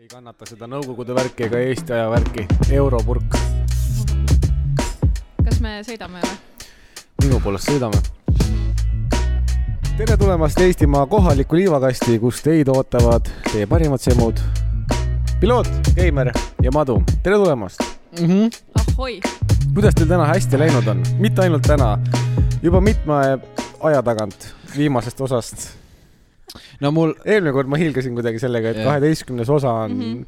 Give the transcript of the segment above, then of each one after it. ei kannata seda Nõukogude värki ega Eesti aja värki , europurk . kas me sõidame või ? minu poolest sõidame . tere tulemast Eestimaa kohalikku liivakasti , kus teid ootavad teie parimad semud . piloot , Keimer ja Madu , tere tulemast mm . -hmm. ahoi , kuidas teil täna hästi läinud on ? mitte ainult täna , juba mitme aja tagant , viimasest osast . no mul , eelmine kord ma hiilgasin kuidagi sellega , et Jah. kaheteistkümnes osa on mm , Mhm. -hmm.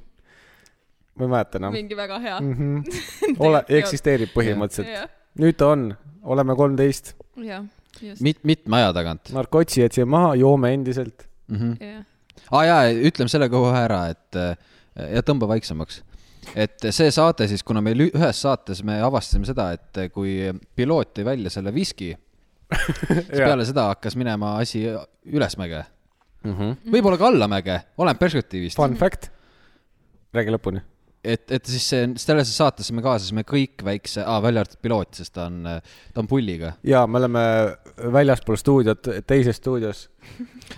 ma ei mäleta enam . mingi väga hea . mm . Mhm. -hmm. ole , eksisteerib põhimõtteliselt . jah , nüüd ta on , oleme kolmteist , jah , just , mit- , mitme aja tagant narkotsi jätsime maha , joome endiselt . mm . -hmm. jah . aa ah, jaa , ütleme selle ka kohe ära , et äh, ja tõmba vaiksemaks . et see saade siis , kuna meil ü- ühes saates me avastasime seda , et äh, kui piloot tõi välja selle viski , siis Jaa. peale seda hakkas minema asi ülesmäge , Mhm. võib-olla ka allamäge , oleneb perspektiivist . Mhm. Fun fact , räägi lõpuni . et , et siis see , sellesse saatesse me kaasasime kõik väikse ah, , välja arvatud piloot , sest ta on , ta on pulliga ja me oleme väljaspool stuudiot , teises stuudios ,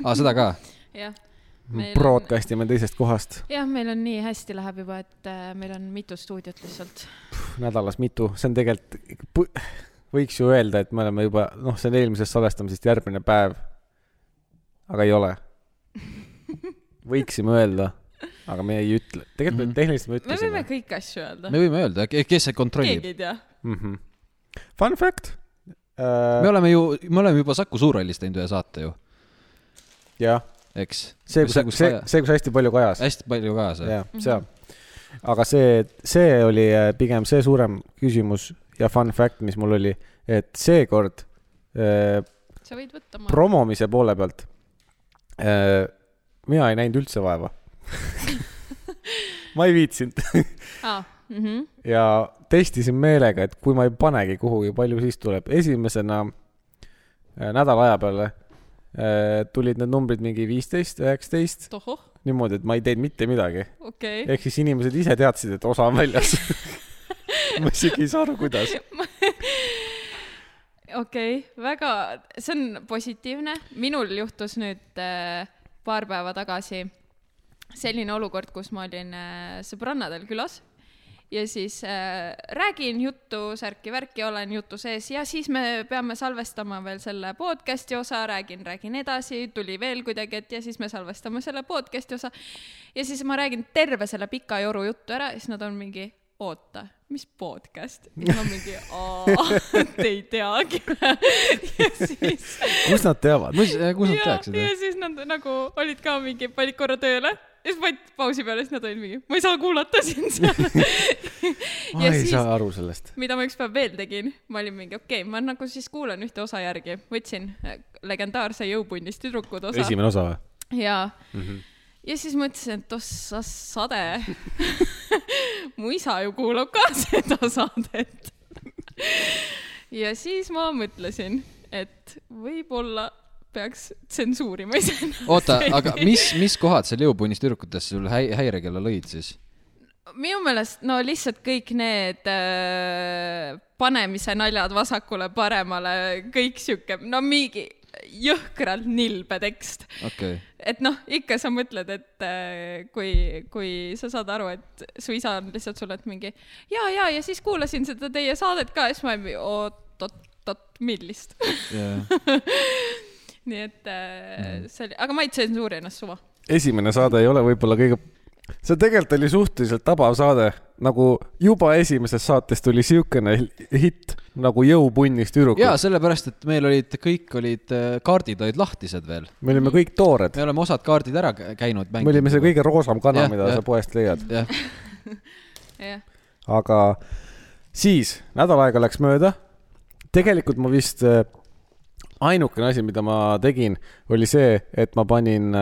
ah, , seda ka . jah , Meil on- broadcast ime teisest kohast , jah , meil on nii hästi läheb juba , et äh, meil on mitu stuudiot lihtsalt . nädalas mitu , see on tegelikult , võiks ju öelda , et me oleme juba , noh , see on eelmisest salvestamisest järgmine päev . aga ei ole . võiksime öelda , aga me ei ütle , tegelikult mm Mhm. -hmm. tehniliselt me me võime ütlesime . kõiki asju öelda . me võime öelda , kes see kontrollib . keegi ei tea . mm . -hmm. Fun fact uh, me . oleme ju , me oleme juba Saku Suurhallis teinud ühe saate ju , jah , eks . see , kus , see , see , kus hästi palju kajas . hästi palju kaasa . jah , seal . aga see , see oli äh, pigem see suurem küsimus ja fun fact , mis mul oli , et seekord äh, sa võid võtta ma . promomise poole pealt äh, mina ei näinud üldse vaeva . ma ei viitsinud aa , mhm. mhmh , ja testisin meelega , et kui ma ei panegi kuhugi , palju siis tuleb . esimesena äh, nädala aja peale äh, tulid need numbrid mingi viisteist , üheksateist , tohoh , niimoodi , et ma ei teinud mitte midagi . okei okay. . ehk siis inimesed ise teadsid , et osa on väljas . ma isegi ei saa aru , kuidas . okei okay, , väga , see on positiivne . minul juhtus nüüd äh, paar päeva tagasi selline olukord , kus ma olin äh, sõbrannadel külas ja siis äh, räägin juttu , särki-värki , olen jutu sees ja siis me peame salvestama veel selle podcast'i osa , räägin , räägin edasi , tuli veel kuidagi , et ja siis me salvestame selle podcast'i osa . ja siis ma räägin terve selle pika joru juttu ära ja siis nad on mingi , oota , mis podcast ? ja ma mingi , aa , te ei teagi . ja siis kust nad teavad ? kus , eh, kus nad ja , tehakse ja seda ? siis nad nagu olid ka mingi , panid korra tööle ja siis panid pausi peale , siis nad olid mingi , ma ei saa kuulata sind seal . ma ja ei siis , saa aru sellest . mida ma ükspäev veel tegin , ma olin mingi , okei okay, , ma nagu siis kuulan ühte osa järgi , võtsin äh, legendaarse jõupunnis tüdrukud osa Esim esimene osa või ? ja mm , Mhm. -hmm. ja siis mõtlesin , et ossa sade . mu isa ju kuulab ka seda saadet . ja siis ma mõtlesin , et võib-olla peaks tsensuurima iseennast . oota , aga mis , mis kohad seal jõupunnis tüdrukutes sul häi- , häirekella lõid siis ? minu meelest no lihtsalt kõik need äh, panemise naljad vasakule-paremale , kõik sihuke , no mingi jõhkralt nilbe tekst . okei okay. , et noh , ikka sa mõtled , et äh, kui , kui sa saad aru , et su isa on lihtsalt sulle , et mingi ja , ja , ja siis kuulasin seda teie saadet ka ja siis ma ei , oot-oot-oot , millist . jaa . nii et äh, Mm. see oli , aga ma ei tsensuuri ennast suva . esimene saade ei ole võib-olla kõige , see tegelikult oli suhteliselt tabav saade , nagu juba esimeses saates tuli siukene hitt nagu Jõupunnis jaa , tüdrukud . sellepärast , et meil olid , kõik olid , kaardid olid lahtised veel . me olime kõik toored , me oleme osad kaardid ära kä- käinud . me olime see . kõige roosam kana , Jah, mida jah. sa poest leiad , jah , jah , aga siis nädal aega läks mööda . tegelikult ma vist äh, ainukene asi , mida ma tegin , oli see , et ma panin ,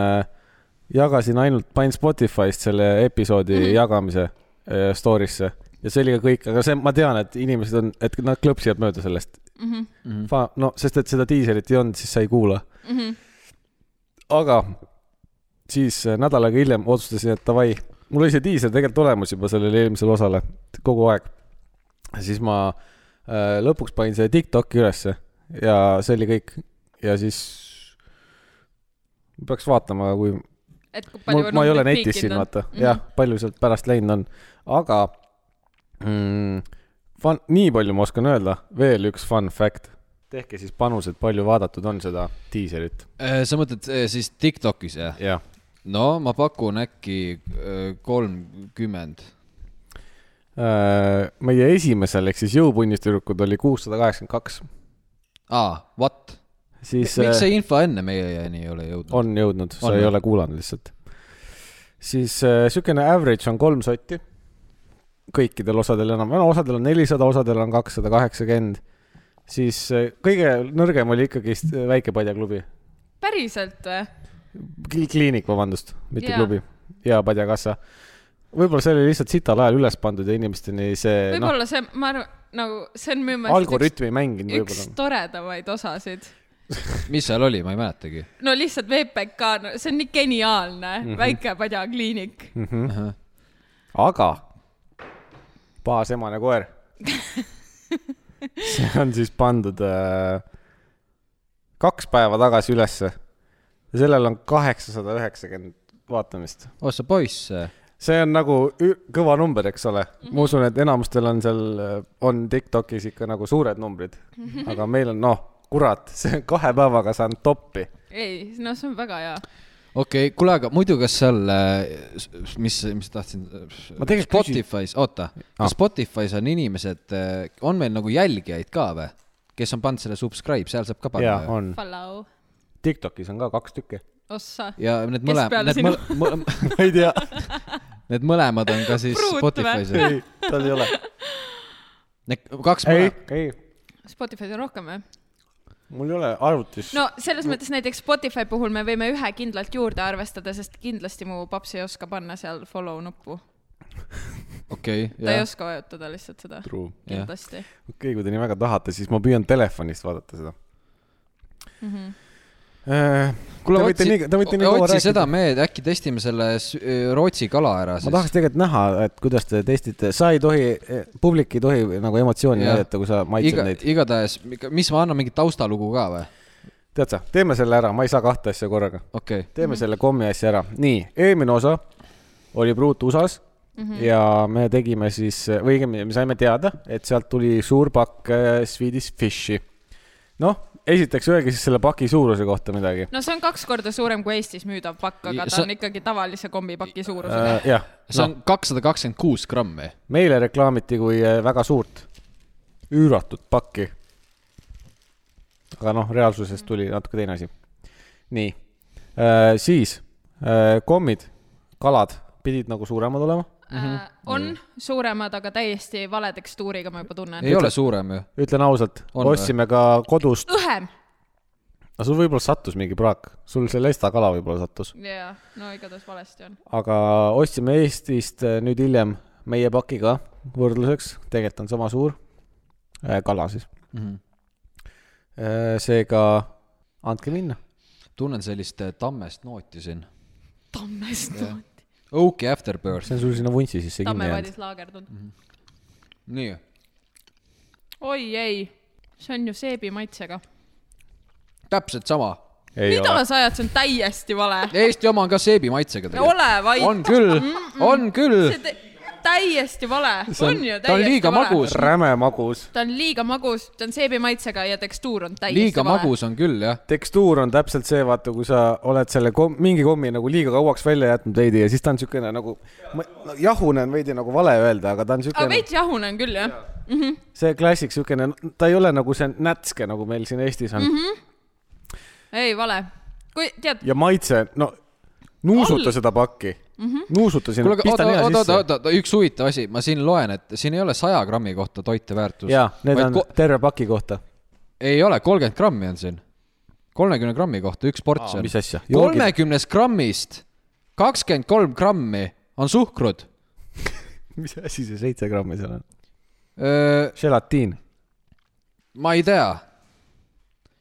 jagasin ainult , panin Spotify'st selle episoodi Mhm. jagamise äh, story'sse ja see oli ka kõik , aga see , ma tean , et inimesed on , et nad klõpsivad mööda sellest . mhmh , Mhm. Fa- , no sest , et seda diiselit ei olnud , siis sa ei kuula . mhmh , aga siis äh, nädal aega hiljem otsustasin , et davai , mul oli see diisel tegelikult olemas juba sellele eelmisele osale kogu aeg . siis ma äh, lõpuks panin selle Tiktoki ülesse ja see oli kõik ja siis peaks vaatama , kui et kui mul palju , on Mhm. ma ei ole olnud neid netis siin , piikinud. vaata mm. , jah , palju sealt pärast läinud on , aga mm, fun, nii palju ma oskan öelda , veel üks fun fact . tehke siis panused , palju vaadatud on seda diiselit . sa mõtled eh, siis Tiktokis jah ? jah , no ma pakun äkki eh, kolmkümmend . Äh, meie esimesel ehk siis jõupunnis tüdrukud oli kuussada kaheksakümmend kaks , aa , what ? siis miks eh, see info enne meieni ei ole jõudnud ? on jõudnud , sa On ei või? ole kuulanud lihtsalt . siis eh, siukene average on kolm sotti kõikidel osadel enam , no osadel on nelisada , osadel on kakssada kaheksakümmend , siis eh, kõige nõrgem oli ikkagist eh, Väike-Padjaklubi , päriselt või ? kliinik , vabandust , mitte Jaa. yeah. klubi ja Padjakassa . võib-olla see oli lihtsalt sital ajal üles pandud ja inimesteni see noh , võib-olla see , ma arvan , nagu see on minu meelest üks, algoritm ei mänginud üks võib-olla . toredamaid osasid . mis seal oli , ma ei mäletagi . no lihtsalt VPK no, , see on nii geniaalne mm -hmm. väike padjakliinik . Mhm. aga paasemane koer . see on siis pandud äh, kaks päeva tagasi ülesse ja sellel on kaheksasada üheksakümmend vaatamist . oh sa poiss . see on nagu ü- kõva number , eks ole . ma usun , et enamustel on seal , on Tiktokis ikka nagu suured numbrid , aga meil on noh , kurat , see on kahe päevaga saanud toppi . ei , no see on väga hea . okei okay, , kuule , aga muidu , kas seal , mis , mis tahtsin . Ma tegelikult küsin- Spotify's , oota ah. , Ah. kas Spotify's on inimesed , on meil nagu jälgijaid ka või ? kes on pannud selle subscribe , seal saab ja ka panna ju . on , Palau , Tiktokis on ka kaks tükki . ossa , ja need Kes mõlemad , peale need sinu? mõlemad , ma ei tea , need mõlemad on ka siis Pruut Spotify's . ei , tal ei ole . Need kaks ei mõlemat ,, ei , Spotify's on rohkem või ? mul ei ole arvutis no selles mõttes näiteks Spotify puhul me võime ühe kindlalt juurde arvestada , sest kindlasti mu paps ei oska panna seal follow nuppu . okei , ta ei jah . oska vajutada lihtsalt seda , truu . Jah. kindlasti . okei , kui te nii väga tahate , siis ma püüan telefonist vaadata seda mm . -hmm. Kuule, te võite nii , te võite nii kaua otsi rääkida seda . meed , äkki testime selle s- äh, Rootsi kala ära ma tahaks siis . tegelikult näha , et kuidas te testite , sa ei tohi , publik ei tohi nagu emotsiooni Jah. näidata , kui sa maitsed iga Iga... , neid . igatahes , mis ma annan mingi taustalugu ka või ? tead sa , teeme selle ära , ma ei saa kahte asja korraga . okei okay. , teeme mm -hmm. selle kommi asja ära . nii , eelmine osa oli Pruut USA-s mm -hmm. ja me tegime siis , või õigemini me saime teada , et sealt tuli suur pakk äh, Swedish Fishi . noh , esiteks öelge siis selle paki suuruse kohta midagi . no see on kaks korda suurem kui Eestis müüdav pakk , aga Ja ta sa- on ikkagi tavalise kombipaki suurusega . Äh, jah , see on kakssada kakskümmend kuus grammi . meile reklaamiti kui äh, väga suurt , üüratut pakki . aga noh , reaalsusest tuli natuke teine asi . nii , siis äh, kommid , kalad pidid nagu suuremad olema , Mhm. äh, on suuremad , aga täiesti vale tekstuuriga , ma juba tunnen . ei ole suurem ju . ütlen ausalt , On või? ostsime ka kodust , õhem . no sul võib-olla sattus mingi praak , sul see lesta kala võib-olla sattus , jaa , no igatahes valesti on . aga ostsime Eestist äh, nüüd hiljem meie pakiga võrdluseks , tegelikult on sama suur äh, kala siis , Mhm. seega andke minna . tunnen sellist äh, tammest nooti siin . tammest nooti . Oaky Afterbirth see , on sul sinna vuntsi sisse kinni tamme jäänud . vadis laagerdunud Mhm. mm . -hmm. nii . oi ei , see on ju seebi maitsega . täpselt sama . mida ole. sa ajad , see on täiesti vale . Eesti oma on ka seebimaitsega ei . ole on vaid , küll , on küll see . te- täiesti vale , on ju ta on täiesti liiga vale . magus , räme magus , ta on liiga magus , ta on seebi maitsega ja tekstuur on täiesti liiga vale . magus on küll jah . tekstuur on täpselt see , vaata , kui sa oled selle kom- , mingi kommi nagu liiga kauaks välja jätnud veidi ja siis ta on siukene nagu , jahune on veidi nagu vale öelda , aga ta on aga siukene , veits jahune on küll jah ja. . see klassik siukene , ta ei ole nagu see nätske , nagu meil siin Eestis on mm -hmm. ei vale . kui tead , ja maitse , no nuusuta All. seda pakki mm , -hmm. nuusuta sinna kuule ,, aga pista oota , liha oota , oota , sisse . oota , üks huvitav asi , ma siin loen , et siin ei ole saja grammi kohta toiteväärtus . ja need on terve paki kohta . ei ole , kolmkümmend grammi on siin . kolmekümne grammi kohta üks Aa, portsjon . mis asja? Joogid- kolmekümnest grammist kakskümmend kolm grammi on suhkrut . mis asi see seitse grammi seal on ? ma želatiin . ei tea .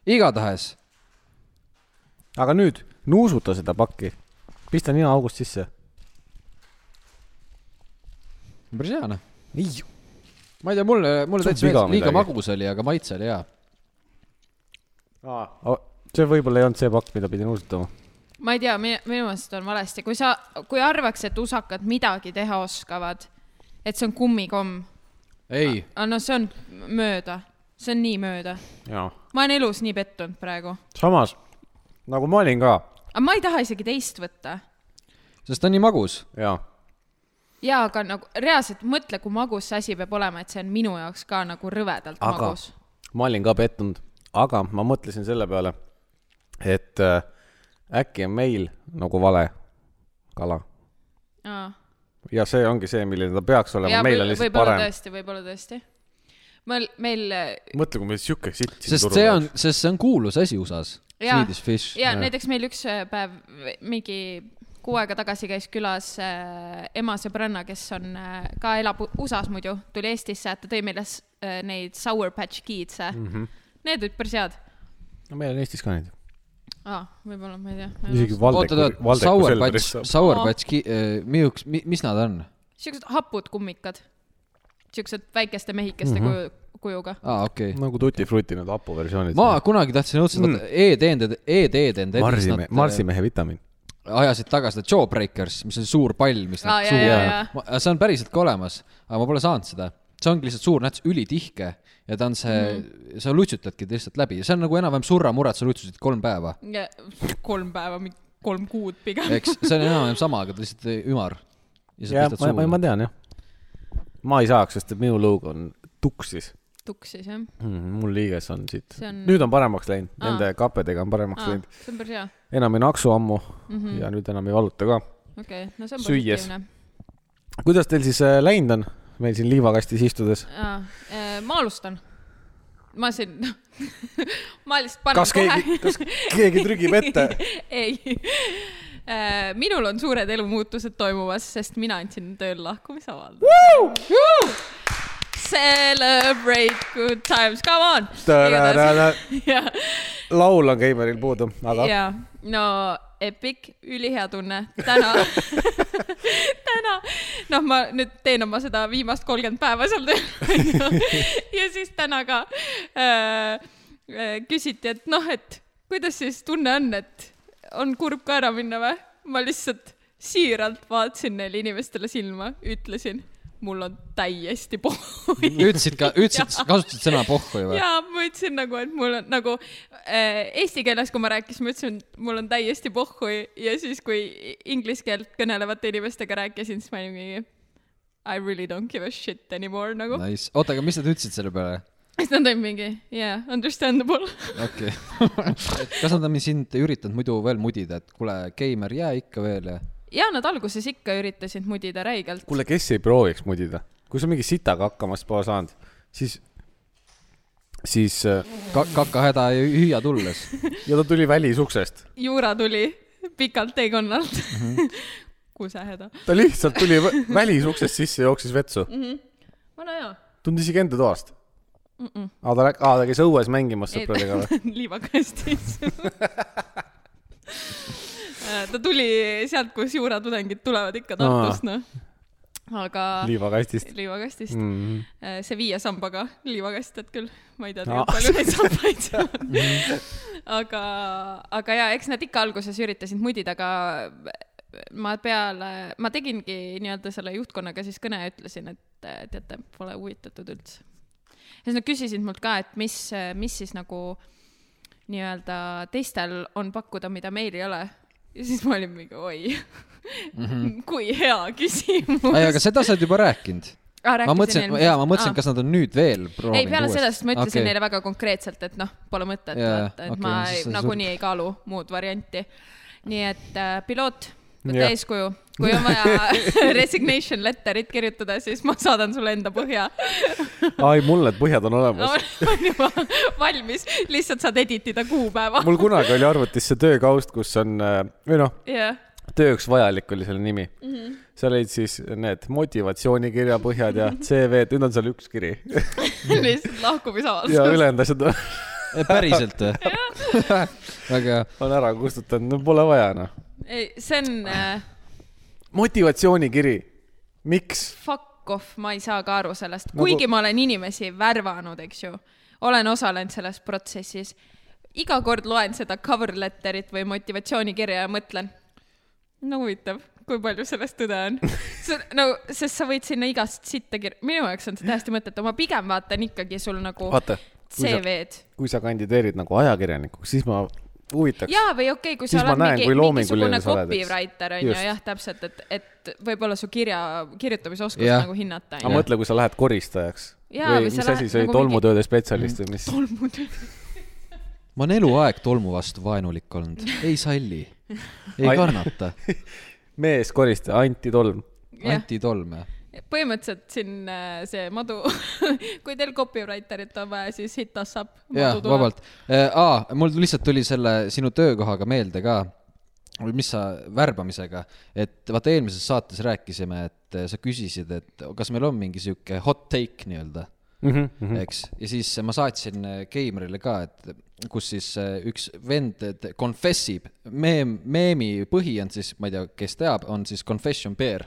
igatahes , aga nüüd nuusuta seda pakki , pista nina august sisse päris hea noh . ei , ma ei tea , mulle , mulle See on täitsa viga meeldis , liiga midagi. magus oli , aga maitse oli hea . aa , see võib-olla ei olnud see pakk , mida pidin uurutama . ma ei tea , minu meelest on valesti , kui sa , kui arvaks , et usakad midagi teha oskavad , et see on kummikomm , ei , aga no see on mööda , see on nii mööda . jaa . ma olen elus nii pettunud praegu , samas , nagu ma olin ka , aga ma ei taha isegi teist võtta . sest ta on nii magus . jaa . jaa , aga nagu reaalselt mõtle , kui magus see asi peab olema , et see on minu jaoks ka nagu rõvedalt aga. aga magus . ma olin ka pettunud , aga ma mõtlesin selle peale , et äh, äkki on meil nagu vale kala ja see ongi see , milline ta peaks olema , meil on lihtsalt võib-olla parem . tõesti , võib-olla tõesti . meil , meil mõtle , kui meil sihuke sitt siin sest see on , sest see on kuulus asi USA-s . Jaa. Swedish fish . ja näiteks meil üks äh, päev mingi kuu aega tagasi käis külas äh, ema sõbranna , kes on äh, ka elab U- USA-s muidu , tuli Eestisse , ta tõi meile s- äh, neid Sour Patch Kids'e mm . Mhm. -hmm. Need olid päris head . no meil on Eestis ka neid . aa , võib-olla , ma ei tea . isegi oota , oota , Valdeku , Valdeku sour Selveris patch , saab . sour Aa. patch , miks , mis nad on ? siuksed hapud kummikad . siuksed väikeste mehikeste Mhm. mm -hmm. kuju , kujuga . aa , okei okay. . nagu Tutti Frutti need hapuversioonid . ma kunagi tahtsin õudselt mm. , e-teenindajad , e-teenindajad . marsimehe , marsimehe vitamiin . ajasid taga seda Jawbreakers , mis on suur pall , mis Aa, nad jaa, suhu jaa, ajavad . see on päriselt ka olemas , aga ma pole saanud seda . see ongi lihtsalt suur näts , ülitihke ja ta on see Mhm. mm. , sa lutsutadki ta lihtsalt läbi ja see on nagu enam-vähem surramurat , sa lutsutasid kolm päeva . kolm päeva , kolm kuud pigem . eks see on enam-vähem sama , aga ta lihtsalt ümar . ja sa jah , pistad ma , ma, ma suhu . tean jah . ma ei saaks , sest et minu luug on tuksis tuksis jah . mm, . mul liiges on siit See on... on- . Hmm. nüüd on paremaks läinud , Aa. nende kapedega on paremaks see läinud . on päris hea , enam ei naksu ammu mm -hmm. ja nüüd enam ei valuta ka . okei okay. , no see on Süües. positiivne . kuidas teil siis äh, läinud on , meil siin liivakastis istudes ? jaa , ma alustan . äh, ma siin , ma lihtsalt panen kas keegi , kas keegi trügib ette ? ei . minul on suured elumuutused toimumas , sest mina andsin tööl lahkumisavalduse . Celebrate good times , come on ! jah , laul on Keimeril puudu , aga jaa , no epic , ülihea tunne täna , täna , noh , ma nüüd teen oma seda viimast kolmkümmend päeva seal tööl onju. ja siis täna ka äh, äh, küsiti , et noh , et kuidas siis tunne on , et on kurb ka ära minna või ? ma lihtsalt siiralt vaatasin neile inimestele silma , ütlesin , mul on täiesti pohhui . ütlesid ka , ütlesid , kasutasid sõna pohhu ju või ? jaa , ma ütlesin nagu , et mul on nagu äh, eesti keeles , kui ma rääkisin , ma ütlesin , et mul on täiesti pohhu ja siis , kui inglise keelt kõnelevate inimestega rääkisin , siis ma olin mingi I really don't give a shit anymore nagu . Nice , oota , aga mis nad ütlesid selle peale ? siis nad olid mingi yeah , understandable . okei okay. . kas nad on sind üritanud muidu veel mudida , et kuule , Keimer , jää ikka veel ja ? ja nad alguses ikka üritasid mudida räigelt . kuule , kes ei prooviks mudida , kui sa mingi sitaga hakkama pole saanud , siis , siis äh, Ka- , kakahäda ja hüüa tulles . ja ta tuli välisuksest , Juura tuli pikalt teekonnalt mm Mhm. -hmm. kusehäda . ta lihtsalt tuli vä- välisuksest sisse , jooksis vetsu , vana hea . tundis ikka enda toast . aa , ta läks , aa , ta käis õues mängimas sõpradega või ? liivakastis . ta tuli sealt , kus juuratudengid tulevad ikka Tartust , noh . aga liivakastist . liivakastist mm. , Mm. see viie sambaga liivakastid küll , ma ei Aa. tea tegelikult palju neid sambaid seal on . aga , aga ja eks nad ikka alguses üritasid mudida , aga ma peale , ma tegingi nii-öelda selle juhtkonnaga siis kõne ja ütlesin , et äh, teate , pole huvitatud üldse . ja siis nad küsisid mult ka , et mis , mis siis nagu nii-öelda teistel on pakkuda , mida meil ei ole . ja siis ma olin mingi oi mm , -hmm. kui hea küsimus . Mhm. Ah, ei , aga seda sa oled juba rääkinud . ma mõtlesin , jaa , ma mõtlesin , kas nad on nüüd veel proovinud ei , peale seda , sest ma ütlesin okay. neile väga konkreetselt , et noh , pole mõtet Jaa, yeah, , et okay, okei, ma siis ei- sa ei nagunii ei kaalu muud varianti . nii et äh, piloot , võta Jah. yeah. eeskuju , kui on vaja resignation letter'it kirjutada , siis ma saadan sulle enda põhja . ai , mul need põhjad on ma olemas . olen juba valmis , lihtsalt saad edit ida kuupäeva . mul kunagi oli arvutis see töökaust , kus on äh, või noh , jah , tööks vajalik oli selle nimi mm . -hmm. Mhm. seal olid siis need motivatsioonikirja põhjad Mhm. ja CV-d , nüüd on seal üks kiri lihtsalt lahkumisavaldus ja . ülejäänud asjad seda . päriselt või ? väga hea . on ära kustutanud , no pole vaja noh . ei , see on äh, motivatsioonikiri , miks ? fuck off , ma ei saa ka aru sellest , Nagu- kuigi ma olen inimesi värvanud , eks ju , olen osalenud selles protsessis iga kord loen seda cover letter'it või motivatsioonikirja ja mõtlen , no huvitav , kui palju sellest tõde on . no , sest sa võid sinna igast sitta kir- , minu jaoks on see täiesti mõttetu , ma pigem vaatan ikkagi sul nagu vaata , kui sa , CV-d kui sa kandideerid nagu ajakirjanikuks , siis ma huvitaks . jaa , või okei okay, , kui Siis sa ma oled näen, mingi , kui loominguline mingisugune sa oled, eks. copywriter on ju Just. , jah , täpselt , et , et võib-olla su kirja , kirjutamisoskust Jah. nagu hinnata aga on ju . mõtle , kui sa lähed koristajaks Jaa, või või sa mis lähed asi see oli nagu nagu mingi- Mhm. tolmutööde spetsialist või mis ? tolmud . ma olen eluaeg tolmu vastu vaenulik olnud , ei salli , ei Ai- kannata , meeskoristaja Anti Tolm . jah , antitolm jah . põhimõtteliselt siin äh, see madu , kui teil copywriterit on vaja , siis hit us up . jah , vabalt . aa , mul lihtsalt tuli selle sinu töökohaga meelde ka , või mis sa , värbamisega , et vaata eelmises saates rääkisime , et eh, sa küsisid , et kas meil on mingi sihuke hot take nii-öelda , eks , ja siis ma saatsin eh, Keimrile ka , et kus siis eh, üks vend et confess ib , meem , meemi põhi on siis , ma ei tea , kes teab , on siis confession bear ,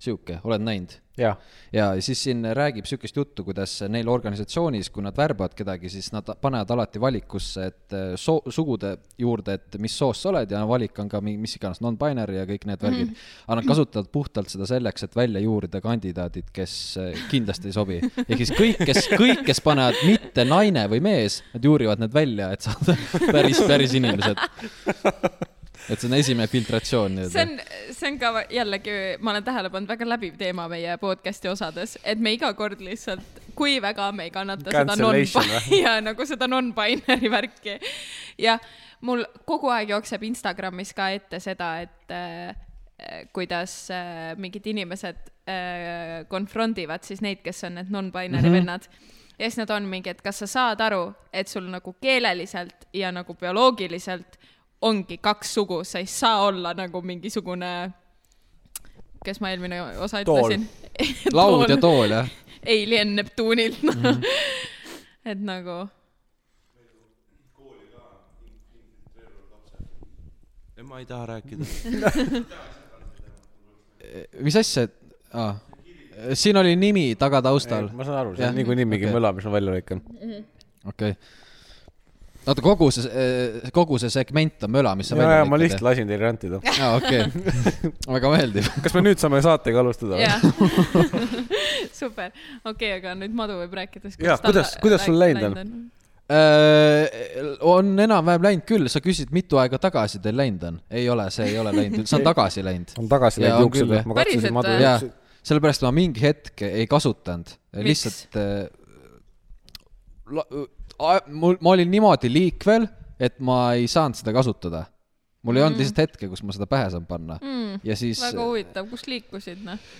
sihuke , oled näinud ? jah , ja siis siin räägib sihukest juttu , kuidas neil organisatsioonis , kui nad värbavad kedagi , siis nad panevad alati valikusse , et eh, soo- , sugude juurde , et mis soost sa oled ja valik on ka mi- mis iganes non-binary ja kõik need värgid mm . -hmm. aga nad kasutavad puhtalt seda selleks , et välja juurida kandidaadid , kes eh, kindlasti ei sobi . ehk siis kõik , kes , kõik , kes panevad mitte naine või mees , nad juurivad need välja , et saada päris , päris inimesed . et see on esimene filtratsioon see nii-öelda . on , see on ka jällegi , ma olen tähele pannud , väga läbiv teema meie podcast'i osades , et me iga kord lihtsalt , kui väga me ei kannata seda Cancellation non-binary ja nagu seda non-binary värki . ja mul kogu aeg jookseb Instagramis ka ette seda , et äh, kuidas äh, mingid inimesed äh, konfrondivad siis neid , kes on need non-binary Mhm. mm -hmm. vennad ja siis nad on mingi , et kas sa saad aru , et sul nagu keeleliselt ja nagu bioloogiliselt ongi kaks sugu , sa ei saa olla nagu mingisugune , kes ma eelmine osa Tool. ütlesin ? laud ja . tool , jah Alien Neptunilt , noh mm -hmm. . et nagu , ei , ma ei taha rääkida . mis asja ah. ? siin oli nimi tagataustal . ma saan aru , see Jah. on niikuinii mingi Okei. okay. möla , mis ma välja lõikan . okei okay. . oota , kogu see , kogu see segment on möla , mis sa ja , välja ja ma lihtsalt . lasin teil rantida . aa , okei . väga meeldiv . kas me nüüd saame saatega alustada või ? jah . super , okei , aga nüüd Madu võib rääkida . Jaa, kuidas- kuidas sul läinud on? ? Eh, on enam-vähem läinud küll , sa küsid , mitu aega tagasi teil läinud on ? ei ole , see ei ole läinud , see on tagasi läinud . on tagasi Jaa, läinud on juuksed küll, , jah. ma katsusin Päriselt madu või? jaa juukseid ., sellepärast ma mingi hetk ei kasutanud , Miks? lihtsalt äh, . mul , ma olin niimoodi liikvel , et ma ei saanud seda kasutada . mul ei olnud lihtsalt hetke , kus ma seda pähe saan panna Mm, ja siis äh, väga huvitav , kus liikusid , noh ?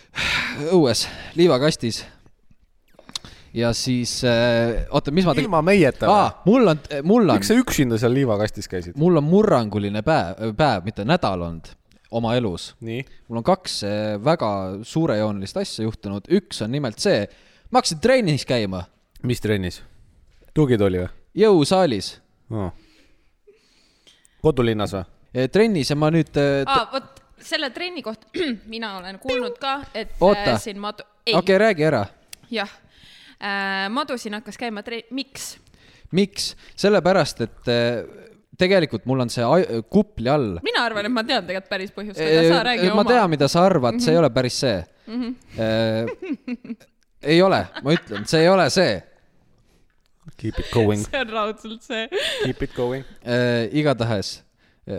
õues , liivakastis . ja siis äh, , oota , mis ma tegin ? ilma meieta aa või ?, mul on , mul on miks , sa üksinda seal liivakastis käisid ? mul on murranguline päev , päev , mitte nädal olnud oma elus nii . mul on kaks eh, väga suurejoonelist asja juhtunud , üks on nimelt see , ma hakkasin trennis käima , mis trennis ? tugitooli või jõusaalis , oh. ? kodulinnas või ? trennis ja ma nüüd eh, t- aa , vot selle trenni kohta mina olen kuulnud ka , et äh, Oota. siin Madu , ei okay. , okei , räägi ära , jah . Madu siin hakkas käima tre- , miks ? miks , sellepärast et eh, tegelikult mul on see aj- kupli all . mina arvan , et ma tean tegelikult päris põhjust , aga sa räägi ma oma . Mhm. tean , mida sa arvad , see ei ole päris see mm . -hmm. ei ole , ma ütlen , see ei ole see Keep it going , see on raudselt see . keep it going . äh, . igatahes ,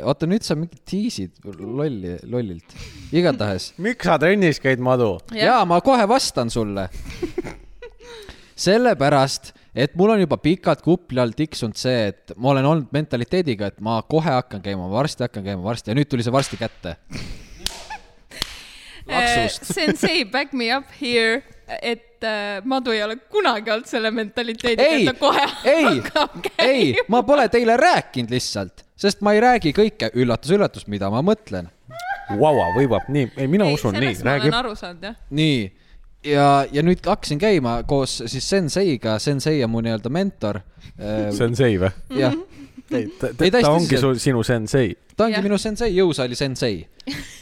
oota nüüd sa mingi tiisid lolli , lollilt , igatahes miks sa trennis käid , Madu ? Jah. jaa , ma kohe vastan sulle . sellepärast , et mul on juba pikalt kupli all tiksunud see , et ma olen olnud mentaliteediga , et ma kohe hakkan käima , varsti hakkan käima , varsti ja nüüd tuli see varsti kätte . laksust. Eh, Sensei , back me up here , et äh, Madu ei ole kunagi olnud selle mentaliteediga , ei et ta kohe , ei hakkab , ei käima ., ma pole teile rääkinud lihtsalt , sest ma ei räägi kõike , üllatus-üllatus , mida ma mõtlen . Vau , võibab nii , ei mina ei, usun nii , ma räägi olen . aru saanud , jah . nii , ja , ja nüüd hakkasin käima koos siis senseiga , sensei on mu nii-öelda mentor . Sensei või ? jah , ei , ta, Ei, ta, täiesti ta ongi tõsiselt. sul , sinu sensei . ta ongi Jah. minu sensei , jõusaali sensei .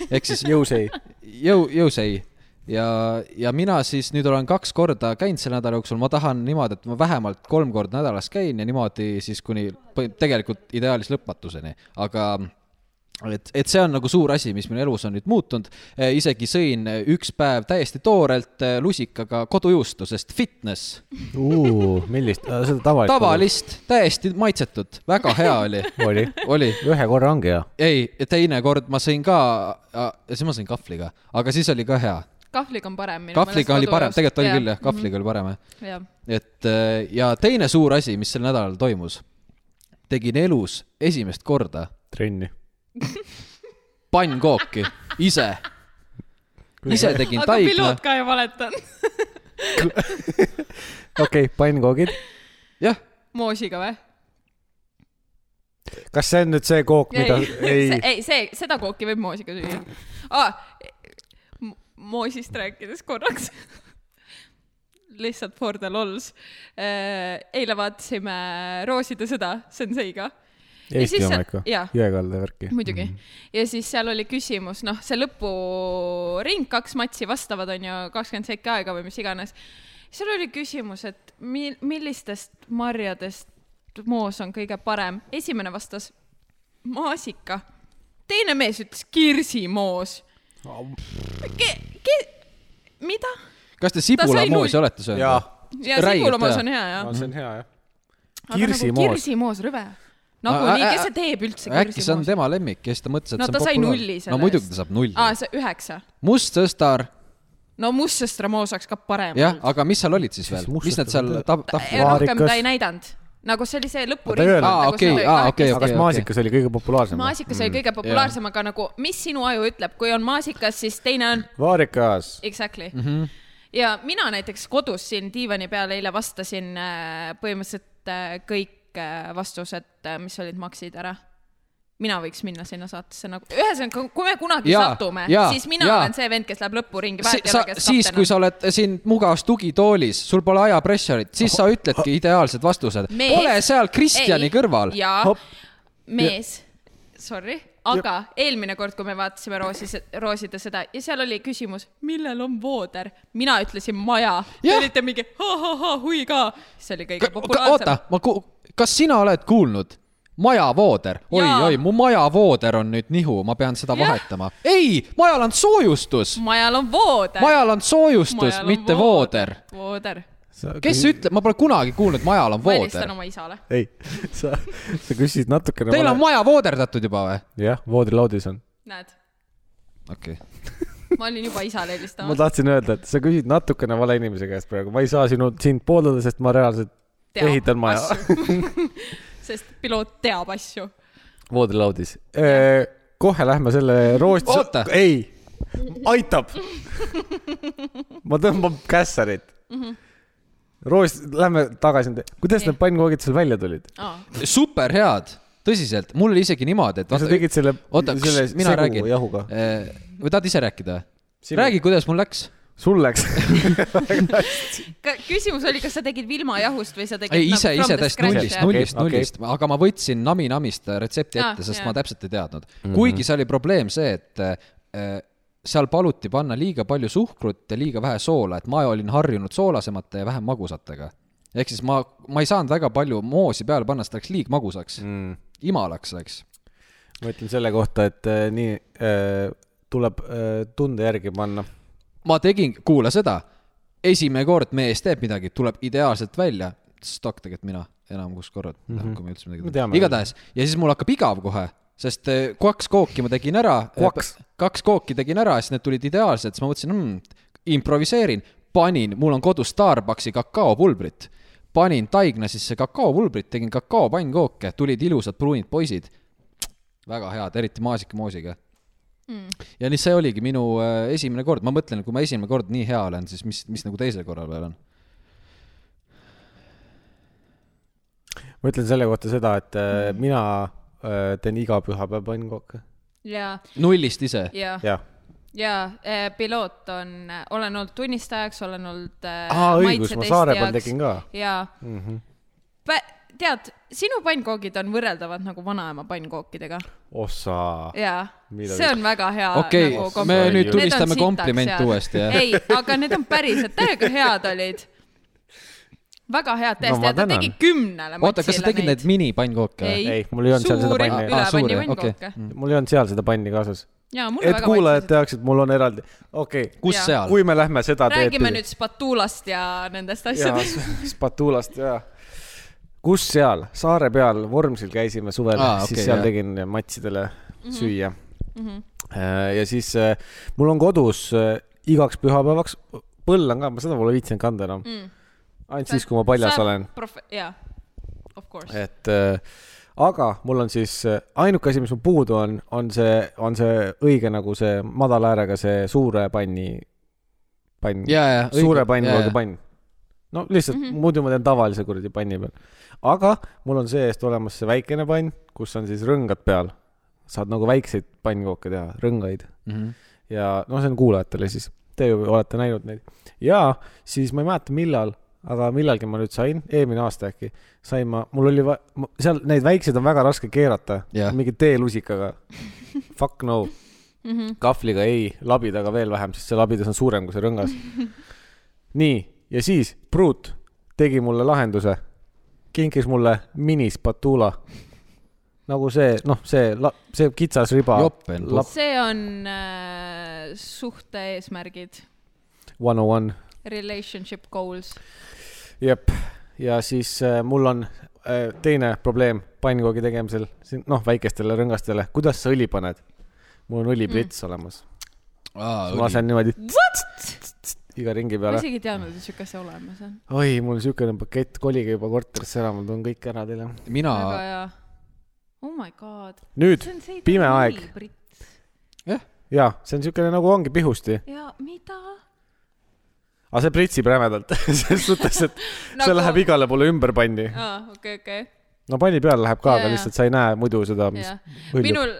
ehk siis jõusei . jõu , jõusei ja , ja mina siis nüüd olen kaks korda käinud selle nädala jooksul , ma tahan niimoodi , et ma vähemalt kolm korda nädalas käin ja niimoodi siis kuni põhi- tegelikult ideaalis lõpmatuseni , aga et , et see on nagu suur asi , mis minu elus on nüüd muutunud . isegi sõin eh, üks päev täiesti toorelt eh, lusikaga kodujuustu , sest fitness , millist , seda tavalist ? tavalist , täiesti maitsetud , väga hea oli , oli , oli ühe korra ongi hea . ei , teine kord ma sõin ka , siis ma sõin kahvliga , aga siis oli ka hea . kahvliga on parem . kahvliga oli parem , tegelikult oli Mhm. küll jah , kahvliga oli parem jah . jah . et äh, ja teine suur asi , mis sel nädalal toimus , tegin elus esimest korda trenni . pannkooki ise , ise tegin aga taigla piloot , ka ei valetanud . okei , pannkoogid . jah , moosiga või ? kas see on nüüd see kook , mida ? ei , ei , see , seda kooki võib moosiga süüa ah, . moosist rääkides korraks . lihtsalt for the lols . eile vaatasime Rooside sõda Senseiga . Eesti siis oma see- ikka . jaa. jõekalda värki . muidugi mm . -hmm. ja siis seal oli küsimus , noh , see lõpuring , kaks matsi vastavad , on ju , kakskümmend sekki aega või mis iganes . seal oli küsimus , et mi- , millistest marjadest moos on kõige parem . esimene vastas maasika , teine mees ütles kirsimoos ke, . Ke, mida ? kas te sai sibulamoosi null- olete söönud ? jaa , ja Räigelt sibulamoos hea. on hea , jah . see on hea jah . aga nagu kirsimoos. kirsimoos , rõve . Ä- nagunii , ä- kes see teeb üldse äkki see on kirsimoos ? tema lemmik ja siis ta mõtles , et no see on ta sai populaarne. nulli selle no muidugi eest. ta saab nulli aa , see üheksa . must sõstar , no mustsõstramoos oleks ka parem jah , aga mis seal olid siis Siis veel , must mis need sõstar seal on- tab- , Ja tahvlid ? Vaarikas. rohkem ta ei näidanud , nagu see oli see Ta nagu ei lõpuring . öelnud. Aa, okei, aa, okei, aga kas okei. maasikas oli kõige populaarsem ? maasikas oli kõige populaarsem , aga nagu , mis sinu aju ütleb , kui on maasikas , siis teine on vaarikas . exactly mm . Mhm. -hmm. ja mina näiteks kodus siin diivani peal eile vastasin äh, põhimõtteliselt äh, kõik äh, vastused , mis olid maksid ära mina võiks minna sinna saatesse nagu , ühesõnaga , kui me kunagi ja, Jaa, satume , jaa, siis mina ja. jaa. olen see vend , kes läheb lõpuringi . Si- sa , siis , kui sa oled siin mugavas tugitoolis , sul pole ajapressurit , siis sa ütledki ideaalsed vastused . Mees- ole seal Kristjani ei, kõrval . jaa Hopp. , mees , sorry , aga ja. eelmine kord , kui me vaatasime roosis , rooside seda ja seal oli küsimus , millel on vooder , mina ütlesin maja , te Jah. olite mingi ha-ha-ha hui ka , see oli kõige oota populaarsem ., ma ku- , kas sina oled kuulnud ? majavooder , Jaa. oi-oi , mu majavooder on nüüd nihu , ma pean seda Jah. vahetama . ei , majal on soojustus , majal on vooder . majal on soojustus , mitte vooder .. vooder, vooder. . kes ? ütleb , ma pole kunagi kuulnud , majal on ma vooder helistan . oma isale . ei , sa , sa küsisid natukene . Teil on . maja vooderdatud juba või ? jah , voodilaudis on . näed , okei okay. . ma olin juba ma isale helistamas . tahtsin öelda , et sa küsid natukene vale inimese käest praegu , ma ei saa sinu , sind pooldada , sest ma reaalselt Teab ehitan maja sest piloot teab asju . voodilaudis . Äh, kohe lähme selle roosti Oota! . ei , aitab . ma tõmban kässarit . roost , lähme tagasi , kuidas need pannkoogid seal välja tulid ? super head , tõsiselt , mul oli isegi niimoodi , et kas sa tegid selle , oota , selle kas mina räägin ? jahuga ? või tahad ise rääkida ? Sinu. räägi , kuidas mul läks . sul läks ? küsimus oli , kas sa tegid vilmajahust või sa tegid ei , ise , nagu from ise the täiesti scratch, nullist , jah? nullist , Okei, okei. nullist , aga ma võtsin Nami-Namist retsepti Aa, ette , sest jaa. ma täpselt ei teadnud . Mhm. kuigi see oli probleem see , et äh, seal paluti panna liiga palju suhkrut ja liiga vähe soola , et ma olin harjunud soolasemate ja vähem magusatega . ehk siis ma , ma ei saanud väga palju moosi peale panna , sest läks liig magusaks , Mm. imalaks läks . ma ütlen selle kohta , et äh, nii äh, tuleb äh, tunde järgi panna . ma tegin , kuula seda , esimene kord mees teeb midagi , tuleb ideaalselt välja , stok tegelikult mina enam kus korra mm , -hmm. kui me Mhm. üldse Me teame. midagi teeme . igatahes ja siis mul hakkab igav kohe , sest eh, kaks kooki ma tegin ära Eh, Kaks. , kaks kooki tegin ära , siis need tulid ideaalselt , siis ma mõtlesin mm, , improviseerin , panin , mul on kodus Starbucksi kakaopulbrit , panin taigna sisse kakaopulbrit , tegin kakaopannkooke , tulid ilusad pruunid poisid . väga head , eriti maasikamoosiga Mm. ja nii see oligi minu äh, esimene kord , ma mõtlen , kui ma esimene kord nii hea olen , siis mis , mis nagu teisel korral veel on ? ma ütlen selle kohta seda , et äh, mina äh, teen iga pühapäev pannkooke . jaa , nullist ise ? jaa . jah , jaa , piloot on , olen olnud tunnistajaks , olen olnud äh, Aa, õigus, ma maitsetestijaks Saare peal tegin ka. jaa mm . -hmm. tead , sinu pannkoogid on võrreldavad nagu vanaema pannkookidega ossa . jaa , Mida see on väga hea . nagu okei , me kompliment. nüüd Need on tunnistame kompliment uuesti , jah . ei , aga need on päriselt , täiega head olid . väga head , No tõesti ma no, , ta tänan. tegi kümnele . oota , kas sa tegid neid minipannkoke või ? Ei, mul ei olnud seal seda suuri panni. üle Aa, suuri, panni okei. vannkooke . Mm. mul ei olnud seal seda panni kaasas . jaa , mul et väga kuulajad maitsesid . teaksid , mul on eraldi , okei okay. , kus Jaa. seal ? kui me lähme seda teed räägime nüüd spatuulast ja nendest jaa asjadest ., spatuulast ja . kus seal , saare peal , Vormsil käisime suvel Aa, ah, , siis okei, okay, seal jah. jah. tegin matsidele mm Mhm. -hmm. süüa mm . -hmm. ja siis äh, mul on kodus äh, igaks pühapäevaks , põll on ka , ma seda pole viitsinud kanda enam mm. . ainult siis , kui ma paljas Saab... olen ,. jaa , of course . et äh, aga mul on siis äh, ainuke asi , mis mul puudu on , on see , on see õige nagu see madala äärega , see suure panni , pann ja , ja . suure pannkooga . pann . no lihtsalt mm -hmm. muidu ma teen tavalise kuradi panni peal . aga mul on see-eest olemas see väikene pann , kus on siis rõngad peal . saad nagu väikseid pannkooke teha , rõngaid Mhm. ja noh , see on kuulajatele siis , te ju olete näinud neid . ja siis ma ei mäleta , millal , aga millalgi ma nüüd sain , eelmine aasta äkki , sain ma , mul oli va- , seal neid väikseid on väga raske keerata Jah. mingi teelusikaga . Fuck no mm . -hmm. kahvliga ei , labidaga veel vähem , sest see labidas on suurem kui see rõngas . nii , ja siis pruut tegi mulle lahenduse , kinkis mulle minispatuula nagu see , noh , see , see kitsas riba . Jopen. see on äh, suhte eesmärgid , one on one . relationship goals . jep , ja siis äh, mul on äh, teine probleem pannkoogi tegemisel , noh , väikestele rõngastele , kuidas sa õli paned ? mul on õliplits mm. olemas , ma aa , lasen niimoodi ma iga ringi peale . isegi ei teadnud , et sihuke asi olemas on . oi , mul on siukene pakett , kolige juba korterisse ära , ma toon kõik ära teile . mina , väga hea . Oh my god . nüüd pime aeg. . jah , ja see on siukene nagu ongi pihusti , ja mida ? aga see pritsib rämedalt selles suhtes , et nagu... see läheb igale poole ümber panni . aa , okei , okei , no panni peal läheb ka , Jaa, aga jaa. lihtsalt sa ei näe muidu seda , mis jah . hõljub . minul ,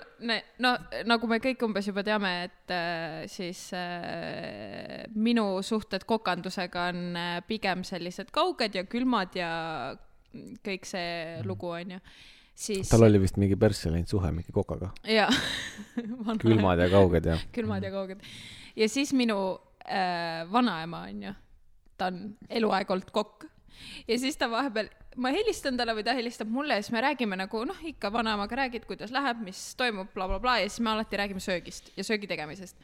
no nagu me kõik umbes juba teame , et äh, siis äh, minu suhted kokandusega on äh, pigem sellised kauged ja külmad ja kõik see lugu onju . siis tal oli vist mingi persse läinud suhe mingi kokaga , jaa . külmad ja kauged ja . külmad ja kauged . ja siis minu äh, vanaema onju , ta on eluaeg olnud kokk ja siis ta vahepeal , ma helistan talle või ta helistab mulle ja siis me räägime nagu noh , ikka vanaemaga räägid , kuidas läheb , mis toimub bla, , blablabla ja siis me alati räägime söögist ja söögi tegemisest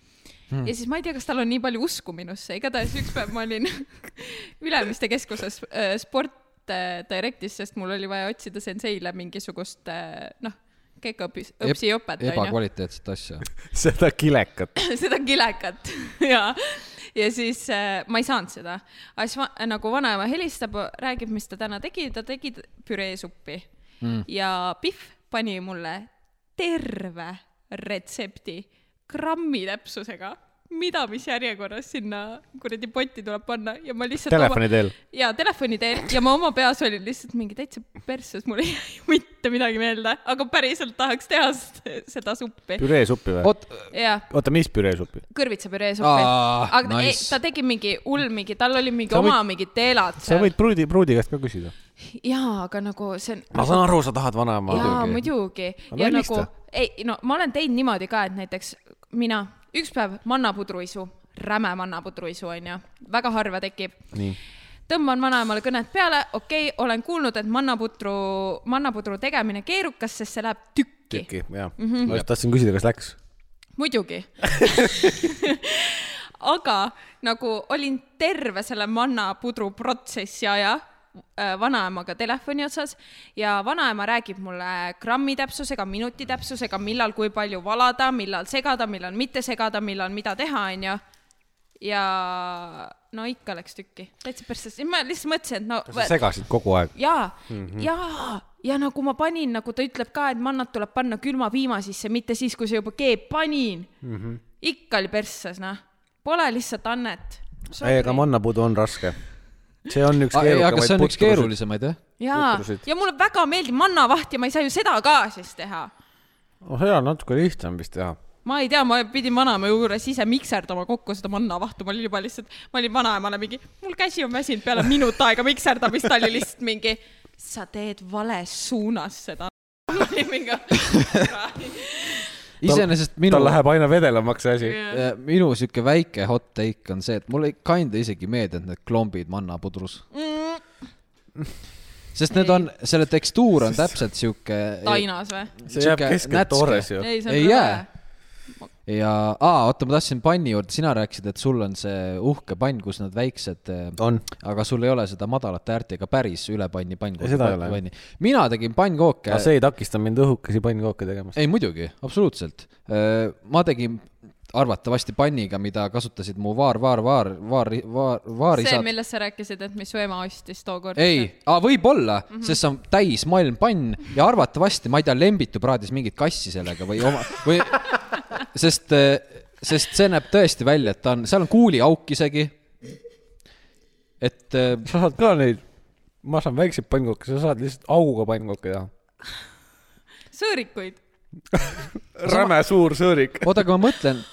hmm. . ja siis ma ei tea , kas tal on nii palju usku minusse , igatahes üks päev ma olin Ülemiste keskuses äh, sport äh, Directis , sest mul oli vaja otsida senseile mingisugust äh, noh , keikaõpis , õpsiõpet onju . ebakvaliteetset asja . seda kilekat . seda kilekat ja , ja siis äh, ma ei saanud seda . aga siis va, nagu vanaema helistab , räägib , mis ta täna tegi , ta tegi t- püreesuppi mm. ja Pihv pani mulle terve retsepti grammi täpsusega , mida , mis järjekorras sinna kuradi potti tuleb panna ja ma lihtsalt telefoni teel . ja telefoni teel ja ma oma peas olin lihtsalt mingi täitsa persses , mul ei jää ju mitte midagi meelde , aga päriselt tahaks teha s- seda suppi . püreesuppi või ? oot , jah oota , mis püreesuppi ? kõrvitsapüreesuppi Aa, . aga nice. ei, nice. ta tegi mingi hull mingi , tal oli mingi Sa oma võid- mingid teelad sa seal . võid pruudi , pruudi käest ka küsida . jaa , aga nagu see on , Ah, ma saan aru , sa tahad vanaema . jaa , muidugi . Aga ja helista. nagu , ei no ma olen teinud niimoodi ka , et näiteks mina , üks päev mannapudruisu , räme mannapudruisu onju , väga harva tekib . nii . tõmban vanaemale kõned peale , okei okay, , olen kuulnud , et mannapudru , mannapudru tegemine keerukas , sest see läheb tükki tükki , jah . Mhm. ma just tahtsin küsida , kas läks . muidugi . aga nagu olin terve selle mannapudru protsessi aja äh, vanaemaga telefoni otsas ja vanaema räägib mulle grammi täpsusega , minuti täpsusega , millal kui palju valada , millal segada , millal mitte segada , millal mida teha , onju . ja no ikka läks tükki , täitsa persse , ma lihtsalt mõtlesin , et no kas sa segasid kogu aeg ? jaa mm , Mhm. -hmm. jaa , ja nagu ma panin , nagu ta ütleb ka , et mannad tuleb panna külma piima sisse , mitte siis , kui sa juba keeb , panin mm . Mhm. -hmm. ikka oli persses , noh . Pole lihtsalt annet . ei , aga mannapudu on raske . see on üks ei , aga see on keerukamaid . üks keerulisemaid , jah . jaa putrusid. , ja mulle väga meeldib mannavaht ja ma ei saa ju seda ka siis teha . oh jaa , natuke lihtsam vist teha . ma ei tea , ma pidin vanaema juures ise mikserdama kokku seda mannavahtu , ma olin juba lihtsalt , ma olin vanaemale mingi , mul käsi on väsinud peale minut aega mikserdamist , ta oli lihtsalt mingi sa teed vales suunas seda . iseenesest minu tal , läheb aina vedelamaks see asi . Mm. minu sihuke väike hot take on see , et mulle ei kinda isegi meeldinud need klombid mannapudrus , Mm. sest need Ei. on , selle tekstuur on täpselt sihuke . tainas või ? see jääb Sihuke keskelt nätske. toores ju . ei , see on Ei rõve jää. . ja , aa , oota , ma tahtsin panni juurde , sina rääkisid , et sul on see uhke pann , kus need väiksed , on . aga sul ei ole seda madalate äärtega päris üle panni pannkooke . Seda ei ole. mina tegin pannkooke aga . see ei takista mind õhukesi pannkooke tegemast . ei muidugi , absoluutselt . ma tegin arvatavasti panniga , mida kasutasid mu vaar , vaar , vaar , vaar , vaar , see , vaarisad . millest sa rääkisid , et mis su ema ostis tookord . ei , võib-olla Mhm. mm , -hmm. sest see on täis malmpann ja arvatavasti , ma ei tea , Lembitu praadis mingit kassi sellega või oma või sest , sest see näeb tõesti välja , et ta on , seal on kuuliauk isegi . et äh, sa saad ka neid , ma saan väikseid pannkooke , sa saad lihtsalt auguga pannkooke teha . sõõrikuid . räme suur sõõrik . oota , aga ma mõtlen ,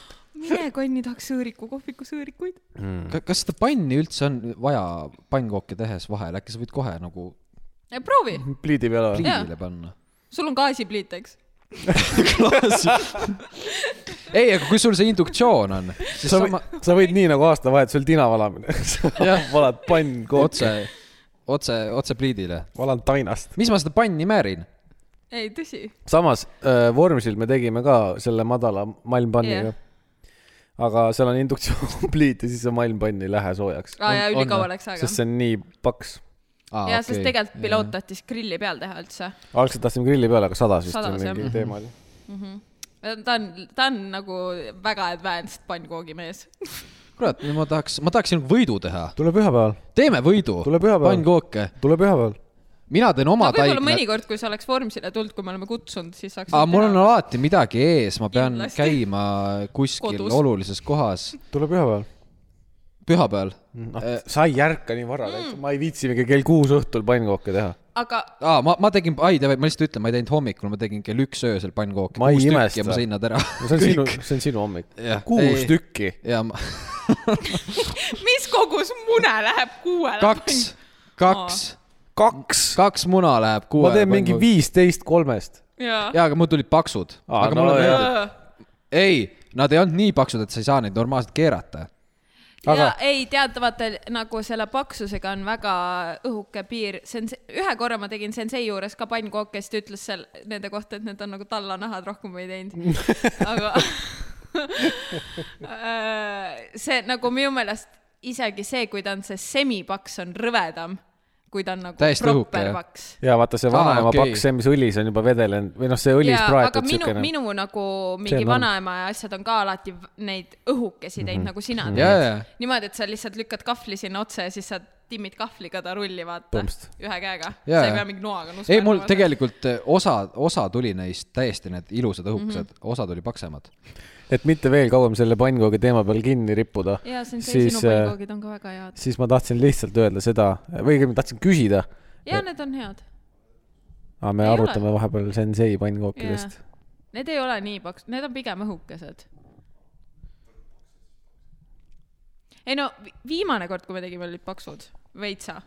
mine konni tahaks sõõriku , kohviku sõõrikuid . kas seda panni üldse on vaja pannkooke tehes vahel , äkki sa võid kohe nagu proovi , pliidi peal või ? pliidile panna ? sul on gaasipliit , eks ? ei , aga kui sul see induktsioon on , siis sa sama võid , sa võid nii nagu aastavahetusel tina valamine . Jah. valad pannkooke otse , otse , otse pliidile . valan tainast . mis ma seda panni määrin ? ei , tõsi . samas äh, Vormsil me tegime ka selle madala malmpanniga Jah. yeah. . aga seal on induktsioonpliit ja siis see malmpann ei lähe soojaks , aa jaa , On- ülikaua on, läks aega sest . see on nii paks . jaa , sest tegelikult piloot . tahtis grilli peal teha üldse . algselt tahtsime grilli peale , aga sadas vist Sadas, või mingi jah. teema oli . ta on , ta on nagu väga advanced pannkoogimees . kurat , nüüd ma tahaks , ma tahaksin võidu teha . tule pühapäeval , teeme võidu . Tule pühapäeval. pannkooke . tule pühapäeval . mina teen oma no no, võib-olla taigna . mõnikord , kui sa oleks Vormsile tulnud , kui me oleme kutsunud , siis saaks . aga mul on alati midagi ees , ma pean Kindlasti. käima kuskil Kodus. Kodus. olulises kohas tule pühapäeval . pühapäeval . noh , sa ei ärka nii vara mm. , ma ei viitsingi kell kuus õhtul pannkooke teha . aga aa , ma , ma tegin , ai , ma lihtsalt ütlen , ma ei teinud hommikul , ma tegin kell üks öösel pannkooke . Ma ei imesta. ja ma sõin nad ära . no see on sinu , see on sinu hommik Jah. . kuus Ei. tükki . ja ma mis kogus mune läheb kuuele ? kaks , kaks , kaks . kaks muna läheb kuue . ma teen mingi . viisteist kolmest . jaa . jaa , aga mul tulid paksud . Aa, aga no mulle jaa. meeldib . ei , nad ei olnud nii paksud , et sa ei saa neid normaalselt keerata . Aga- ja ei tead , vaata nagu selle paksusega on väga õhuke piir , see on , ühe korra ma tegin sensei juures ka pannkooke , siis ta ütles seal nende kohta , et need on nagu tallanahad , rohkem ei teinud . aga äh, see nagu minu meelest isegi see , kui ta on see semipaks , on rõvedam , kui ta on nagu Täiesti õhuke, proper jah. paks . ja vaata see Aa, vanaema okei. okay. paks , see , mis õlis on juba vedelenud või noh , see õlis jaa , aga praetud minu , siukene . minu nagu See mingi on all. vanaema ja asjad on ka alati v- neid õhukesi teinud mm -hmm. nagu sina Mhm. teed Jaa, jaa. niimoodi , et sa lihtsalt lükkad kahvli sinna otsa ja siis sa timmid kahvliga ta rulli , vaata , Põhimõtteliselt. ühe käega . Jaa, sa ei jaa. pea mingi noaga nusma . ei , mul . tegelikult eh, osa , osa tuli neist täiesti need ilusad õhukesed mm , -hmm. osa tuli paksemad . et mitte veel kauem selle pannkoogi teema peal kinni rippuda jaa , see on see , siis äh, sinu , äh, pankoogid on ka väga head . siis ma tahtsin lihtsalt öelda seda või õigemini tahtsin küsida . eh, jaa , need on head . aga me Ei ei ole. arutame ole. vahepeal sensei pannkookidest . Need ei ole nii paks- , need on pigem õhukesed . ei no vi- viimane kord , kui me tegime , olid paksud , veitsa .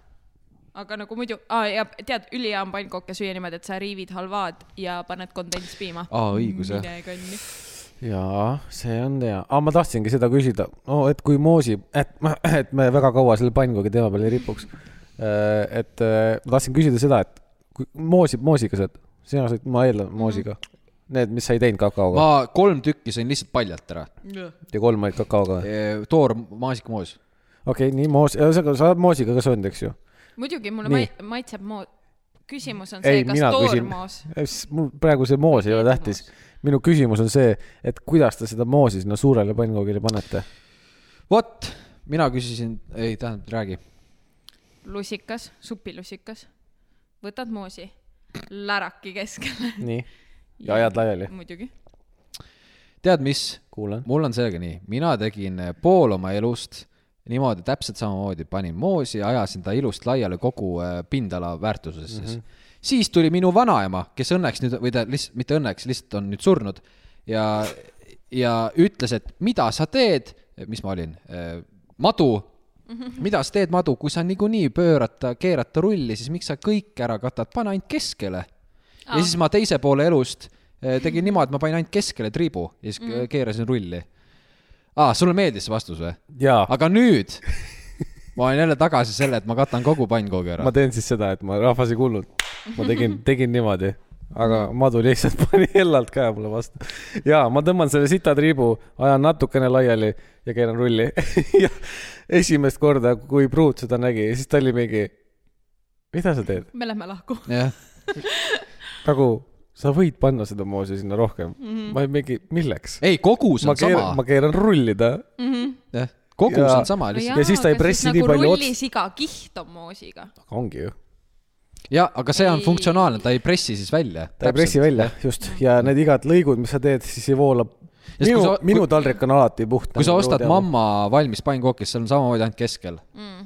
aga nagu muidu ah, , ja tead , ülihea on pannkooke süüa niimoodi , et sa riivid halvaad ja paned kondentspiima . aa , Ah, õigus jah . mine konni . jaa , see on hea , aga ma tahtsingi seda küsida , no et kui Moosi , et , et me väga kaua selle pannkoogi teema peal ei ripuks . et äh, ma tahtsin küsida seda , et kui Moosi , Moosiga sööd , sina sõid , ma eeldan Moosiga . Need , mis sa ei teinud kakaoga ma kolm tükki sõin lihtsalt paljalt ära . Mm. ja kolm olid kakaoga või ? toor maasikamoos . okei okay, , nii Moos , ühesõnaga sa oled Moosiga ka söönud , eks ju ? muidugi mulle Nii. ma maitseb moo- , küsimus on see ei ,, kas mina küsin toormoos ., mul praegu see moos ei ole Keegi tähtis . minu küsimus on see , et kuidas te seda moosi sinna suurele pannkoogile panete ? vot , mina küsisin , ei tähendab , räägi . lusikas , supilusikas , võtad moosi , läraki keskele . nii , Ja ajad laiali. muidugi . tead , mis ? kuulan . mul on sellega nii , mina tegin eh, pool oma elust niimoodi täpselt samamoodi , panin moosi , ajasin ta ilust laiali kogu äh, pindala väärtuses mm . -hmm. siis tuli minu vanaema , kes õnneks nüüd või ta lihtsalt , mitte õnneks , lihtsalt on nüüd surnud ja , ja ütles , et mida sa teed , mis ma olin , eh, madu , mida sa teed , Madu , kui sa niikuinii pöörata , keerata rulli , siis miks sa kõik ära katad , pane ainult keskele . ja Aa. siis ma teise poole elust eh, tegin niimoodi , et ma panin ainult keskele triibu ja siis mm. keerasin rulli . aa , sulle meeldis see vastus või ? jaa , aga nüüd ma olen jälle tagasi selle , et ma katan kogu pannkoogi ära ma . teen siis seda , et ma rahvas ei kuulnud . ma tegin , tegin niimoodi , aga madu lihtsalt pani hellalt käe mulle vastu . ja ma tõmban selle sita triibu , ajan natukene laiali ja keeran rulli . ja esimest korda , kui pruut seda nägi , siis ta oli mingi , mida sa teed ? me lähme lahku . jah , nagu sa võid panna seda moosi sinna rohkem mm . -hmm. ma olin mingi , milleks ? Mhm. ei kogus ma on keeran , sama ma , keeran rullida jah , kogus Jaa. on sama lihtsalt . Mhm. Ja siis ta ei pressi nii palju otsa- rullis iga nagu kiht on moosiga . aga ongi ju . jah , aga see on Ei. funktsionaalne , ta ei pressi siis välja . ta ei pressi välja , just , ja need igad lõigud , mis sa teed , siis ei voola . kui minu sa- , minu kui- taldrik on alati puht . nagu kui sa ostad . mamma valmis pannkooki , siis seal on samamoodi ainult keskel . Mm.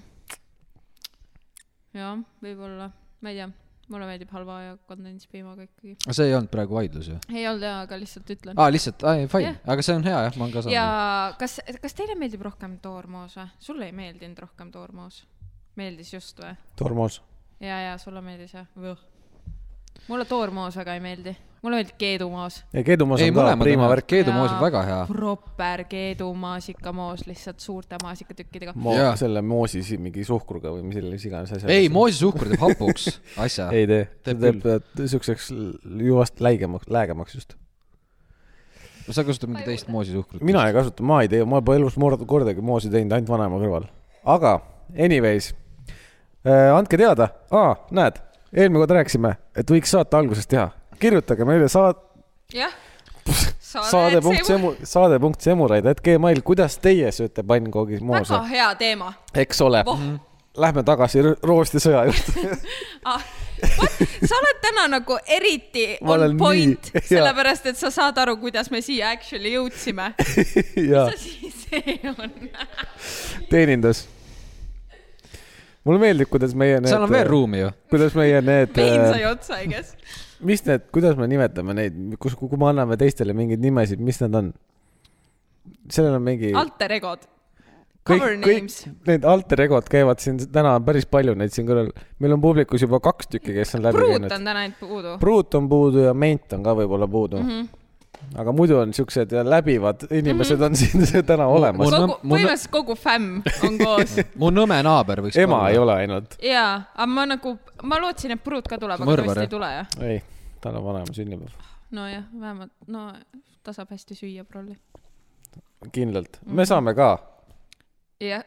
jah , võib-olla , ma ei tea , mulle meeldib halva ja kondentspiimaga ikkagi . see ei olnud praegu vaidlus ju ? ei olnud jaa , aga lihtsalt Ah, ütlen . aa , lihtsalt , aa , ei , fine Jah. , aga see on hea jah , ma olen ka ja saanud . kas , kas teile meeldib rohkem toormoos või ? sulle ei meeldinud rohkem toormoos ? meeldis just või ? tormoos . ja , ja sulle meeldis jah ? mulle toormoos väga ei meeldi , mulle meeldib keedumoos . ei , keedumoos ei , on ka mõlemad on priima head , värk . keedumoos on väga hea . proper keedumaasikamoos lihtsalt suurte maasikatükkidega . ma Jaa. selle moosi siin mingi suhkruga või mis selles iganes asjas . ei ,. moosisuhkur teeb hapuks asja . ei tee , ta Teeb teeb äh, siukseks l- juvast läigemaks , läigemaks just . sa kasutad mingit teist moosisuhkrut ? mina ei kasuta , ma ei tee , ma pole elus mord- kordagi moosi teinud , ainult vanaema kõrval . aga anyways , andke teada , aa , näed , eelmine kord rääkisime , et võiks saate alguses teha , kirjutage meile saat- , jah . saade punkt . semu- , saade punkt semuraid , et Gmail , kuidas teie sööte pannkoogis moosa väga , hea teema eks ole Voh. . Lähme tagasi rö- roostisõja juurde . ah, . sa oled täna nagu eriti Ma olen on point nii- , jaa. sellepärast et sa saad aru , kuidas me siia actually jõudsime . mis ja asi see on ? teenindus . mulle meeldib , kuidas meie need . seal on veel . ruumi ju . kuidas meie need , vein sai otsa , I guess . mis need , kuidas me nimetame neid , kus , kui me anname teistele mingeid nimesid , mis nad on ? sellel on mingi . alter egod . kõik Cover , kõik names . need alter egod käivad siin , täna on päris palju neid siin kõrval . meil on publikus juba kaks tükki , kes on läbi pruut käinud on . täna ainult puudu . pruut on puudu ja ment on ka võib-olla puudu mm . Mhm. -hmm. aga muidu on siuksed läbivad inimesed mm -hmm. on siin täna olemas Mul- . kogu , mul- põhimõtteliselt kogu fämm on koos . mu nõme naaber võiks . ema ei . ole ainult . jaa , aga ma nagu , ma lootsin , et pruut ka tuleb , aga Mõrvar, vist jah? ei tule jah . ei , tal on vanaema sünnipäev . nojah , vähemalt , no ta saab hästi süüa prolli . kindlalt , me Mhm. saame ka . jah ,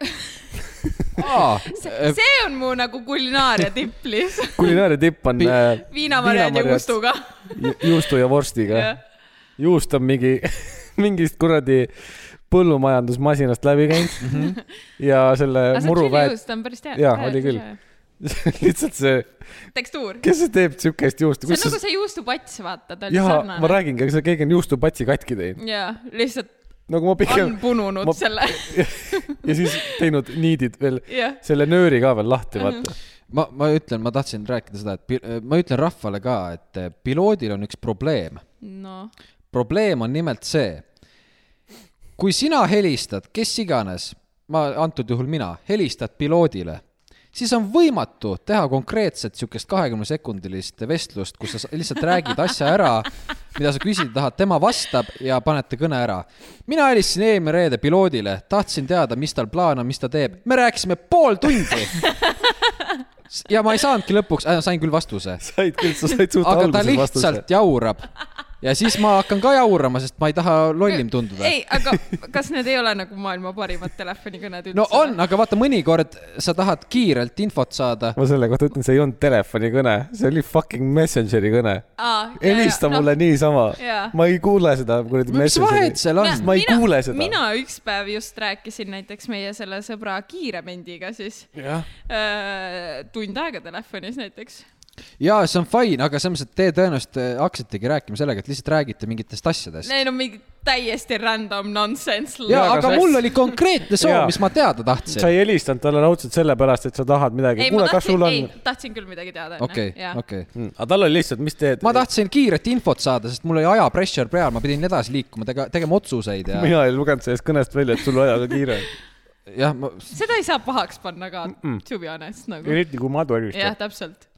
aa , Äh, Eh, see on mu nagu kulinaaria tipp lihtsalt . kulinaaria tipp on Pi- äh, viinamarjad ja Viinamarjad. kustuga . ju- juustu ja vorstiga . juust on mingi , mingist kuradi põllumajandusmasinast läbi Mhm. käinud ja selle muru väed , ta on päris hea . Jaa, oli küll. lihtsalt see , tekstuur . kes see teeb siukest juustu , see on kus nagu sa , see juustupats , vaata , ta oli jaa , ma sarnane . räägingi , aga see keegi on juustupatsi katki teinud , jaa , lihtsalt nagu ma pigem on pununud ma- ma... selle , ja siis teinud niidid veel jah . selle nööri ka veel lahti , vaata . Mhm. ma , ma ütlen , ma tahtsin rääkida seda , et pi- eh, ma ütlen rahvale ka , et eh, piloodil on üks probleem . noh , probleem on nimelt see , kui sina helistad , kes iganes , ma antud juhul mina , helistad piloodile , siis on võimatu teha konkreetset siukest kahekümne sekundilist vestlust , kus sa s- lihtsalt räägid asja ära , mida sa küsida tahad , tema vastab ja panete kõne ära . mina helistasin eelmine reede piloodile , tahtsin teada , mis tal plaan on , mis ta teeb , me rääkisime pool tundi S- ja ma ei saanudki lõpuks äh, , sain küll vastuse , said küll , sa said suht aga ta alguses vastuse lihtsalt . jaurab . ja siis ma hakkan ka jaurama , sest ma ei taha lollim tunduda . ei , aga kas need ei ole nagu maailma parimad telefonikõned üldse ? no on , aga vaata , mõnikord sa tahad kiirelt infot saada . ma selle kohta ütlen , see ei olnud telefonikõne , see oli fucking Messengeri kõne . Aa, jaa, helista jaa, mulle niisama jaa. . ma ei kuule seda kuradi mis vahet Messengeri . seal Mina- on ? ma ei mina- kuule seda. mina üks päev just rääkisin näiteks meie selle sõbra kiiremendiga siis jah , öö, tund aega telefonis näiteks . jaa , see on fine , aga selles mõttes , et te tõenäoliselt eh, hakkasitegi rääkima sellega , et lihtsalt räägite mingitest asjadest . Neil on mingi täiesti random nonsense . jaa , Jaa, aga aga sa- mul oli konkreetne soov Jaa. , mis ma teada sa tahtsin . ei helistanud talle raudselt sellepärast , et sa tahad midagi . ei , ma kuule , kas tahtsin sul , on Mm, ei ,? tahtsin küll midagi teada . okei , okei . aga tal oli lihtsalt , mis teed ? ma tahtsin kiiret infot saada , sest mul oli aja pressure peal , ma pidin edasi liikuma , tega- , tegema otsuseid ja mina ei lugenud sellest kõnest välja , et sul ajaga kiire on . jah , ma , seda ei saa pahaks panna ka mm , Mm-mm. -mm. to be honest nagu . eriti kui madu jah , harjutab . täpselt .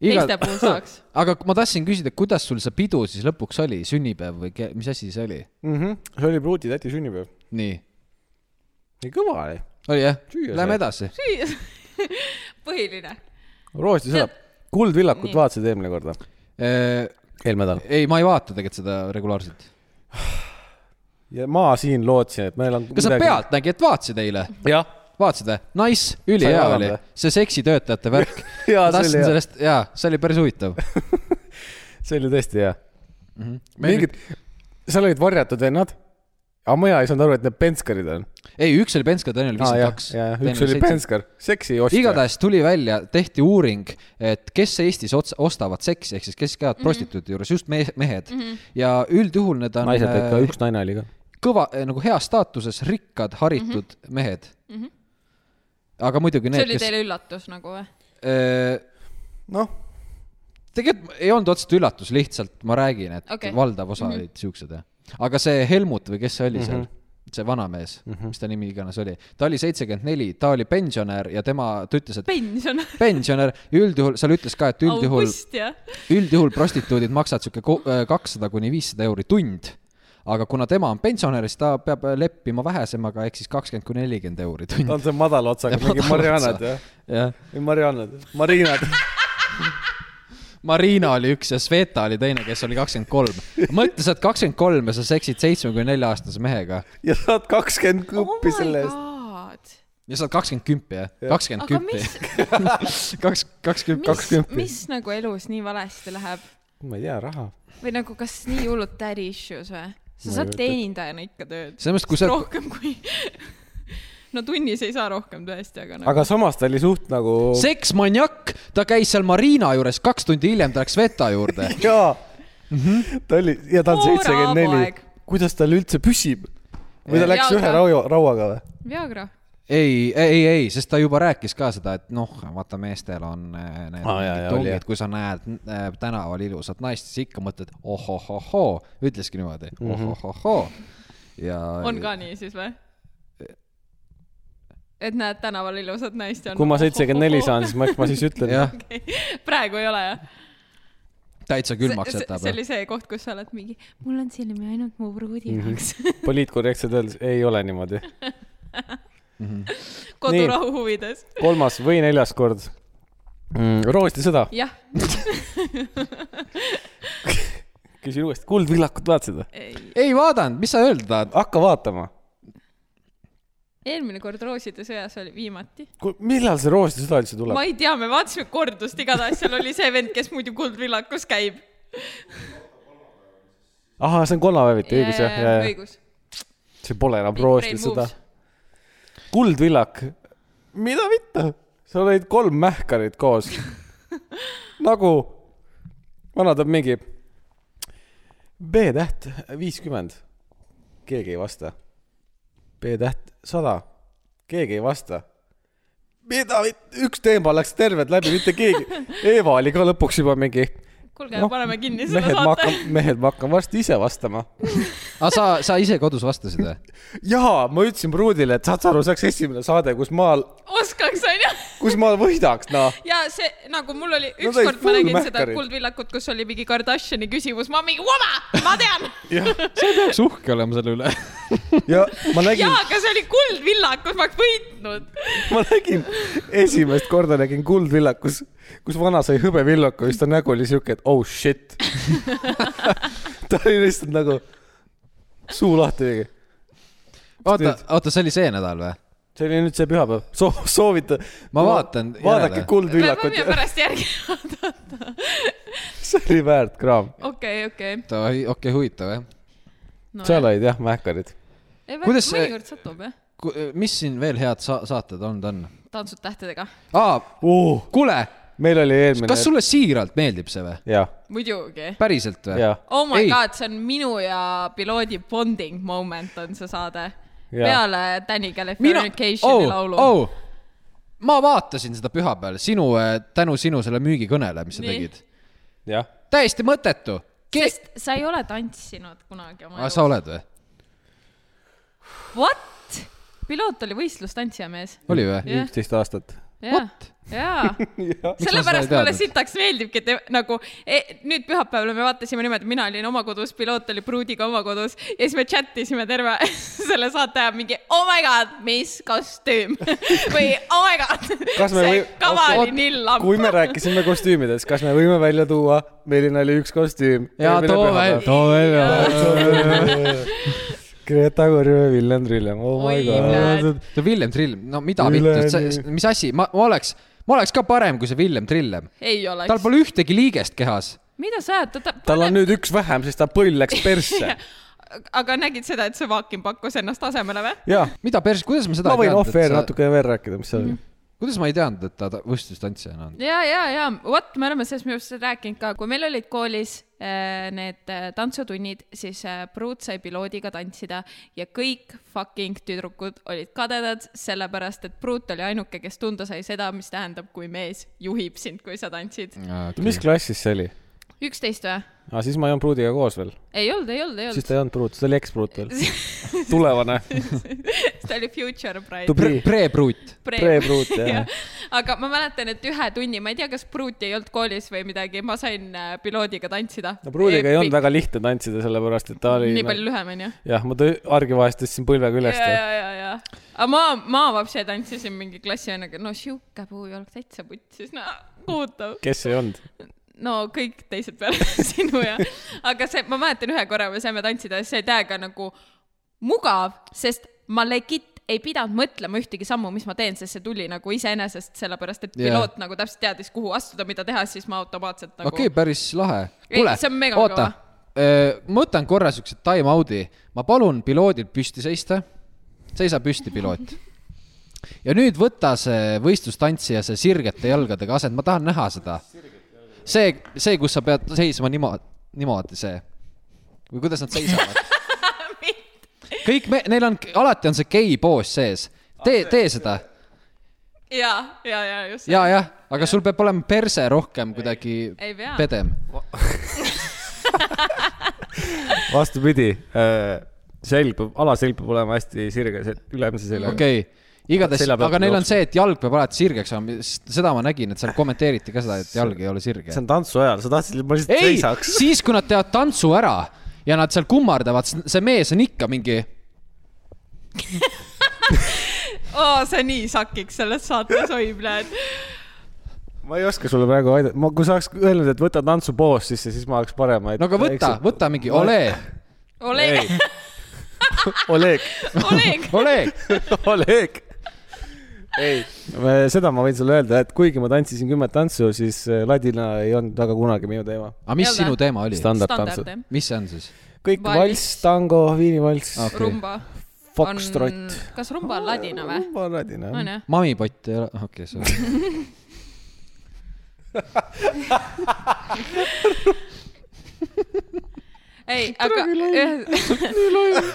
igal teiste , puhul saaks . aga ma tahtsin küsida , kuidas sul see pidu siis lõpuks oli , sünnipäev või ke- mis asi see oli ? Mhm. see oli pruudi täti sünnipäev . nii , nii kõva oli . oli jah Süüa , lähme sai. edasi . põhiline . Roosti sõnab , Kuldvillakut Nii. vaatasid eelmine kord või ? ei , eelmine nädal . ma Äh, ei vaata tegelikult seda regulaarselt . ja ma siin lootsin , et meil on . kas sa ? pealtnägijat vaatasid eile ? jah , vaatasid või ? Nice , ülihea Sai oli vaadata. , see seksitöötajate värk . Jaa, ma see oli tahtsin hea. sellest , jaa , see oli päris huvitav . Mhm. see oli tõesti hea . mingid , mingid , seal olid varjatud vennad , aga mina ei saanud aru , et need penskarid on . ei , üks oli Penska , teine oli viiskümmend kaks . üks oli . penskar , seksi ostja . igatahes tuli välja , tehti uuring , et kes Eestis ots- , ostavad seksi , ehk siis kes käivad mm -hmm. prostituudi juures , just me- , mehed mm . -hmm. ja üldjuhul need on naised ikka , äh, üks naine oli ka . kõva , nagu heas staatuses , rikkad , haritud mm -hmm. mehed mm . -hmm. aga muidugi Mhm. see need , oli kes teile üllatus nagu või ? äh, noh , tegelikult ei olnud otseselt üllatus , lihtsalt ma räägin , et okay. Okei. Mhm. valdav osa mm -hmm. olid siuksed jah . aga see Helmut või kes see oli mm -hmm. seal , see vanamees mm , -hmm. mis ta nimi iganes oli , ta oli seitsekümmend neli , ta oli pensionär ja tema , ta ütles , et pension . pensionär , üldjuhul , seal ütles ka , et üldjuhul , august jah . üldjuhul prostituudid maksavad sihuke kakssada kuni viissada euri tund . aga kuna tema on pensionär , siis ta peab leppima vähesemaga ehk siis kakskümmend kuni nelikümmend euri ta tund . on see madala otsaga , Ja mingi madala Marianad otsa. jah , jah , või Marianad , Marinad . Marina oli üks ja Sveta oli teine , kes oli kakskümmend kolm . mõtle , sa oled kakskümmend kolm ja sa seksid seitsmekümne nelja aastase mehega ja saad kakskümmend oh kuppi my selle eest . god . ja saad kakskümmend kümpi jah , kakskümmend aga kümpi mis ,, kaks , kakskümmend mis kaks , kümpi. mis nagu elus nii valesti läheb ma ei tea , raha . või nagu kas nii hullud daddy issues või ? Ma ei sa kujuta saad ette. teenindajana ikka tööd . selles mõttes , kui sa , rohkem kui , no tunnis ei saa rohkem tõesti , aga nagu . aga samas ta oli suht nagu . seksmaniak , ta käis seal Marina juures , kaks tundi hiljem ta läks Sveta juurde . jaa , ta oli ja ta on Poole seitsekümmend neli aeg. . kuidas tal üldse püsib ? või ta Jaa, läks ühe ta- raua , rauaga või ? Viagra . ei , ei , ei , sest ta juba rääkis ka seda , et noh , vaata , meestel on äh, need Aa, jaa, jaa, mingid oli, jah. tungid , kui sa näed äh, tänaval ilusat naist , siis ikka mõtled ohohohoo , ütleski niimoodi Mhm. ohohohoo . ja . on ka nii siis või ? et näed tänaval ilusat naist ja on . nagu- kui ma seitsekümmend neli saan , siis ma , eks ma siis ütlen . jah , praegu ei ole jah ? täitsa külmaks jätab . see oli see koht , kus sa oled mingi , mul on silmi ainult mu pruudi Mhm. jaoks mm -hmm. . poliitkorrektselt öeldes ei ole niimoodi . kodurahu huvides . kolmas või neljas kord mm, . roosti sõda , jah , küsin uuesti , Kuldvillakut vaatasid või ? ei vaadanud , mis sa öelda tahad ? hakka vaatama . eelmine kord Rooside sõjas oli viimati . millal see roosti sõda üldse tuleb ma ? ei tea , me vaatasime kordust , igatahes seal oli see vend , kes muidu Kuldvillakus käib . ahah , see on kolmapäeviti , õigus jah , ja , ja õigus . see pole enam Big roosti brain sõda moves. . Kuldvillak , mida vitta , seal olid kolm mähkarit koos . nagu , vanad on mingi B-täht viiskümmend , keegi ei vasta . B-täht sada , keegi ei vasta . mida , üks teema läks tervelt läbi , mitte keegi . Eeva oli ka lõpuks juba mingi , kuulge Noh, no, , paneme kinni selle mehed , ma saate . hakkan , mehed , ma hakkan varsti ise vastama aga Ah, sa , sa ise kodus vastasid või ? jaa , ma ütlesin Pruudile , et saad sa aru , see oleks esimene saade , kus ma , oskaks , onju . kus ma võidaks , noh . ja see nagu mul oli , No ta oli ükskord ma full nägin seda mähkarid. Kuldvillakut , kus oli mingi Kardashini küsimus , ma mingi , vaba , ma tean . sa ei peaks uhke olema selle üle . ja ma nägin jaa ,, aga see oli Kuldvillakus , ma oleks võitnud . ma nägin , esimest korda nägin Kuldvillakus , kus vana sai hõbevillaku ja siis ta nägu oli siuke , et oh shit . ta oli lihtsalt nagu suu lahti . oota , oota , see oli see nädal või ? see oli nüüd see pühapäev so , soovitan . Ma vaatan vaadake me järele. võime Kuldvillakut , pärast järgi vaadata . see oli väärt kraam . okei , okei . oota , okei okay, , huvitav jah . seal olid jah mähkarid . Kuidas kuidas see- see ? mõnikord satub jah , eh, mis siin veel head sa saated olnud on ? tantsud tähtedega . aa , meil kuule , oli eelmine . kas sulle siiralt meeldib see või ? jah , muidugi . päriselt või ? jah . Oh my Ei. ei. god , see on minu ja piloodi bonding moment on see saade . Jaa. peale Danny Californicationi oh, oh, laulu oh. . oh. ma vaatasin seda pühapäeval , sinu , tänu sinu selle müügikõnele , mis sa Nii. tegid . jah , täiesti mõttetu . sest sa ei Ah, ole tantsinud kunagi oma sa oled või ? What ? piloot oli võistlustantsija mees . oli või ? Jah. üksteist aastat . jaa , jaa . ma seda ei sellepärast mulle teadnud? sitaks meeldibki , et te- nagu e, nüüd pühapäeval me vaatasime niimoodi , mina olin oma kodus , piloot oli pruudiga oma kodus ja siis me chat isime terve selle saate ajal mingi oh my god , mis kostüüm või oh my god , Kas me see või... või- kava oot- oli nii lamp . kui me rääkisime kostüümidest , kas me võime välja tuua , milline oli üks kostüüm ? ja too veel , too veel . Greta Korjõe , Villem Trillem , oh my Oi, god . no Villem Trillem , no mida Üle- vittu , mis asi , ma ma oleks , ma oleks ka parem kui see Villem Trillem . ei tal oleks . pole ühtegi liigest kehas . mida sa ajad , ta , ta , tal on nüüd üks vähem , sest ta põll läks persse . aga nägid seda , et see Vaakin pakkus ennast asemele või ? jaa , mida pers- , kuidas ma seda ma ei võin off-air teadnud , et sa , Mhm. natuke veel rääkida , mis see oli . kuidas ma ei teadnud , et ta võistlustantsijana on ? ja , ja , ja vot , me oleme sellest minu arust rääkinud ka , kui meil olid koolis äh, need äh, tantsutunnid , siis äh, pruut sai piloodiga tantsida ja kõik fucking tüdrukud olid kadedad , sellepärast et pruut oli ainuke , kes tunda sai seda , mis tähendab , kui mees juhib sind , kui sa tantsid . mis klassis see oli ? üksteist või ? aa , siis ma ei olnud pruudiga koos veel . ei olnud , ei olnud , ei siis olnud . ta ei olnud pruut , ta oli ekspruut veel . tulevane ta oli Future Bride . tubli Pre-pruut . pre-pruut , jah jah . aga ma mäletan , et ühe tunni , ma ei tea , kas pruuti ei olnud koolis või midagi , ma sain äh, piloodiga tantsida . no pruudiga ei olnud väga lihtne tantsida , sellepärast et ta oli noh, nii palju lühem , onju . jah , ma tõ- , argi vahest tõstsin põlvega üles ja , ja , ja , ja . aga ma , ma vapsi tantsisin mingi klassivennaga , no sihuke puujalg täitsa putsis , no kohutav . kes ei olnud ? no kõik teised peale sinu ja , aga see , ma mäletan ühe korra me saime tantsida ja see oli täiega nagu mugav , sest ma legit ei pidanud mõtlema ühtegi sammu , mis ma teen , sest see tuli nagu iseenesest , sellepärast et Jaa. piloot yeah. nagu täpselt teadis , kuhu astuda , mida teha , siis ma automaatselt nagu okei , päris lahe . Ei, kuule see on mega , oota Äh, kõva. , ma võtan korra siukse time out'i , ma palun piloodil püsti seista . seisa püsti , piloot . ja nüüd võta see võistlustantsija , see sirgete jalgadega asend , ma tahan näha seda . see , see , kus sa pead seisma niimoodi , niimoodi see või kuidas nad seisavad . kõik me , neil on , alati on see gei poos sees , tee , tee seda ja , ja , ja just . ja , jah , aga sul peab olema perse rohkem kuidagi ei pea . pedem . vastupidi , selg peab , alaselg peab olema hästi sirge , see ülemise seljaga okay. . okei okay. , igatahes , Selja pealt aga neil on jooksma. see , et jalg peab alati sirgeks olema , seda ma nägin , et seal kommenteeriti ka seda , et jalg ei ole sirge see . on tantsu ajal , sa tahtsid , et ma lihtsalt ei , seisaks . siis kui nad teevad tantsu ära ja nad seal kummardavad , see mees on ikka mingi , oo , sa nii sakiks selles saates , oi , pljääd . ma ei oska sulle praegu aidata , ma , kui sa oleks öelnud , et võta tantsupoos sisse , siis ma oleks parem . no aga võta , võta mingi ole , Oleg , Oleg , Oleg . ole . Oleg . ei , seda ma võin sulle öelda , et kuigi ma tantsisin kümmet tantsu , siis äh, ladina ei olnud väga kunagi minu teema . aga mis Jälle. sinu teema oli ? standardtantsud standard , jah . mis see on siis ? kõik Valss. valss , tango , viinivalss Okei. okay. , rumba . fokstrott . kas rumba on ladina või ? rumba on ladina . on jah ? mamipott ei ole , okei okay, , sorry . ei , aga ühes... .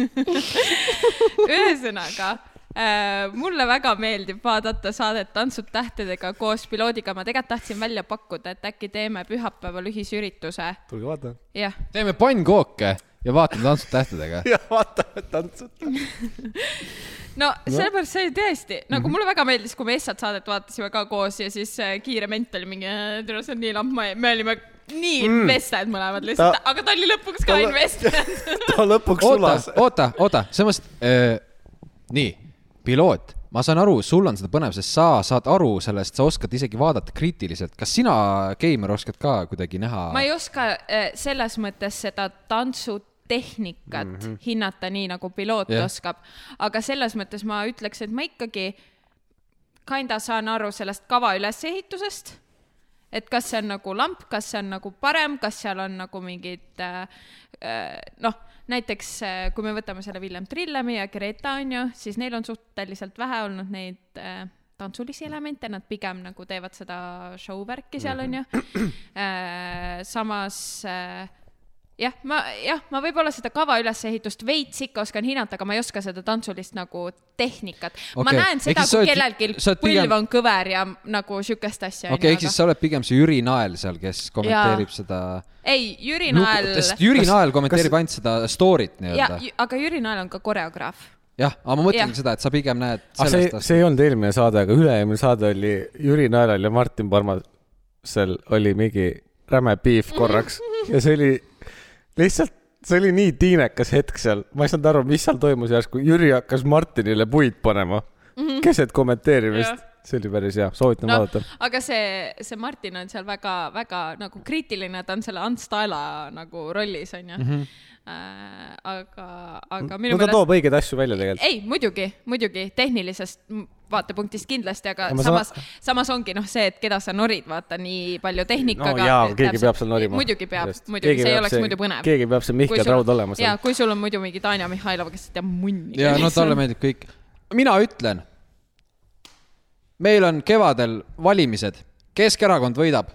ühesõnaga äh, , mulle väga meeldib vaadata saadet Tantsud tähtedega koos piloodiga , ma tegelikult tahtsin välja pakkuda , et äkki teeme pühapäeval ühisürituse . tulge vaata . jah , teeme pannkooke ja vaatame tantsud tähtedega . ja vaatame tantsud . no sellepärast see oli tõesti , nagu mulle väga meeldis , kui me Essat saadet vaatasime ka koos ja siis äh, kiire ment oli mingi , tere , see on nii lamp , me olime nii invested mõlemad lihtsalt , aga ta oli lõpuks ta- ka invested . ta lõpuks oota sulas ., oota , oota , selles mõttes , nii , piloot , ma saan aru , sul on seda põnev , sest sa saad aru sellest , sa oskad isegi vaadata kriitiliselt . kas sina , geimer , oskad ka kuidagi näha ? ma ei oska äh, selles mõttes seda tantsutehnikat mm -hmm. hinnata nii , nagu piloot Jah. yeah. oskab , aga selles mõttes ma ütleks , et ma ikkagi kinda saan aru sellest kava ülesehitusest , et kas see on nagu lamp , kas see on nagu parem , kas seal on nagu mingid äh, äh, noh , näiteks äh, kui me võtame selle Villem Trillemi ja Greta onju , siis neil on suhteliselt vähe olnud neid äh, tantsulisi elemente , nad pigem nagu teevad seda show värki seal onju Mhm. äh, . samas äh, jah , ma jah , ma võib-olla seda kava ülesehitust veits ikka oskan hinnata , aga ma ei oska seda tantsulist nagu tehnikat okay. . ma Okei, näen seda ehk , siis sa kui oled- kellelgi sa oled põlv pigem- on kõver ja nagu siukest asja . okei , ehk siis sa oled pigem see Jüri Nael seal , kes kommenteerib ja. seda . ei , Jüri Nael , Jüri Kas- Nael kommenteerib kas- ainult seda story't ja nii-öelda ., aga Jüri Nael on ka koreograaf jah , aga ma Jah. mõtlengi seda , et sa pigem näed ah, . see sellest , astmest see ei olnud eelmine saade , aga üle-eelmine saade oli Jüri Naeral ja Martin Parmasel oli mingi räme piif korraks ja see oli lihtsalt , see oli nii tiinekas hetk seal , ma ei saanud aru , mis seal toimus järsku , Jüri hakkas Martinile puid panema keset kommenteerimist Mhm. Jah. . see oli päris hea , soovitan no. noh vaadata ., aga see , see Martin on seal väga-väga nagu kriitiline , ta on selle Ants Taela nagu rollis onju mm . -hmm. Äh, aga , aga minu Mhm. no ta toob õigeid asju välja tegelikult . ei , muidugi , muidugi tehnilisest m- vaatepunktist kindlasti , aga Ja ma saan- samas saan... , samas ongi noh , see , et keda sa norid , vaata nii palju tehnikaga . no jaa , keegi peab seal norima . muidugi peab , muidugi , see ei oleks muidu põnev . keegi peab see Mihkel Raud olema seal . jaa seal ., kui sul on muidu mingi Tanja Mihhailova , kes teab munni . ja no talle meeldib kõik . mina ütlen . meil on kevadel valimised , Keskerakond võidab .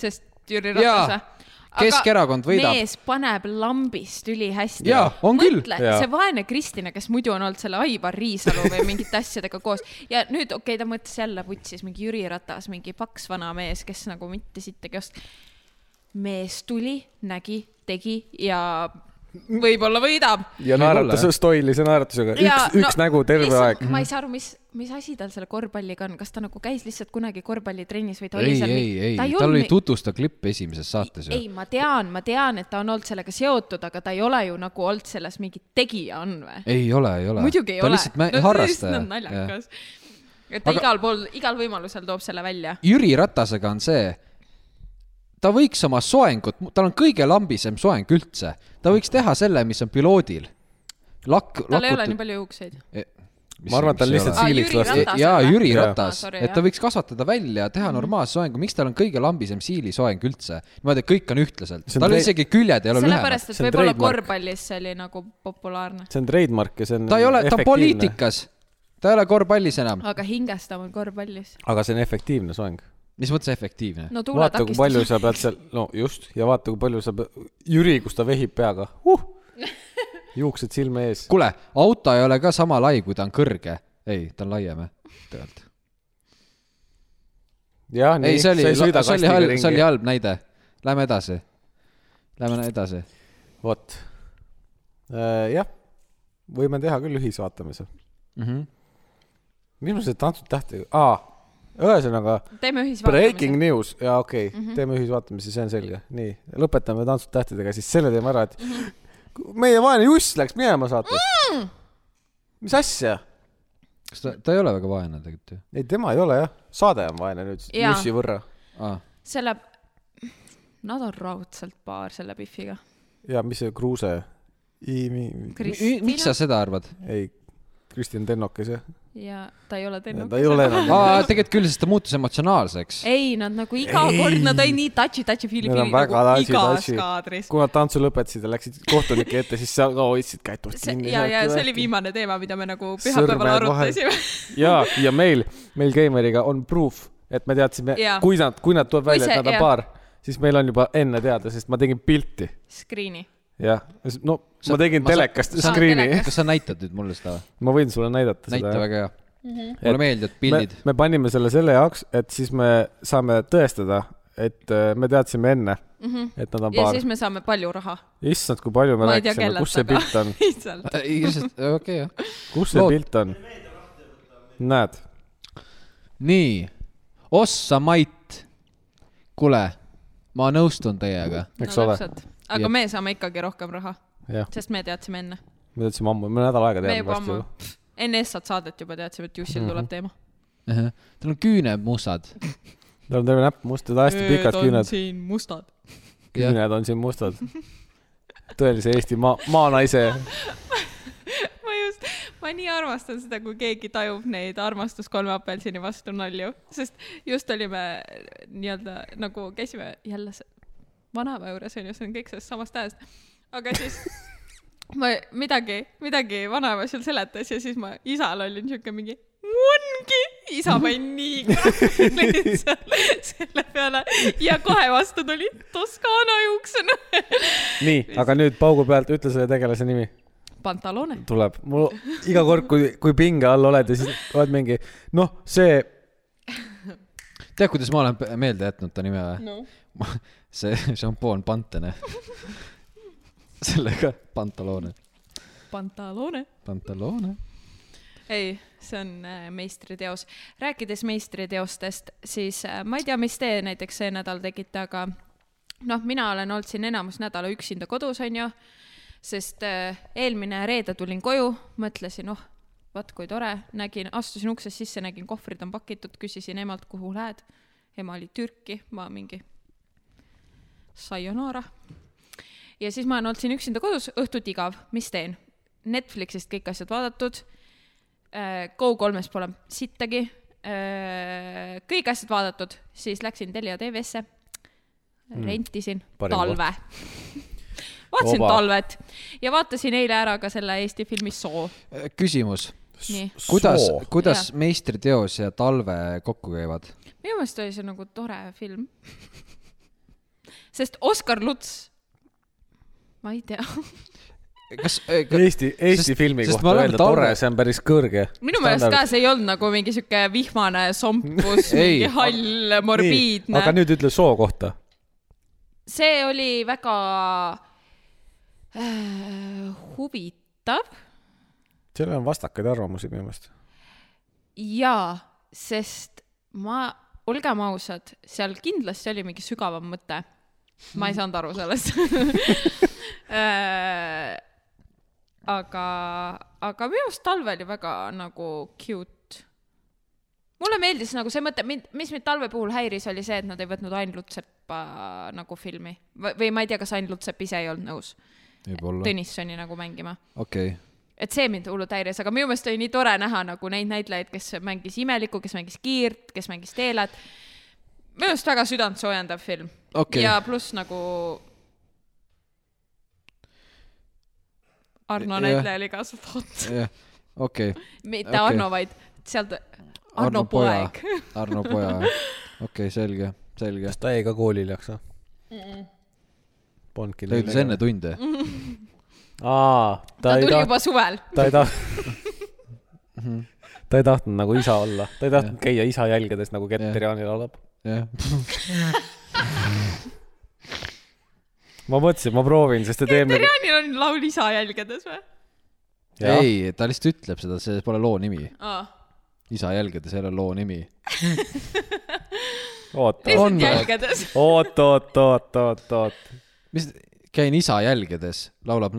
sest Jüri Jaa. Ratas . Keskerakond võidab. mees paneb lambist ülihästi . Jaa, on küll. mõtle , Jaa. see vaene Kristina , kes muidu on olnud selle Aivar Riisalu või mingite asjadega koos ja nüüd okei okay, , ta mõtles jälle vutsis mingi Jüri Ratas , mingi paks vana mees , kes nagu mitte sittagi ei oska . mees tuli , nägi , tegi ja võib-olla võidab . ja naeratas Võib-olla. stoilise naeratusega , üks , üks no, nägu terve aeg . ma ei Mhm. saa aru , mis , mis asi tal selle korvpalliga on , kas ta nagu käis lihtsalt kunagi korvpallitrennis või ta ei oli , seal ei , ei , tal oli tutvustav klipp esimeses saates ju ei ,. ma tean , ma tean , et ta on olnud sellega seotud , aga ta ei ole ju nagu olnud selles mingi tegija on või ? ei ole , ei ole . muidugi ei ta ole . lihtsalt mä- no, harrastaja on . naljakas . et ta Aga- aga... igal pool , igal võimalusel toob selle välja . Jüri Ratasega on see , ta võiks oma soengut , tal on kõige lambisem soeng üldse , ta võiks teha selle , mis on piloodil . lakk , tal ei ole nii palju juukseid . ma arvan , et ta on lihtsalt Aa, siiliks Jüri lastud . Ratas jaa , on Jüri või? Ratas Aa, , sorry, et ta jah. Mhm. võiks kasvatada välja , teha normaalse soengu , miks tal on kõige lambisem siilisoeng üldse ? niimoodi , et kõik on ühtlaselt , See on tal tei- isegi küljed ei ole lühemad . sellepärast , see et on võib-olla trademark. korvpallis see oli nagu populaarne . see on trademark ja see on . ta ei ole , ta on . poliitikas , ta ei ole korvpallis enam . aga hingestav on korvpallis . aga see on efektiivne soeng . mis mõttes efektiivne ? no vaata , kui palju tuuletakistus . sa pead seal , no just , ja vaata , kui palju sa pead , Jüri , kus ta vehib peaga huh! . juuksed silme ees . kuule , auto ei ole ka sama lai , kui ta on kõrge . ei , ta on laiem jah , tegelikult . jah , ei , nii , see sa oli , ei see sõida oli kastiga halb , see oli ringi . halb näide . Lähme edasi . Lähme edasi . vot . jah , võime teha küll ühisvaatamise . Mhm. mis mul see tantsud tähtedega , aa , ühesõnaga teeme ühisvaatamise Breaking . news ja okei okay, mm , Mhm. -hmm. teeme ühisvaatamise , see on selge , nii lõpetame tantsud tähtedega siis selle teeme ära , et mm Mhm. -hmm. meie vaene Juss läks minema saatest mm . -hmm. mis asja ? kas ta , ta ei ole väga vaene tegelikult ju ei , tema ei ole jah , saade on vaene nüüd Jaa. Jussi võrra ah. ? selle , nad on raudselt paar selle Biffiga . ja mis see Kruuse , mi... miks sa Kristina seda arvad ? ei , Kristjan Tennokes jah , ja ta ei ole teinud ta . ei ole enam . aa , tegelikult küll , sest ta muutus emotsionaalseks . ei , nad nagu iga ei. kord , nad olid nii touchy-touchy Philippi Nad on nagu väga igas touchy-touchy. kaadris . kui nad tantsu lõpetasid ja läksid kohtunike ette , siis seal ka hoidsid kätt see kinni . ja , ja see oli viimane teema , mida me nagu pühapäeval Sõrmed vahel. arutasime . ja , ja meil , meil Keimeriga on proof , et me teadsime Jaa. , kui nad , kui nad tuleb Kui välja , see- et nad on jah. paar , siis meil on juba enne teada , sest ma tegin pilti . Screen'i . jah , no Sa- ma tegin ma ma saan- telekast saan screen'i telekast. . kas sa näitad nüüd mulle seda või ? ma võin sulle näidata näita seda . väga hea . mulle meeldivad pildid . me panime selle selle jaoks , et siis me saame tõestada , et äh, me teadsime enne mm , -hmm. et nad on Mhm. ja paar siis . me saame palju raha . issand , kui palju me ma ei tea , rääkisime , kus kellelt , see pilt aga on , lihtsalt . Äh, lihtsalt , okei jah . kus see Lood- pilt on ? näed , nii , Ossa Mait . kuule , ma nõustun teiega . eks ole , aga Jep. me saame ikkagi rohkem raha , jah , sest me teadsime enne . me teadsime ammu , me nädal aega me teame juba varsti ammu ju ., Mhm. enne Essat saadet juba teadsime , et Jussil tuleb teema . tal on küüned mustad . tal on terve näpp mustad , hästi pikad küüned . siin mustad . küüned on siin mustad . tõelise Eesti maa , maanaise . ma just , ma nii armastan seda , kui keegi tajub neid armastus kolme apelsini vastu nalju , sest just olime nii-öelda nagu käisime jälle s- vanaema juures onju , see on kõik sellest samast ajast , aga siis ma midagi , midagi vanaema seal seletas ja siis ma isal olin siuke mingi mungi , isa pani nii kuradi lihtsalt selle peale ja kohe vastu tuli Toskaana juuksõna . nii , aga nüüd paugu pealt ütle selle tegelase nimi . pantalone . tuleb , mul iga kord , kui , kui pinge all oled ja siis oled mingi , noh , see , tead , kuidas ma olen pe- meelde jätnud ta nime või ? No. see šampoon Pantene . sellega pantaloone . Pantalone . Pantaloone . ei , see on äh, meistriteos . rääkides meistriteostest , siis äh, ma ei tea , mis te näiteks see nädal tegite , aga noh , mina olen olnud siin enamus nädala üksinda kodus , onju , sest äh, eelmine reede tulin koju , mõtlesin , oh , vaat kui tore , nägin , astusin uksest sisse , nägin , kohvrid on pakitud , küsisin emalt , kuhu lähed . ema oli Türki , ma mingi sayonara . ja siis ma olen olnud siin üksinda kodus , õhtuti igav , mis teen ? Netflixist kõik asjad vaadatud Go3-s pole sittagi . kõik asjad vaadatud , siis läksin Telia tv-sse , rentisin Parim talve . vaatasin Oba. talvet ja vaatasin eile ära ka selle Eesti filmi Soo . Äh, küsimus , nii , kuidas , kuidas Jaa. meistriteos ja talve kokku käivad ? minu meelest oli see nagu tore film . sest Oskar Luts , ma ei tea , kas , äh, Eesti , Eesti sest- filmi sest me kohta oleme öelda talve- tore , see on päris kõrge . minu meelest ka . see ei olnud nagu mingi sihuke vihmane sompus , Ei, mingi hall , morbiidne . aga nüüd ütle soo kohta . see oli väga äh, huvitav sellel on vastakaid arvamusi minu meelest . jaa , sest ma , olgem ausad , seal kindlasti oli mingi sügavam mõte . ma ei saanud aru sellest Äh, aga , aga minu arust talve oli väga nagu cute . mulle meeldis nagu see mõte , mind , mis mind talve puhul häiris , oli see , et nad ei võtnud Ain Lutsepa nagu filmi v või ma ei tea , kas Ain Lutsepp ise ei olnud nõus võib-olla , Tõnissoni nagu mängima okei , et see mind hullult häiris , aga minu meelest oli nii tore näha nagu neid näitlejaid , kes mängis imelikku , kes mängis kiirt , kes mängis teelat . minu arust väga südantsoojendav film Okei. ja pluss nagu . Arno Jah. näitleja oli ka support , jah , okei . mitte Okei. okay. Arno , vaid sealt Arno poeg .. Arno poja , okei , selge , selge . ta jäi ka noh. koolile , eks ole ? Polnudki . ta ütles enne . tunde . aa , ta ta ei tuli tahtnud , juba suvel , ta ei tahtnud Mhm. ta ei tahtnud nagu isa olla , ta ei tahtnud käia isa jälgedes nagu Kett Jah. Terjani laulab . jah , ma mõtlesin , et ma proovin , sest nagu- et eelmine . Jaanil on laul isa jälgedes või ? ei , ta lihtsalt ütleb seda , see pole loo nimi . aa , isa jälgedes ei ole loo nimi . oota , lihtsalt jälgedes . oot , oot , oot , oot , oot . mis , käin isa jälgedes , laulab ,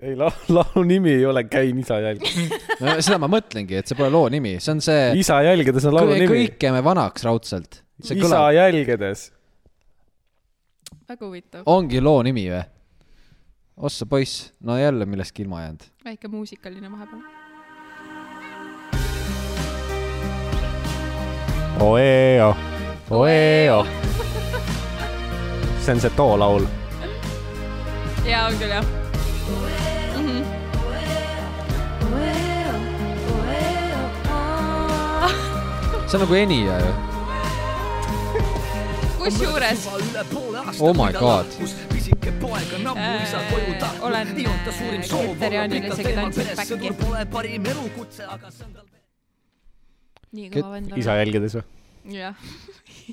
ei , laulu nimi ei ole Käin isa jälgedes . seda ma mõtlengi , et see pole loo nimi , see on see . isa jälgedes on laulu Kõi- nimi . kõik jääme vanaks raudselt . isa see kõlab , jälgedes . väga huvitav , ongi loo nimi või ? ossa poiss , no jälle millestki ilma jäänud . väike muusikaline vahepeal . Oeo , oeo . see on see too laul . jaa , on küll jah . Mhm. see on nagu Enija ju . kusjuures Oh my god. . Äh, pisike poega nammu isa koju tahtnud . olen, nii on ta suurim äh, soov olla Kriterianil pikalt isegi eemal tantsinud perest, back'i. sõdur pole parim elukutse , aga see on tal . nii Ket- kõva vend isa . jälgedes või ? jah ,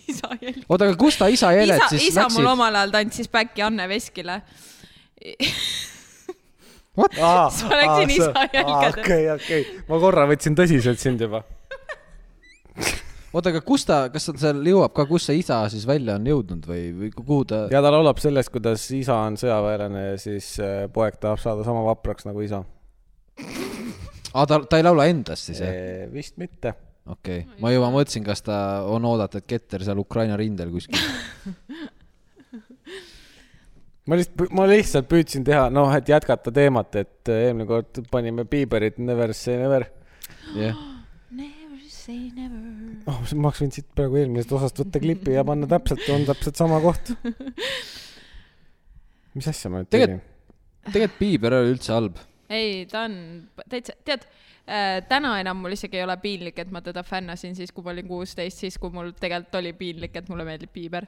isa jälg . oota , aga kus ta isa jäled isa , siis isa läksid mul ? omal ajal tantsis back'i Anne Veskile . Sa läksid isa jälgedes. okei , okei , ma korra võtsin tõsiselt sind juba . oota , aga kus ta , kas ta seal jõuab ka , kus see isa siis välja on jõudnud või , või kuhu ta ? ja ta laulab sellest , kuidas isa on sõjaväelane ja siis äh, poeg tahab saada sama vapraks nagu isa . aa , Ah, ta , ta ei laula endast siis jah ? Äh, vist mitte . okei okay. , ma juba mõtlesin , kas ta on oodata , et Keter seal Ukraina rindel kuskil . ma lihtsalt , ma lihtsalt püüdsin teha , noh , et jätkata teemat , et äh, eelmine kord panime Bieberit Never say never . jah , Never say never . oh , ma oleks võinud siit praegu eelmisest osast võtta klipi ja panna täpselt , on täpselt sama koht . mis asja ma nüüd Tegel- tegin ? tegelikult Piiber ei ole üldse halb . ei , ta on täitsa , tead , täna enam mul isegi ei ole piinlik , et ma teda fännasin siis , kui ma olin kuusteist , siis kui mul tegelikult oli piinlik , et mulle meeldib Piiber .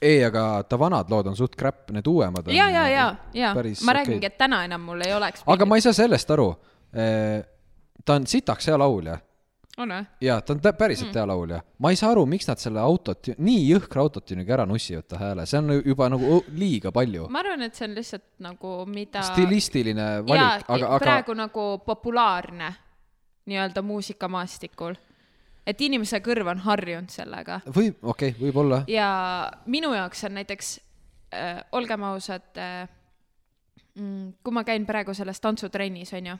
ei , aga ta vanad lood on suht crap , need uuemad on . nagu- ja , ja , ja , ja päris ma okei. räägingi , et täna enam mul ei oleks . aga ma ei saa sellest aru . ta on sitaks hea laulja , on või ? ja ta on tä- Mm. päriselt hea laulja . ma ei saa aru , miks nad selle autot , nii jõhkra autotüniga ära nussivad ta hääle , see on ju- juba nagu õ- liiga palju . ma arvan , et see on lihtsalt nagu mida . stilistiline valik , aga , aga praegu nagu populaarne nii-öelda muusikamaastikul . et inimese kõrv on harjunud sellega või okei okay, , võib-olla . ja minu jaoks on näiteks äh, , olgem ausad äh, , kui ma käin praegu selles tantsutrennis , onju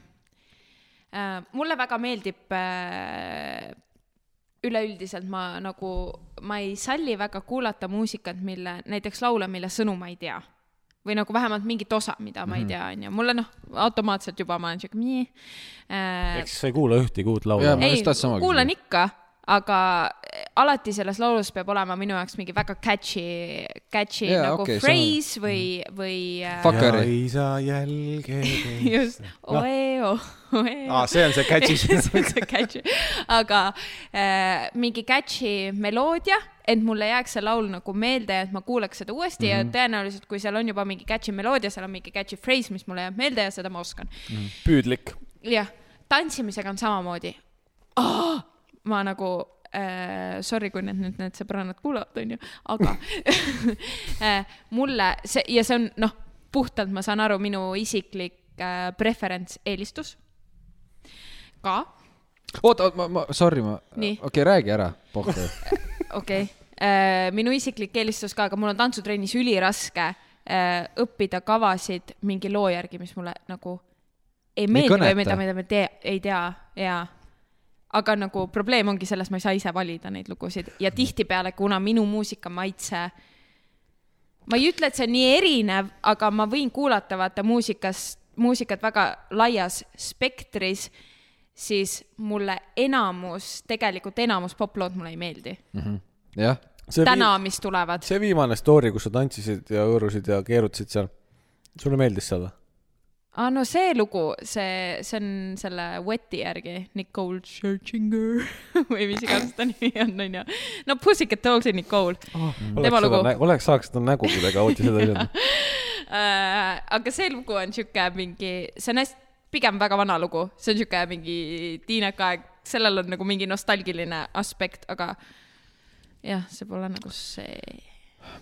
äh, , mulle väga meeldib äh, üleüldiselt ma nagu , ma ei salli väga kuulata muusikat , mille , näiteks laule , mille sõnu ma ei tea . või nagu vähemalt mingit osa , mida ma ei tea , onju . mulle noh , automaatselt juba ma olen siuke nii äh, eks sa ei kuula ühtegi uut Jaa, laulu . ma- ei just tahtsin sama , küsida. kuulan ikka , aga eh, alati selles laulus peab olema minu jaoks mingi väga catchy , catchy Jaa, yeah, nagu okei, Mm. okay, phrase on... või , või äh, Fuck. Fuckeri. isa jälge . just no. , oe , oe . Aa, see on see catchy. see on see catchy , aga äh, mingi catchy meloodia , et mulle jääks see laul nagu meelde , et ma kuulaks seda uuesti mm Mhm. -hmm. ja tõenäoliselt , kui seal on juba mingi catchy meloodia , seal on mingi catchy phrase , mis mulle jääb meelde ja seda ma oskan Mhm. püüdlik . jah , tantsimisega on samamoodi oh, . ma nagu äh, , sorry , kui need nüüd need sõbrannad kuulavad , onju , aga äh, mulle see ja see on noh , puhtalt ma saan aru , minu isiklik äh, preference , eelistus ka , oota , ma , ma , sorry , ma , Nii. okei okay, , räägi ära , Pohver . okei okay. , minu isiklik eelistus ka , aga mul on tantsutrennis üliraske äh, õppida kavasid mingi loo järgi , mis mulle nagu ei meeldi või kõneta. mida , mida ma tea , ei tea ja aga nagu probleem ongi selles , ma ei saa ise valida neid lugusid ja tihtipeale , kuna minu muusikamaitse , ma ei ütle , et see on nii erinev , aga ma võin kuulata vaata muusikas , muusikat väga laias spektris , siis mulle enamus , tegelikult enamus poplood mulle ei meeldi . Mhm. jah , täna , mis tulevad , see viimane story , kus sa tantsisid ja hõõrusid ja keerutasid seal , sulle meeldis see või ? aa Ah, no see lugu , see , see on selle Weti järgi , Nicole Scherzinger või mis iganes ta nimi on , onju . no Pussycat Dolls'i Nicole oh, , tema lugu . oleks , saaks seda nägu kuidagi auti seda öelda . äh, aga see lugu on sihuke mingi , see on hästi , pigem väga vana lugu , see on sihuke mingi tiineka aeg , sellel on nagu mingi nostalgiline aspekt , aga jah , see pole nagu see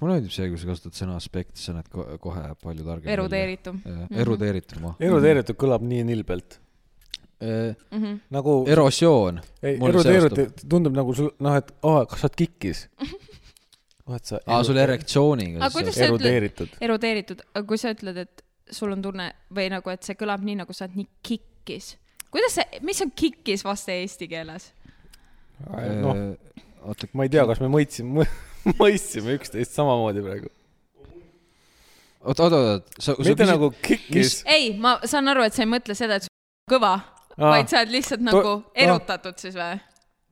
mulle meeldib see , kui sa kasutad sõna aspekt , sa näed ko- kohe palju targem . erudeeritum . Mhm. erudeerituma . erudeeritud kõlab nii nilbelt . nagu , erosioon . ei , erudeeritud tundub nagu sul , noh , et aa , kas sa oled kikkis ? vaat sa . aa , sul . aga erektsiooniga . kuidas sa ütled , erudeeritud . erudeeritud , aga kui sa ütled , et sul on tunne või nagu , et see kõlab nii , nagu sa oled nii kikkis , kuidas see , mis on kikkis vaste eesti keeles ? noh , Äh, oota , ma ei tea , kas me mõitsime , mõistsime üksteist samamoodi praegu . oot , oot , oot , sa , sa mitte nagu kikkis . ei , ma saan aru , et sa ei mõtle seda , et sul on kõva , vaid sa oled lihtsalt nagu aa. erutatud siis või ?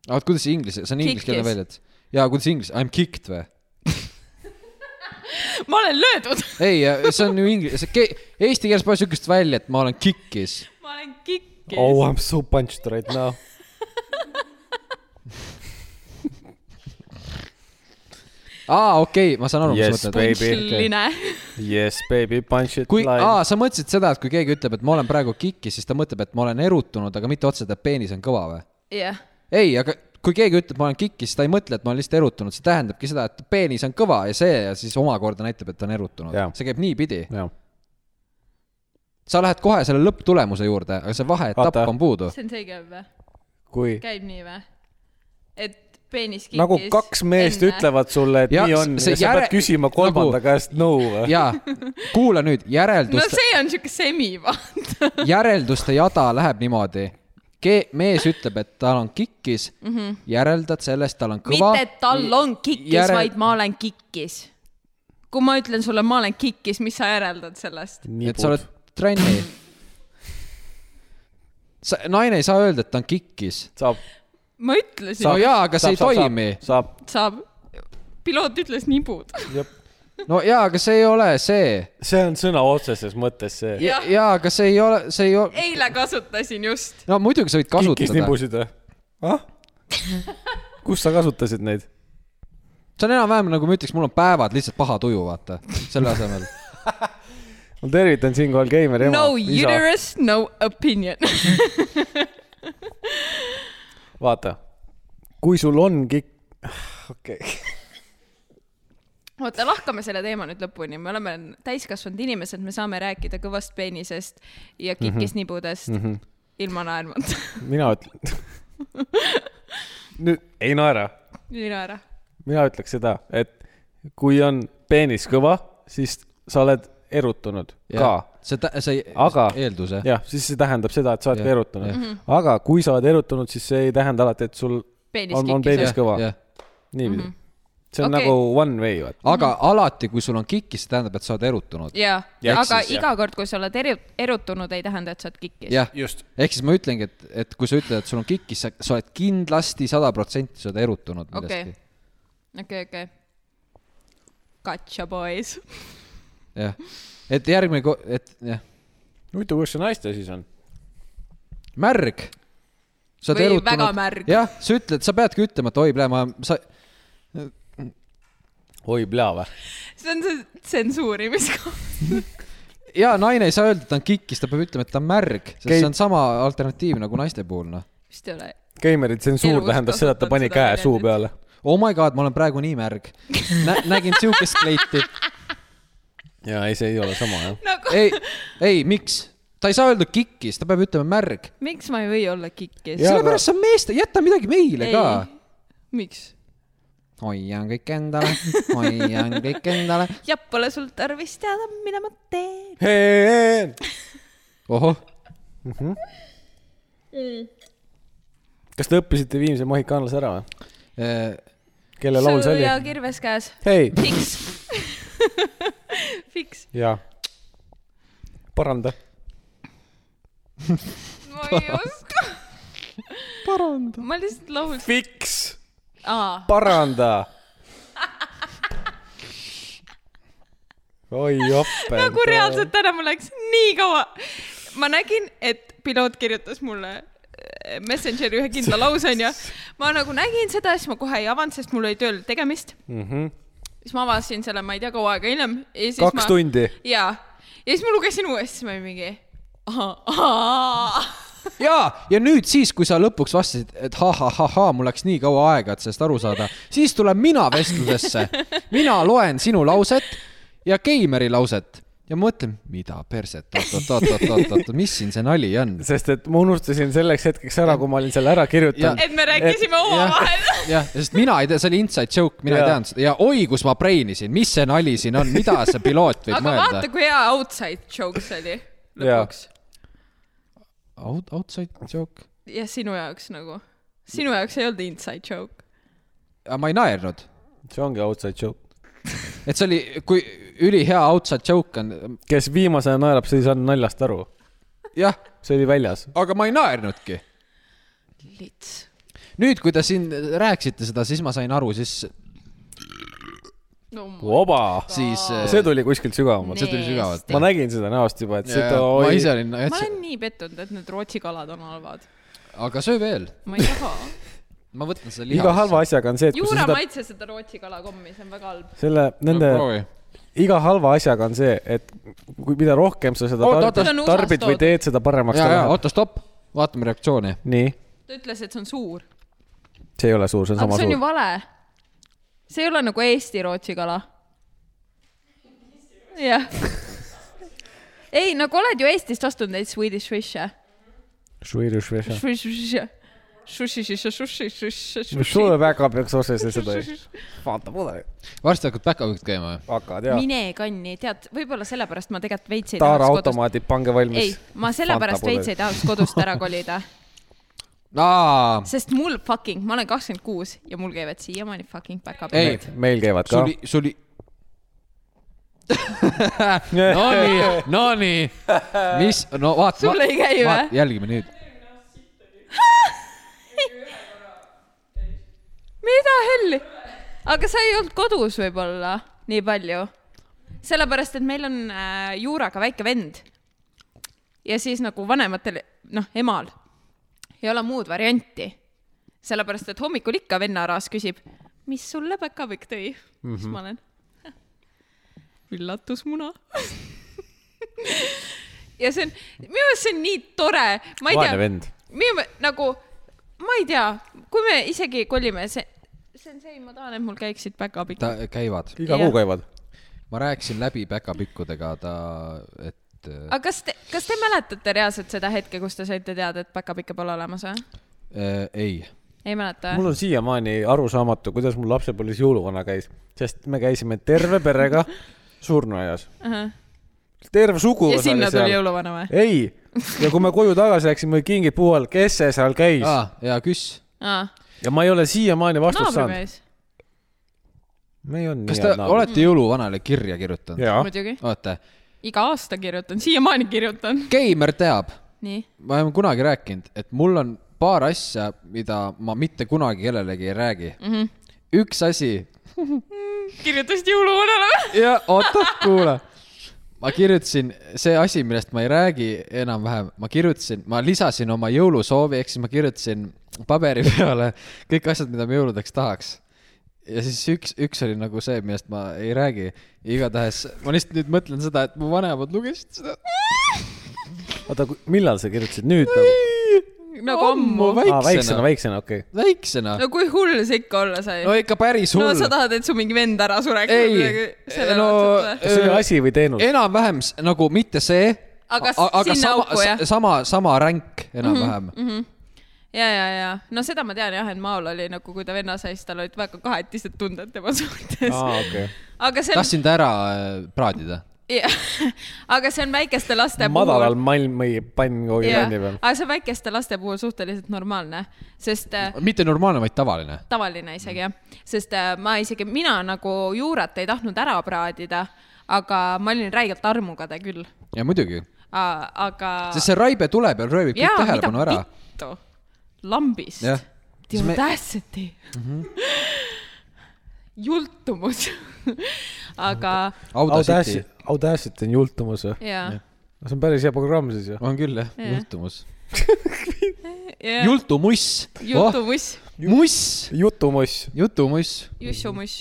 oot , kuidas see inglise , see on ingliskeelne Kickis. väljend . jaa , kuidas inglise , I m kicked või ? ma olen löödud , ei , see on ju inglise , see ke- , eesti keeles pole siukest välja , et ma olen kickis . ma olen kikkis Oh , I m so punched right now . aa , okei okay, , ma saan aru , mis Yes, sa mõtled . baby. punšiline . Yes baby , punch it kui , line . aa , sa mõtlesid seda , et kui keegi ütleb , et ma olen praegu kikkis , siis ta mõtleb , et ma olen erutunud , aga mitte otseselt , et peenis on kõva või ? jah , ei , aga kui keegi ütleb , ma olen kikkis , siis ta ei mõtle , et ma olen lihtsalt erutunud , see tähendabki seda , et peenis on kõva ja see ja siis omakorda näitab , et ta on erutunud Jaa. . see käib niipidi . jah , sa lähed kohe selle lõpptulemuse juurde , aga see vaheetapp Vaata. on puudu . see on see käib või ? kui käib nii või ? et peenis kikkis . nagu kaks meest enne. . ütlevad sulle , et Ja ja, nii on , see ja sa järe- pead küsima kolmanda nagu- nagu... käest nõu või ? jaa , kuula nüüd , no järelduste , see on siuke semi vaata . järelduste jada läheb niimoodi . Ke- , mees ütleb , et tal on kikkis mm , -hmm. järeldad sellest , tal on kõva . Mhm. mitte , et tal on kikkis Järel... , vaid ma olen kikkis . kui ma ütlen sulle , ma olen kikkis , mis sa järeldad sellest ? et sa oled trenni . sa , naine ei saa öelda , et ta on kikkis . saab , ma ütlesin no Saab... , jaa , aga see ei saab , toimi . saab , saab . piloot ütles nibud . saab , no jaa , aga see ei ole see . see on sõna otseses mõttes see . Jah. jaa , aga see ei ole , see ei ole , eile kasutasin just . no muidugi sa võid kikkis kasutada . nibusid või ? ah ? kus sa kasutasid neid ? see on enam-vähem nagu ma ütleks , mul on päevad lihtsalt paha tuju , vaata , selle asemel . ma tervitan siinkohal Keimeri ema no . uterus , no opinion . vaata , kui sul ongi , okei , oota , lahkame selle teema nüüd lõpuni , me oleme täiskasvanud inimesed , me saame rääkida kõvast peenisest ja kikisnibudest mm -hmm. ilma naermata . mina ütlen . nüüd ei naera , nii naera . mina ütleks seda , et kui on peenis kõva , siis sa oled erutunud ka see , see Aga- eeldus jah ? jah , siis see tähendab seda , et sa oled Jah, ka erutunud . Mhm. aga kui sa oled erutunud , siis see ei tähenda alati , et sul Peenis on , on kikkis, peenis jah. Mhm. kõva . aga niipidi . see on Okei. nagu one way , vaata . alati , kui sul on kikkis , see tähendab , et sa oled erutunud . jaa , Ja eks aga siis, jah. iga kord , kui sa oled eru- , erutunud , ei tähenda , et sa oled kikkis . jah , Just. ehk siis ma ütlengi , et , et kui sa ütled , et sul on kikkis , sa , sa oled kindlasti sada protsenti , sa oled erutunud okei millestki ., okei , okei . Gotcha boys . jah , et järgmine , et jah , huvitav , kus see naiste siis on ? märg . sa oled Või erutunud . väga märg. jah , sa ütled , sa peadki ütlema , et oi , ma , sa , oi , plea või ? see on see tsensuurimiskoht . ja naine ei saa öelda , et ta on kikkis , ta peab ütlema , et ta on märg , sest Keit- see on sama alternatiiv nagu naiste puhul , noh . vist ei ole . Keimeri tsensuur Elus tähendas seda , et ta kasutad pani seda käe suu väljendit. peale . Oh my god , ma olen praegu nii märg Nä, . nägin siukest kleiti . ja ei , see ei ole sama jah . nagu , ei , ei , miks ? ta ei saa öelda kikkis , ta peab ütlema märg . miks ma ei või olla kikkis ? Jaa, sellepärast see on meeste , jäta midagi meile ka . miks ? hoian kõik endale , hoian kõik endale . jah , pole sul tarvis teada , mida ma teen . ohoh , kas te õppisite Viimse mohikaanlase ära või ? eh, kelle laul see sul ja oli ? kirves käes . hei , Fiks . Fiks . jaa . paranda . ma ei oska . paranda . ma lihtsalt laulsin . Fiks , aa , paranda . oi jope . nagu reaalselt täna mul läks nii kaua . ma nägin , et piloot kirjutas mulle äh, Messengeri ühe kindla lause onju . ma nagu nägin seda , siis ma kohe ei avanud , sest mul oli tööl tegemist . Mhm. siis ma avasin selle , ma ei tea , kaua aega hiljem . kaks ma... tundi . jaa , ja siis ma lugesin uuesti , siis ma olin mingi ahaa, ahaa. ja , ja nüüd siis , kui sa lõpuks vastasid , et ha-ha-ha-ha , mul läks nii kaua aega , et sellest aru saada , siis tulen mina vestlusesse . mina loen sinu lauset ja Keimeri lauset ja mõtlen , mida perset , oot-oot-oot-oot-oot , mis siin see nali on ? sest et ma unustasin selleks hetkeks ära , kui ma olin selle ära kirjutanud . et me rääkisime omavahel . jah , sest mina ei tea , see oli inside joke , mina ja. Jaa. ei teadnud seda ja oi , kus ma breinisin , mis see nali siin on , mida see piloot võib aga mõelda vaata ,. kui hea outside joke see oli lõpuks . Out, outside joke ? jah , sinu jaoks nagu . sinu jaoks ei olnud inside joke . aga ma ei naernud , see ongi outside joke . et see oli , kui ülihea outside joke on , kes viimasena naerab , see ei saanud naljast aru . jah , see oli väljas . aga ma ei naernudki . lits nüüd , kui te siin rääkisite seda , siis ma sain aru , siis , no, . vaba . siis äh, see tuli kuskilt sügavamalt . see tuli sügavalt. ma nägin seda näost juba , et seda ma ise oli . olin , ma olen nii pettunud , et need Rootsi kalad on halvad . aga söö veel , ma ei taha . ma võtan selle liha . iga halva . asjaga on see , et kui sa Juura seda , maitse seda Rootsi kalakommi , see on väga halb . selle , nende , iga halva asjaga on see , et kui , mida rohkem sa seda Oota, tar- oota. See on USA-st tarbid või toodud. teed , seda paremaks ja ta , ja läheb . oota , stopp , vaatame reaktsiooni . nii , ta ütles , et see on suur . see ei ole suur , see on aga sama see on ju suur . vale . see ei ole nagu Eesti Rootsi kala . jah . ei , nagu oled ju Eestist ostnud neid Swedish fish'e . Swedish fish . sulle mine väga peaks otsesse seda . vaata mulle , varsti hakkad päkapikud käima või ? hakkad ja . kanni , tead , võib-olla sellepärast ma tegelikult veits ei Taara tahaks kodust , automaadid , pange valmis . ei , ma sellepärast veits ei tahaks kodust ära kolida , aa , sest mul fucking , ma olen kakskümmend kuus ja mul käivad siiamaani fucking Ei. päkapillid . meil käivad ka sul . oli , sul oli . Nonii , nonii , mis , no vaata . Sul ei käi või? jälgime nüüd . mida helli ? aga sa ei olnud kodus võib-olla nii palju . sellepärast , et meil on äh, Juuraga väike vend . ja siis nagu vanematel , noh , emal ei ole muud varianti . sellepärast , et hommikul ikka vennaraas küsib , mis sulle päkapikk tõi mm ? Mhm. -hmm. siis ma olen , üllatusmuna . ja see on , minu arust see on nii tore , ma ei vaene tea vend . minu me- nagu ma ei tea , kui me isegi kolime , see , sensei , ma tahan , et mul käiksid päkapikk . ta , käivad . iga Jah. kuu käivad . ma rääkisin läbi päkapikkudega , ta , et aga kas te , kas te mäletate reaalselt seda hetke , kus te saite teada , et päkapikke pole olemas või ? äh, ei , ei mäleta mul või ? on siiamaani arusaamatu , kuidas mul lapsepõlves jõuluvana käis , sest me käisime terve perega surnuaias . terve sugu . ja sinna tuli . jõuluvana või ? ei , ja kui me koju tagasi läksime , olid kingid puu all , kes see seal käis ah. aa , ja küss . ja ma ei ole siiamaani vastust saanud . naabrimees , me ei olnud kas nii te olete jõuluvanale kirja kirjutanud ? jaa , muidugi . oota , iga aasta kirjutan , siiamaani kirjutan . Keimer teab , nii , ma olen kunagi rääkinud , et mul on paar asja , mida ma mitte kunagi kellelegi ei räägi mm . -hmm. üks asi kirjutasid jõuluvanale või ? ja oota , kuula . ma kirjutasin , see asi , millest ma ei räägi enam-vähem , ma kirjutasin , ma lisasin oma jõulusoovi , ehk siis ma kirjutasin paberi peale kõik asjad , mida ma jõuludeks tahaks . ja siis üks , üks oli nagu see , millest ma ei räägi . igatahes ma lihtsalt nüüd mõtlen seda , et mu vanemad lugesid seda oota , millal sa kirjutasid nüüd nagu ? nagu ammu . aa , väiksena , väiksena , väiksena , okei okay. . väiksena . no kui hull see ikka olla sai ? no ikka päris Nagu- no hull sa . tahad , et su mingi vend ära sureks ? ei , no . kas see oli asi või teenus ? enam-vähem s- nagu mitte see . Aga s- sinna auku, jah? Mhm, sama , sama ränk enam-vähem mm . -hmm. ja , ja , ja no seda ma tean jah , et Maol oli nagu , kui ta venna sai , siis tal olid väga kahetised tunded tema suhtes . aa , okei . aga see on , tahtsin ta ära äh, praadida . aga see on väikeste laste madalal puhul . malm või pann kogu jah , panni peal . aga see on väikeste laste puhul suhteliselt normaalne , sest äh, mitte normaalne , vaid tavaline . tavaline isegi jah , sest äh, ma isegi , mina nagu juurat ei tahtnud ära praadida , aga ma olin räigelt armukade küll , ja muidugi , aga . sest see raibe tuleb ja röövib kõik tähelepanu ära . pittu , lambist Jah. , Siis me- audacity me... , jultumus , aga Audacity Audacity , Audacity on jultumus või ? ja , see on päris hea programm siis ju . on küll jah Jah. yeah. , jultumus ja yeah. . jultumuss . jultumuss , Oh. muss , jutumoss , jutumuss . jussumuss ,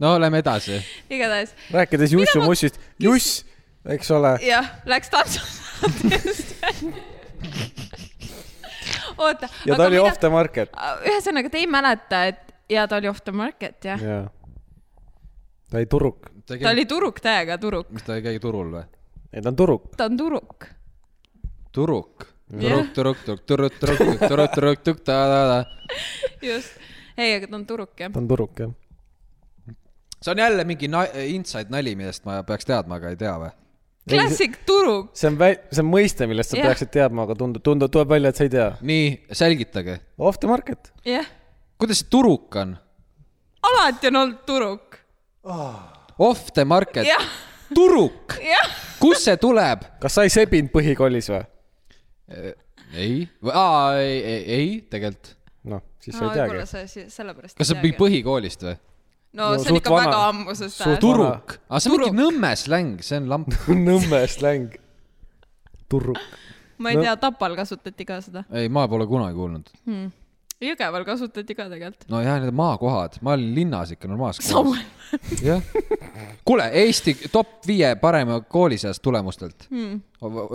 no lähme edasi . igatahes rääkides jussumossist , juss , eks ole , jah , läks tantsusaatest . oota , ja ta oli off the market . ühesõnaga , te ei mäleta , et ja ta oli off the market jah ja. , jaa . ta ei turuk , ta oli turuk täiega turuk , mis ta ei käi turul või ? ei ta on turuk . ta on turuk . turuk . Jah. turuk , turuk , turuk , turuk , turuk , turuk , turuk , turuk , tukk , ta-ta-ta . just , ei , aga ta on turuk jah . ta on turuk jah . see on jälle mingi na- inside nali , millest ma peaks teadma , aga ei tea või ? klassik turuk , see on väi- , see on mõiste , millest sa Jah. peaksid teadma , aga tundub , tundub , tuleb välja , et sa ei tea . nii , selgitage , Off the market . jah , kuidas see turuk on ? alati on olnud turuk , Off the market , jah , turuk , jah , kust see tuleb ? kas sa ei sebinud põhikoolis või ? ei , aa , ei , ei , ei tegelikult . noh , siis sa ei võib-olla teagi . sa siis sellepärast . kas see on mingi ? põhikoolist või ? no No see on suht ikka vana- väga ammusest suht ajast . turuk , aa , see on mingi Turuk. Nõmme släng , see on lamp . Nõmme släng . turuk . ma ei no- tea , Tapal kasutati ka seda , ei , ma pole kunagi kuulnud . Jõgeval kasutati ka tegelikult . no jah , need on maakohad , ma olin linnas ikka normaalses kohas . samal , jah . kuule , Eesti top viie parema kooli seas tulemustelt hmm. .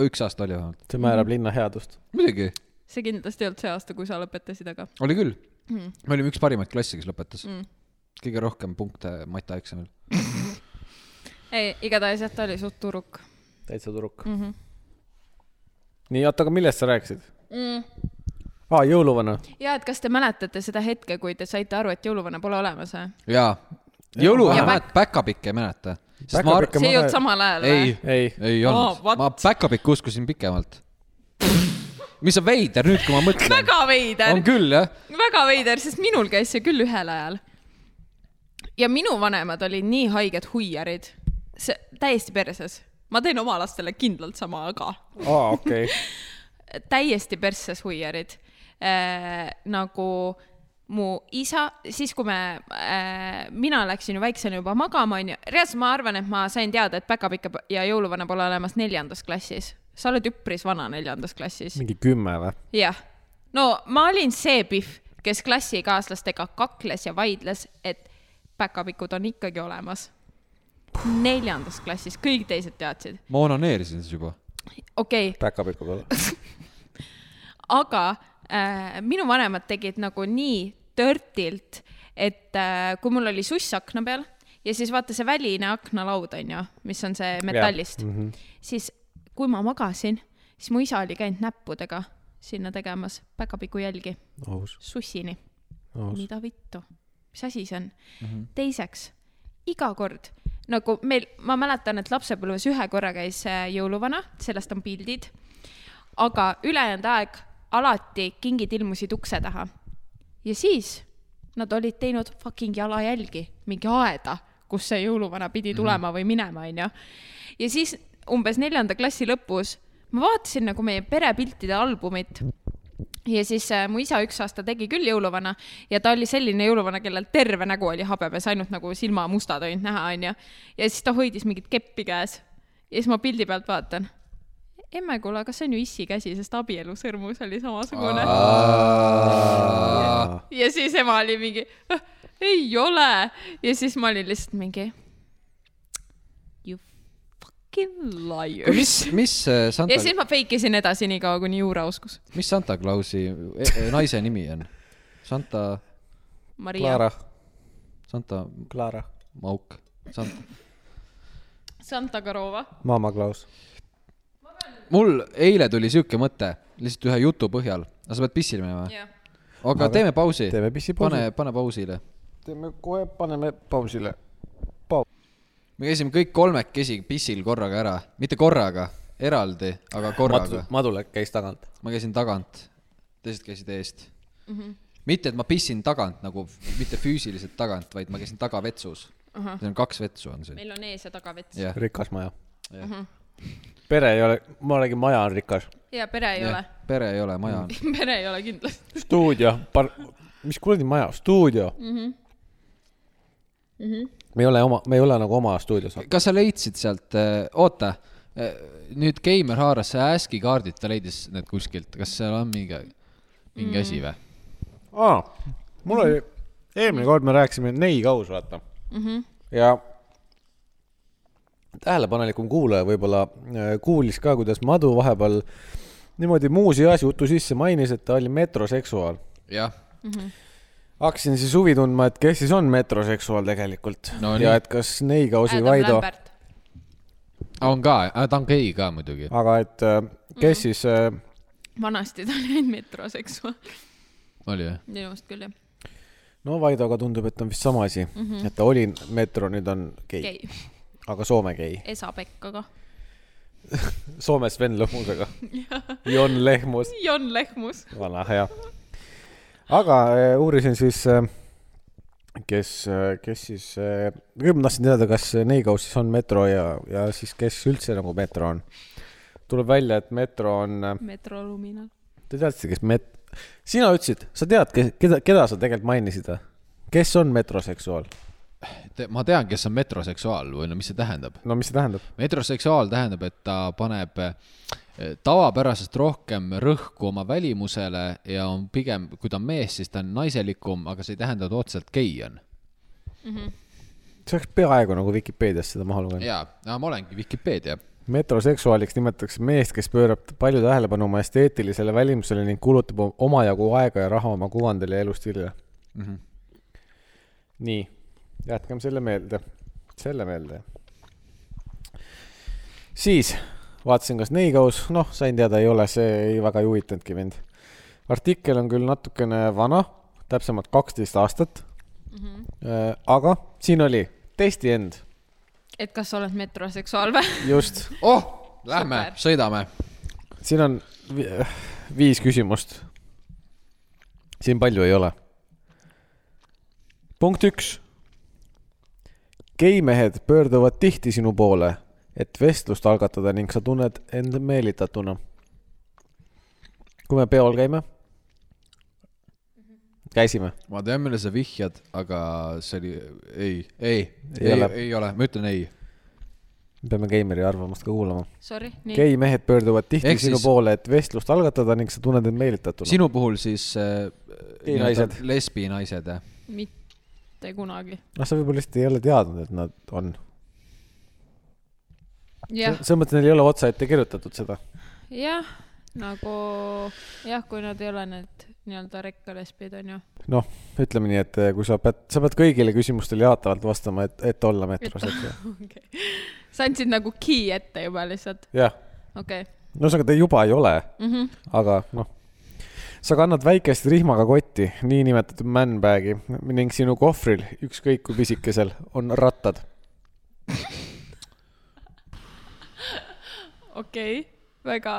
üks aasta oli vähemalt . see määrab linna headust . muidugi , see kindlasti ei olnud see aasta , kui sa lõpetasid , aga oli küll hmm. . me olime üks parimaid klassi , kes lõpetas hmm. . kõige rohkem punkte matjaeksamil . ei , igatahes jah , ta oli suht turuk täitsa turuk mm . -hmm. nii , oota , aga millest sa rääkisid ? mm. . aa , jõuluvana . ja et kas te mäletate seda hetke , kui te saite aru , et jõuluvana pole olemas või ? jaa . Ja jõuluvana päk- , päkapikke ei mäleta . Päkapikke see ei Ma- olnud samal ajal ei või ?, ei , ei Aa, olnud what? oh, , ma päkapikke uskusin pikemalt . mis on veider nüüd , kui ma mõtlen . väga veider on , küll jah , väga veider , sest minul käis see küll ühel ajal . ja minu vanemad olid nii haiged huiarid , see täiesti perses . ma teen oma lastele kindlalt sama , aga aa , okei . täiesti persses huiarid äh, . nagu mu isa , siis kui me äh, , mina läksin ju väiksena juba magama , onju . reaalselt ma arvan , et ma sain teada , et päkapikk ja jõuluvana pole olemas neljandas klassis . sa oled üpris vana neljandas klassis . mingi kümme või ? jah , no ma olin see pihv , kes klassikaaslastega kakles ja vaidles , et päkapikud on ikkagi olemas . neljandas klassis , kõik teised teadsid , ma onaneerisin siis juba . okei okay, , päkapikku peale . aga äh, minu vanemad tegid nagu nii törtilt , et äh, kui mul oli suss akna peal ja siis vaata see väline aknalaud onju , mis on see metallist , mm -hmm. siis kui ma magasin , siis mu isa oli käinud näppudega sinna tegemas päkapiku jälgi aus , sussini aus . mida vittu , mis asi see on mm ? -hmm. teiseks , iga kord nagu meil , ma mäletan , et lapsepõlves ühe korra käis äh, jõuluvana , sellest on pildid . aga ülejäänud aeg alati kingid ilmusid ukse taha . ja siis nad olid teinud fucking jalajälgi , mingi aeda , kus see jõuluvana pidi tulema või minema , onju . ja siis umbes neljanda klassi lõpus ma vaatasin nagu meie perepiltide albumit ja siis äh, mu isa üks aasta tegi küll jõuluvana ja ta oli selline jõuluvana , kellel terve nägu oli habebes , ainult nagu silmamustad olid näha , onju . ja siis ta hoidis mingit keppi käes ja siis ma pildi pealt vaatan . emme , kuule , aga see on ju issi käsi , sest abielu sõrmus oli samasugune . ja siis ema oli mingi , ei ole ja siis ma olin lihtsalt mingi you fucking mis liars ., mis see ja Santa , siis ma fake isin edasi niikaua , kuni juura uskus . mis Santa Clausi e- e- naise nimi on ? Santa , Maria . Klaara , Santa Klaara , Mauk , Santa . Santa Karova . Mama Klaus . mul eile tuli siuke mõte , lihtsalt ühe jutu põhjal . aga sa pead pissile minema ? jah . aga Aga teeme pausi . teeme pissipausi. pane , pane pausile . teeme kohe , paneme pausile . me käisime kõik kolmekesi pissil korraga ära , mitte korraga , eraldi , aga korraga . madule käis tagant . ma käisin tagant , teised käisid eest mm . Mhm. -hmm. mitte , et ma pissin tagant nagu , mitte füüsiliselt tagant , vaid ma käisin tagavetsus uh . -huh. siin on kaks vetsu on siin . meil on ees ja tagavets jah , rikas maja . jah , Mhm. pere ei ole , ma räägin , maja on rikas . ja pere ei ole jah ., pere ei ole , maja on . pere ei ole kindlasti . stuudio , par- , mis kuradi maja , stuudio mm . -hmm. me ei ole oma , me ei ole nagu oma stuudios . kas sa leidsid sealt , oota , nüüd Keimer haaras see ASCII kaardid , ta leidis need kuskilt , kas seal on mingi , mingi mm. asi või ? aa , mul oli , eelmine kord me rääkisime neikaus , vaata mm . -hmm. ja tähelepanelikum kuulaja võib-olla äh, kuulis ka , kuidas Madu vahepeal niimoodi muuseas jutu sisse mainis , et ta oli metroseksuaal . jah , hakkasin siis huvi tundma , et kes siis on metroseksuaal tegelikult No nii. ja et kas neikausi Vaido , Ah, on ka , ta on gei ka muidugi . aga et äh, kes siis äh, vanasti ta oli ainult metroseksuaal . oli jah ? minu arust küll jah . no Vaidoga tundub , et on vist sama asi mm , -hmm. et ta oli metro , nüüd on gei, gei. , gei . aga Soome gei . Esa Pekkaga . Soome Sven Lõhmusega . Jon Lehmus . Jon Lehmus . vana hea . aga eh, uurisin siis , kes , kes siis , kõigepealt ma tahtsin teada , kas Neigaus siis on metro ja , ja siis kes üldse nagu metro on . tuleb välja , et metro on , Metro Luminal . te teadsite , kes met- , sina ütlesid , sa tead , kes , keda , keda sa tegelikult mainisid või ? kes on metroseksuaal ? ma tean , kes on metroseksuaal või no mis see tähendab . no mis see tähendab ? metroseksuaal tähendab , et ta paneb eh, tavapärasest rohkem rõhku oma välimusele ja on pigem , kui ta on mees , siis ta on naiselikum , aga see ei tähenda , et otseselt gei on . see oleks peaaegu nagu Vikipeediast seda maha lugenud . jaa , Ah, ma olengi Vikipeedia . metroseksuaaliks nimetatakse meest , kes pöörab palju tähelepanu oma esteetilisele välimusele ning kulutab o- omajagu aega ja raha oma kuvandile ja elustiilile mm . -hmm. nii , jätkame selle meelde , selle meelde . siis vaatasin , kas Neigaus , noh , sain teada , ei ole , see ei väga ei huvitanudki mind . artikkel on küll natukene vana , täpsemalt kaksteist aastat mm . -hmm. aga siin oli testi end , et kas sa oled metroseksuaal või ? just oh , lähme Super. , sõidame . siin on vi- viis küsimust . siin palju ei ole . punkt üks . geimehed pöörduvad tihti sinu poole , et vestlust algatada ning sa tunned end meelitatuna . kui me peol käime ? käisime , ma tean , millele sa vihjad , aga see oli , ei , ei , Ei ei, ole. ei ole , ma ütlen ei . me peame geimeri arvamust ka kuulama . Sorry , nii . geimehed pöörduvad tihti Ehk sinu siis- poole , et vestlust algatada ning sa tunned end meelitatuna . sinu puhul siis äh, Geinaised. nii-öelda lesbinaised , jah ? mitte kunagi . noh , sa võib-olla lihtsalt ei ole teadnud , et nad on jah , selles mõttes neil ei ole otsaette kirjutatud seda . jah , nagu jah , kui nad ei ole need nii-öelda rekkalesbid onju , noh , ütleme nii , et eh, kui sa pead , sa pead kõigile küsimustele jaatavalt vastama , et , et olla metros , eks ju . sa andsid nagu key ette juba lihtsalt , jah , okei okay. no ühesõnaga ta juba ei ole , mm . -hmm. aga noh , sa kannad väikest rihmaga kotti , niinimetatud manbag'i ning sinu kohvril , ükskõik kui pisikesel , on rattad . okei okay. , väga ,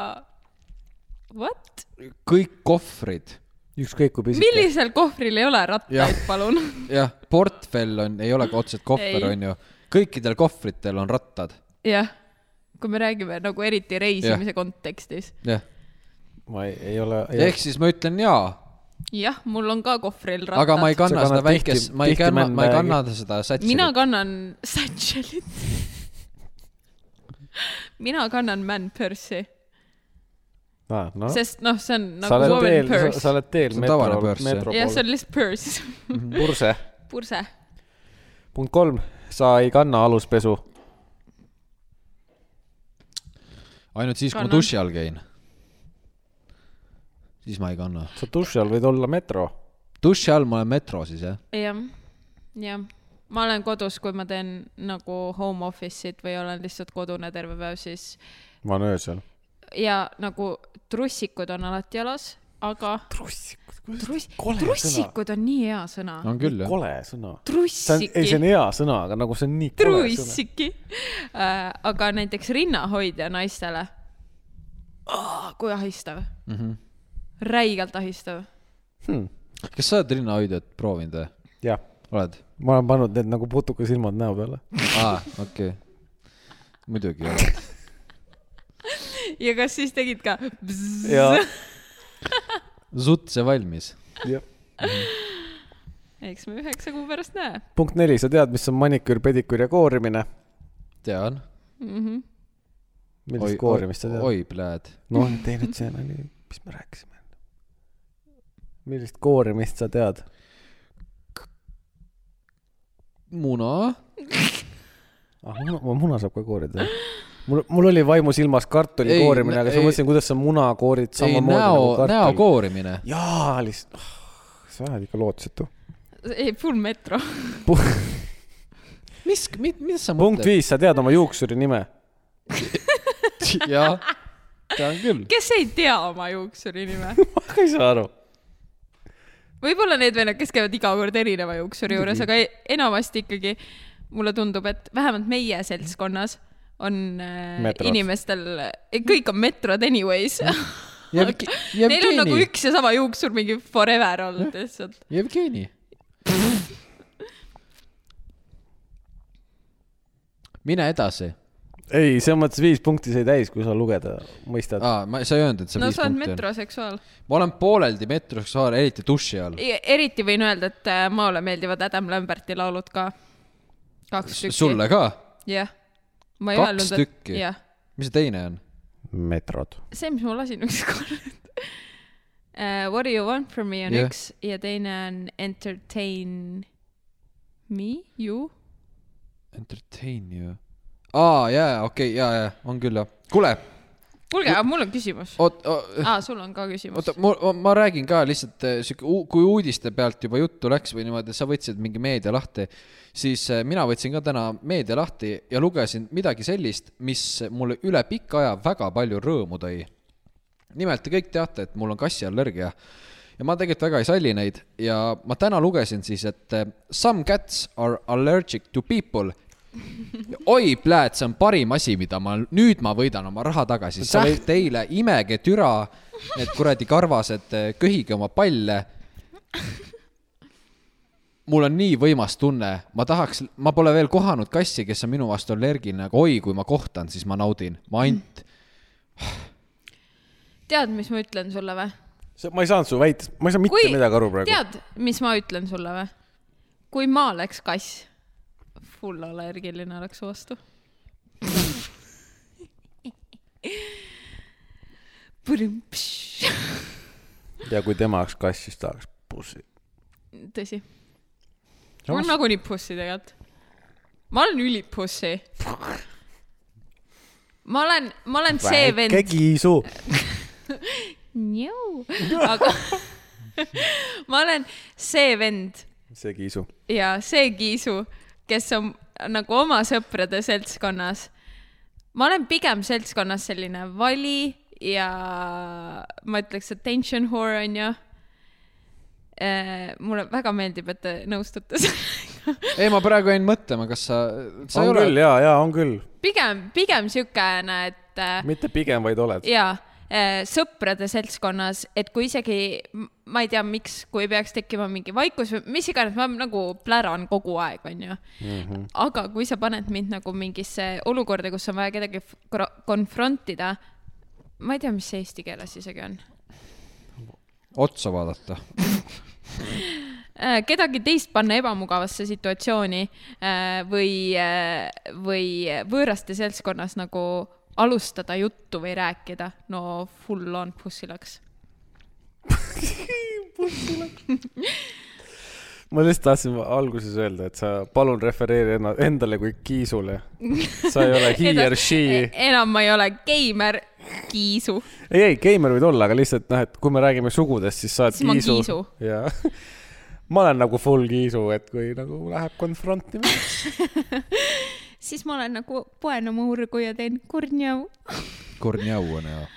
what ? kõik kohvrid , ükskõik kui pisike . millisel kohvril ei ole Jah. rattaid , palun ? jah , portfell on , ei ole ka otseselt Ei. kohver , onju . kõikidel kohvritel on rattad , jah , kui me räägime nagu eriti reisimise ja. kontekstis . jah . ma ei , ei ole . ehk siis ma ütlen jaa , jah , mul on ka kohvril rattad . aga ma ei kanna Sa seda kannad väikest tihti- , ma ei tihti kanna , ma ei manbag'i. kanna seda satsi . mina kannan satšelit . mina kannan man-purse'i , ah, . No. sest noh , see on sa nagu oled woman teel , sa purse . oled teel See on tavaline metro , pörs, jah. metro jah , see poole . on lihtsalt purse , purse . purse . punkt kolm , sa ei kanna aluspesu . ainult siis , kui ma Kannan. duši all käin . siis ma ei kanna . sa duši all võid olla metro . duši all ma olen metro siis jah ? jah , jah . ma olen kodus , kui ma teen nagu home office'it või olen lihtsalt kodune terve päev , siis ma olen öösel . ja nagu trussikud on alati jalas , aga Truss... trussikud on nii hea sõna no. . on küll jah . kole sõna . see on , ei , see on trussiki , hea sõna , aga nagu see on nii kole sõna . trussiki äh, . aga näiteks rinnahoidja naistele oh, . kui ahistav mm . Mhm. -hmm. räigelt ahistav . kas sa oled rinnahoidjat proovinud või ? jah , oled ? ma olen pannud need nagu putukasilmad näo peale . aa , okei okay. . muidugi oled . ja kas siis tegid ka ? ja , sutt see valmis . ja . eks me üheksa kuu pärast näe . punkt neli , sa tead , mis on maniküür , pediküür ja koorimine . tean . Mhm. millist koorimist sa tead ? oi , pläd . noh , tee nüüd see nali , mis me rääkisime . millist koorimist sa tead ? muna . ah , muna , ma muna saab ka koorida . mul , mul oli vaimus ilmas kartuli Ei, koorimine , aga siis ei- ma mõtlesin , kuidas sa muna koorid ei , samamoodi nagu näo , näo kartul . koorimine . jaa , lihtsalt , sa oled ikka lootusetu . ei , full metro . mis , mis sa punkt mõtled ? viis , sa tead oma juuksuri nime . jah , tean küll . kes ei tea oma juuksuri nime ? ma ka ei saa aru . võib-olla need vennad , kes käivad iga kord erineva juuksuri juures , aga e- enamasti ikkagi mulle tundub , et vähemalt meie seltskonnas on äh, Metrod. inimestel , kõik on metrod anyways . Neil on nagu Jevgeni , üks ja sama juuksur mingi forever olnud lihtsalt . Jevgeni . mine edasi ei , selles mõttes viis punkti sai täis , kui sa lugeda mõistad . ah, . ma , sa ei öelnud , et see no viis sa oled punkti on . metroseksuaal . ma olen pooleldi metroseksuaal , eriti duši all . eriti võin öelda , et äh, maale meeldivad Adam Lamberti laulud ka . kaks tükki . sulle ka ? jah . ma ei Kaks öelnud , tükki? jah , mis see teine on ? metrod . see , mis ma lasin ükskord uh, . What do you want from me on Jah. yeah. üks ja teine on entertain me , you . Entertain you . aa , jaa , okei , jaa , jaa , on küll jah . kuule , kuulge , aga mul on küsimus . oot , Oh. oota , aa , sul on ka küsimus . ma , ma räägin ka lihtsalt eh, sihuke , kui uudiste pealt juba juttu läks või niimoodi , sa võtsid mingi meedia lahti , siis eh, mina võtsin ka täna meedia lahti ja lugesin midagi sellist , mis mulle üle pika aja väga palju rõõmu tõi nimelt te kõik teate , et mul on kassiallergia ja ma tegelikult väga ei salli neid ja ma täna lugesin siis , et eh, some cats are allergic to people . oi , pläät , see on parim asi , mida ma , nüüd ma võidan oma raha tagasi , Sa sähk võid- teile , imege türa , need kuradi karvased , köhige oma palle . mul on nii võimas tunne , ma tahaks , ma pole veel kohanud kassi , kes on minu vastu allergiline , aga oi , kui ma kohtan , siis ma naudin , ma ainult , tead , mis ma ütlen sulle või ? ma ei saanud su väitest , ma ei saa mitte Kui... midagi aru praegu . tead , mis ma ütlen sulle või ? kui ma oleks kass , full allergiline oleks su vastu . ja kui tema oleks kass , siis ta oleks bussi . tõsi . mul on nagunii pussi tegelikult . ma olen ülipussi . ma olen , ma olen see vend , kiisu . Njau. aga ma olen see vend see kiisu . ja see kiisu , kes on nagu oma sõprade seltskonnas . ma olen pigem seltskonnas selline vali ja ma ütleks , attention whore onju . mulle väga meeldib , et te nõustute sellega . ei , ma praegu jäin mõtlema , kas sa , sa on ole... ei ole küll , jaa , jaa , on küll . pigem , pigem siukene , et äh, mitte pigem , vaid oled . jaa , sõprade seltskonnas , et kui isegi , ma ei tea , miks , kui peaks tekkima mingi vaikus või mis iganes , ma nagu pläran kogu aeg , onju . aga kui sa paned mind nagu mingisse olukorda , kus on vaja kedagi f- kro- konfrontida , ma ei tea , mis see eesti keeles isegi on , otsa vaadata . Äh, kedagi teist panna ebamugavasse situatsiooni äh, või , või võõraste seltskonnas nagu alustada juttu või rääkida , no full on pussilaks . ma lihtsalt tahtsin alguses öelda , et sa palun refereeri enna- endale kui kiisule . sa ei ole he or she . e-, enam ma ei ole geimer , kiisu . ei , ei , geimer võid olla , aga lihtsalt noh , et kui me räägime sugudest , siis sa oled Siis ma olen kiisu, kiisu. . jaa . ma olen nagu full kiisu , et kui nagu läheb konfrontima . siis ma olen nagu poen oma urgu ja teen kurnjau . Kornjau on hea .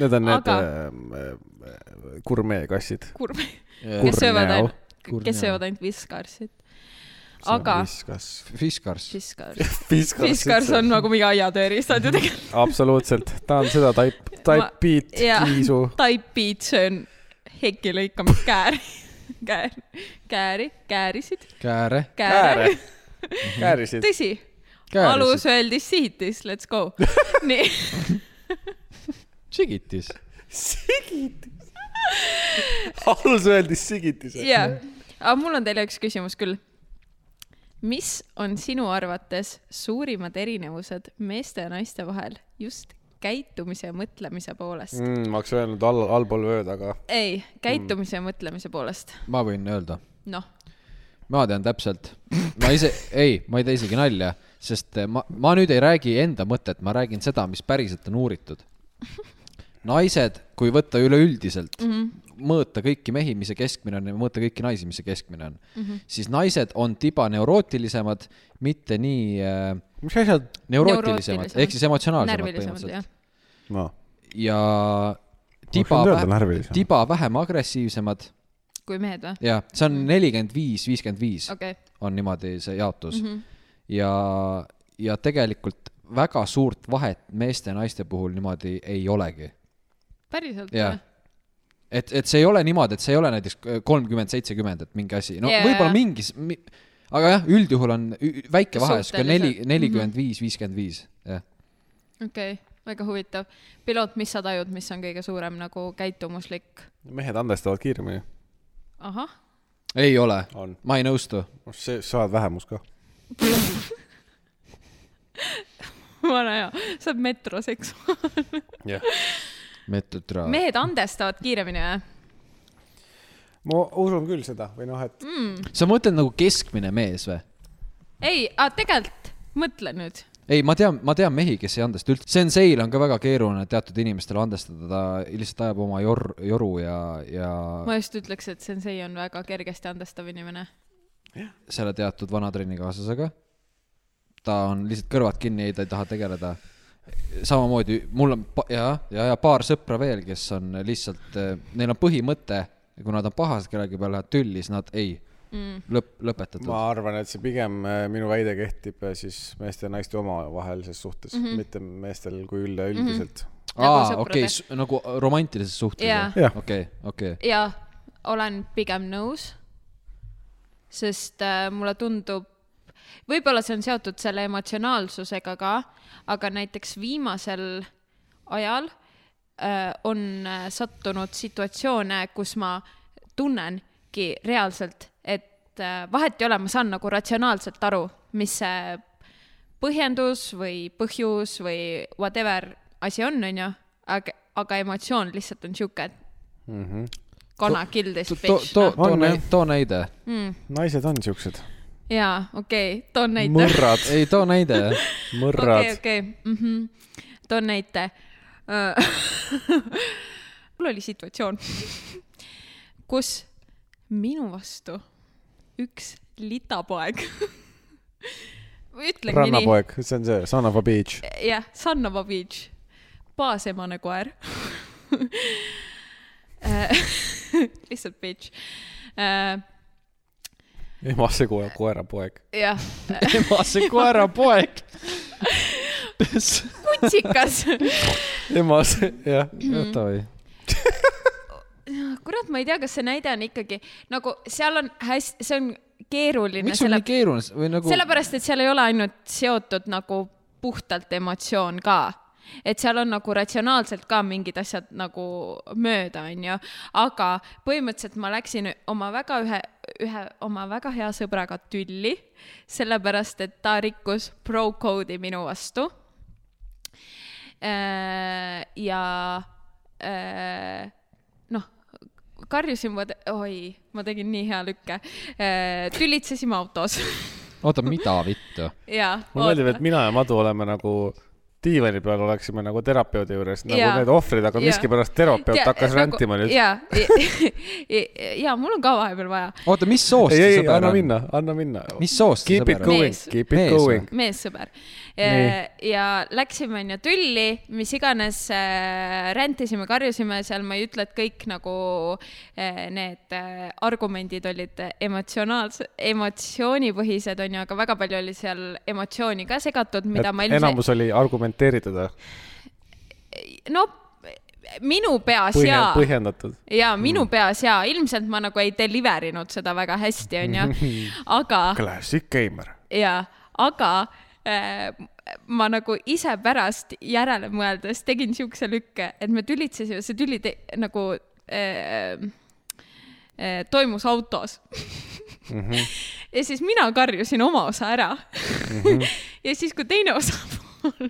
Need on need Aga- äh, äh, gurmeekassid . kurb . kes söövad ainult , Kurnjau. kes söövad ainult viskarsit . aga , Fiskars . viskars , Fiskars viskars on . nagu mingi aiatööriistad ju tegelikult . absoluutselt , ta on seda type , type Ma- beat jaa. kiisu . taipid söön heki lõikamise kääri , käär , kääri , käärisid , kääre . kääre . käärisid . tõsi , Käärisid. alus öeldi sihitis , let's go . nii Sigitis . sigitis . alus öeldi sigitis . jaa , aga mul on teile üks küsimus küll . mis on sinu arvates suurimad erinevused meeste ja naiste vahel just käitumise ja mõtlemise poolest mm. ? Mm, ma oleks öelnud all , allpool vööd , aga ei , käitumise ja mm. mõtlemise poolest , ma võin öelda , noh . ma tean täpselt . ma ise , ei , ma ei tee isegi nalja , sest eh, ma , ma nüüd ei räägi enda mõtet , ma räägin seda , mis päriselt on uuritud . naised , kui võtta üleüldiselt mm , -hmm. mõõta kõiki mehi , mis see keskmine on ja mõõta kõiki naisi , mis see keskmine on mm , -hmm. siis naised on tiba neurootilisemad , mitte nii äh, mis asjad ? neurootilisemad ehk siis emotsionaalsemad põhimõtteliselt põhimõtteliselt . noh , ja tiba võinud öelda vähe, närvilisemad. tiba vähem agressiivsemad kui mehed või ? ja see on nelikümmend viis , viiskümmend viis okei , on niimoodi see jaotus Mhm. mm . -hmm. ja , ja tegelikult väga suurt vahet meeste ja naiste puhul niimoodi ei olegi . päriselt jah või ? et , et see ei ole niimoodi , et see ei ole näiteks kolmkümmend , seitsekümmend , et mingi asi , no Jaa, yeah. võib-olla jaa. mingis mi, , aga jah , üldjuhul on ü- väike vahe , sihuke neli , Suhteliselt. nelikümmend viis , viiskümmend viis , jah . okei , väga huvitav . piloot , mis sa tajud , mis on kõige suurem nagu käitumuslik ? mehed andestavad kiiremini . ahah , ei ole On. , ma ei nõustu see , sa oled vähemus ka . vana hea , sa oled metroseksuaal . jah . Metutra . mehed andestavad kiiremini või ? ma usun küll seda või noh , et mm. sa mõtled nagu keskmine mees või ? ei , tegelikult mõtle nüüd . ei , ma tean , ma tean mehi , kes ei andesta üldse , senseil on ka väga keeruline teatud inimestele andestada , ta lihtsalt ajab oma jor- , joru ja , ja ma... ma just ütleks , et sensei on väga kergesti andestav inimene . selle teatud vana trennikaaslasega . ta on lihtsalt kõrvad kinni , ei , ta ei taha tegeleda . samamoodi mul on pa- , ja , ja , ja paar sõpra veel , kes on lihtsalt , neil on põhimõte , kui nad on pahased kellegi peale , lähevad tülli , siis nad ei mm. , lõpp , lõpetatud ma ma... . arvan , et see pigem äh, minu väide kehtib äh, siis meeste ja naiste omavahelises suhtes Mhm. mm , -hmm. mitte meestel kui üleüldiselt mm . Nagu aa , okei sõprade. , nagu romantilises suhtes Jaa. või? Jah. okei , okei . ja olen pigem nõus . sest äh, mulle tundub , võib-olla see on seotud selle emotsionaalsusega ka , aga näiteks viimasel ajal äh, on äh, sattunud situatsioone , kus ma tunnengi reaalselt , et äh, vahet ei ole , ma saan nagu ratsionaalselt aru , mis see põhjendus või põhjus või whatever asi on , onju , aga , aga emotsioon lihtsalt on sihuke , et kana kill this too , too bitch , too noh. On, too jah. näi- , too näide naised on siuksed jaa , okei okay, , toon näite . mõrrad , ei , too näide jah . mõrrad Mhm. okei , okei , toon näite . Äh, mul oli situatsioon , kus minu vastu üks litapoeg ütlengi nii , rannapoeg , see on see , son of a bitch . jah , Sannova Beach , baasemane koer Äh, lihtsalt Äh, bitch . emasse koera , koerapoeg . jah , emase koerapoeg . kutsikas emasse , jah . oota või ? kurat , ma ei tea , kas see näide on ikkagi nagu seal on hästi , see on keeruline , miks sul selle nii , keeruline s- või nagu ? sellepärast et seal ei ole ainult seotud nagu puhtalt emotsioon ka et seal on nagu ratsionaalselt ka mingid asjad nagu mööda , onju , aga põhimõtteliselt ma läksin oma väga ühe , ühe oma väga hea sõbraga tülli , sellepärast et ta rikkus pro code'i minu vastu äh, ja äh, noh , karjusin , oi , ma tegin nii hea lükke äh, , tülitsesime autos oota , mida vittu ? ja . mulle meeldib , et mina ja Madu oleme nagu diivani peal oleksime nagu terapeudi juures nagu Jaa. need ohvrid , aga Jaa. nagu miskipärast terapeut hakkas rändima nüüd . ja , ja mul on ka vahepeal vaja oota , mis soost ei , see ei , sõber anna on ? minna , anna minna . mis soost see Keep it sõber on ? going Mees. , keep Mees it või? going . meessõber . Nii. ja läksime onju tülli , mis iganes äh, räntisime , karjusime seal , ma ei ütle , et kõik nagu äh, need äh, argumendid olid emotsionaalsed , emotsioonipõhised onju , aga väga palju oli seal emotsiooni ka segatud , mida ma et enamus oli argumenteeritud või ? ilmselt , no minu peas põhja- , jaa põhjendatud . jaa , minu peas jaa , ilmselt ma nagu ei deliver inud seda väga hästi , onju , aga Classic gamer . jaa , aga äh, ma nagu ise pärast järele mõeldes tegin siukse lükke , et me tülitsesime , see tüli te, nagu äh, äh, toimus autos ja siis mina karjusin oma osa ära mm . -hmm. ja siis , kui teine osapool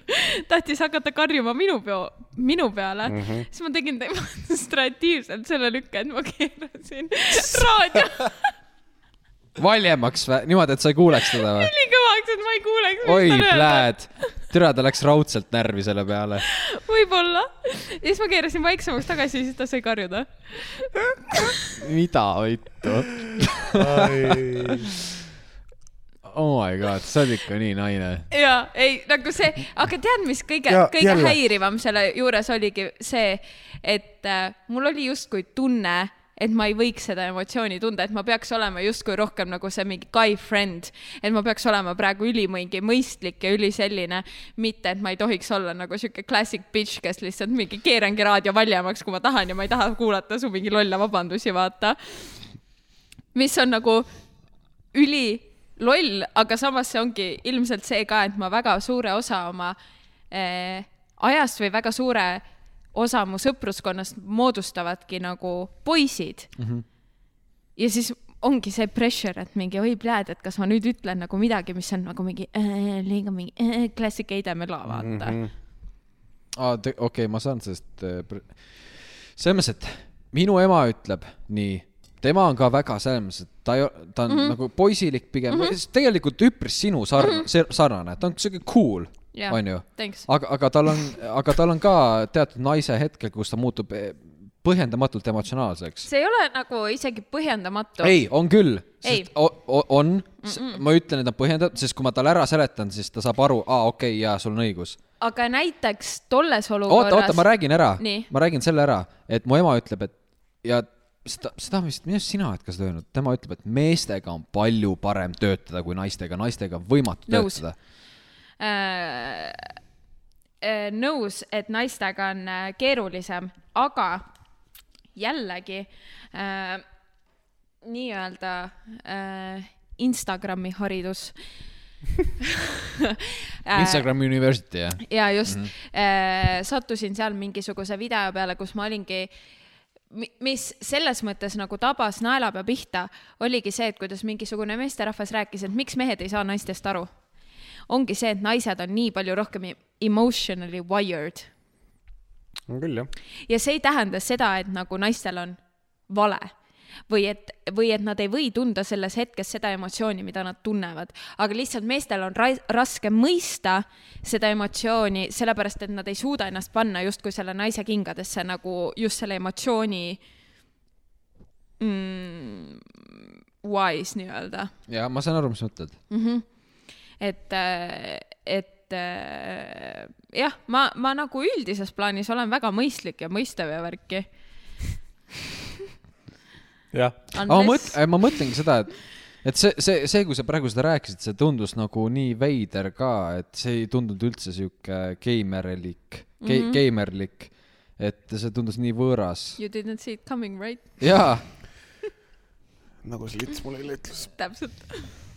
tahtis hakata karjuma minu peo , minu peale mm , -hmm. siis ma tegin demonstratiivselt selle lükke , et ma keerasin raadio valjemaks või ? niimoodi , et sa ei kuuleks teda või ? nii kõvaks , et ma ei kuuleks , mis oi tal öelda pläd , türa , ta läks raudselt närvi selle peale . võib-olla . ja siis ma keerasin vaiksemaks tagasi ja siis ta sai karjuda . mida vittu ? oh my god , sa oled ikka nii naine . ja ei , nagu see , aga tead , mis kõige Ja , kõige jälle. jälle. häirivam selle juures oligi see , et äh, mul oli justkui tunne , et ma ei võiks seda emotsiooni tunda , et ma peaks olema justkui rohkem nagu see mingi guy friend , et ma peaks olema praegu ülimingi mõistlik ja üliselline , mitte et ma ei tohiks olla nagu sihuke classic bitch , kes lihtsalt mingi keerangi raadio valjemaks , kui ma tahan ja ma ei taha kuulata su mingi lolle vabandusi , vaata mis on nagu üli loll , aga samas see ongi ilmselt see ka , et ma väga suure osa oma eh, ajast või väga suure osa mu sõpruskonnast moodustavadki nagu poisid mm . Mhm. -hmm. ja siis ongi see pressure , et mingi oi pläd , et kas ma nüüd ütlen nagu midagi , mis on nagu mingi äh, liiga mingi äh, klassik Heidemela , vaata Mhm. mm . -hmm. aa , okei , ma saan sellest . selles mõttes , et minu ema ütleb nii , tema on ka väga selles mõttes , et ta ei , ta on Mhm. mm -hmm. nagu poisilik pigem mm , -hmm. tegelikult üpris sinu sarnane mm , -hmm. sarnane , ta on siuke cool Jah, yeah. , onju . thanks. aga , aga tal on , aga tal on ka teatud naise hetkel , kus ta muutub eh, põhjendamatult emotsionaalseks . see ei ole nagu isegi põhjendamatu . ei , on küll . Ei. on , ma ütlen , et on põhjendatud , sest kui ma talle ära seletan , siis ta saab aru , aa , okei okay, , jaa , sul on õigus . aga näiteks tolles olukorras . oota , oota , ma räägin ära Nii. , ma räägin selle ära , et mu ema ütleb , et ja seda , seda vist , minu arust sina oled ka seda öelnud , tema ütleb , et meestega on palju parem töötada kui naistega , naistega on võimatu Nõus. töötada . äh, äh, nõus , et naistega on äh, keerulisem , aga jällegi äh, nii-öelda äh, Instagrami haridus äh, . Instagram University , jah ? ja just mm , -hmm. sattusin seal mingisuguse video peale , kus ma olingi , mis selles mõttes nagu tabas naelapea pihta , oligi see , et kuidas mingisugune meesterahvas rääkis , et miks mehed ei saa naistest aru . ongi see , et naised on nii palju rohkem e- emotionally wired on küll jah . ja see ei tähenda seda , et nagu naistel on vale , või et , või et nad ei või tunda selles hetkes seda emotsiooni , mida nad tunnevad , aga lihtsalt meestel on rais- raske mõista seda emotsiooni , sellepärast et nad ei suuda ennast panna justkui selle naise kingadesse nagu just selle emotsiooni mm, wise nii-öelda ja ma saan aru , mis sa mõtled . et , et äh, jah , ma , ma nagu üldises plaanis olen väga mõistlik ja mõistev ja värki . jah , aga ma mõtlen , ma mõtlengi seda , et , et see , see , see , kui sa praegu seda rääkisid , see tundus nagu nii veider ka , et see ei tundunud üldse sihuke geimerlik ge- Mhm. mm , -hmm. geimerlik . et see tundus nii võõras . You didn't see it coming right ? jaa , nagu see lits mulle eile ütles . täpselt .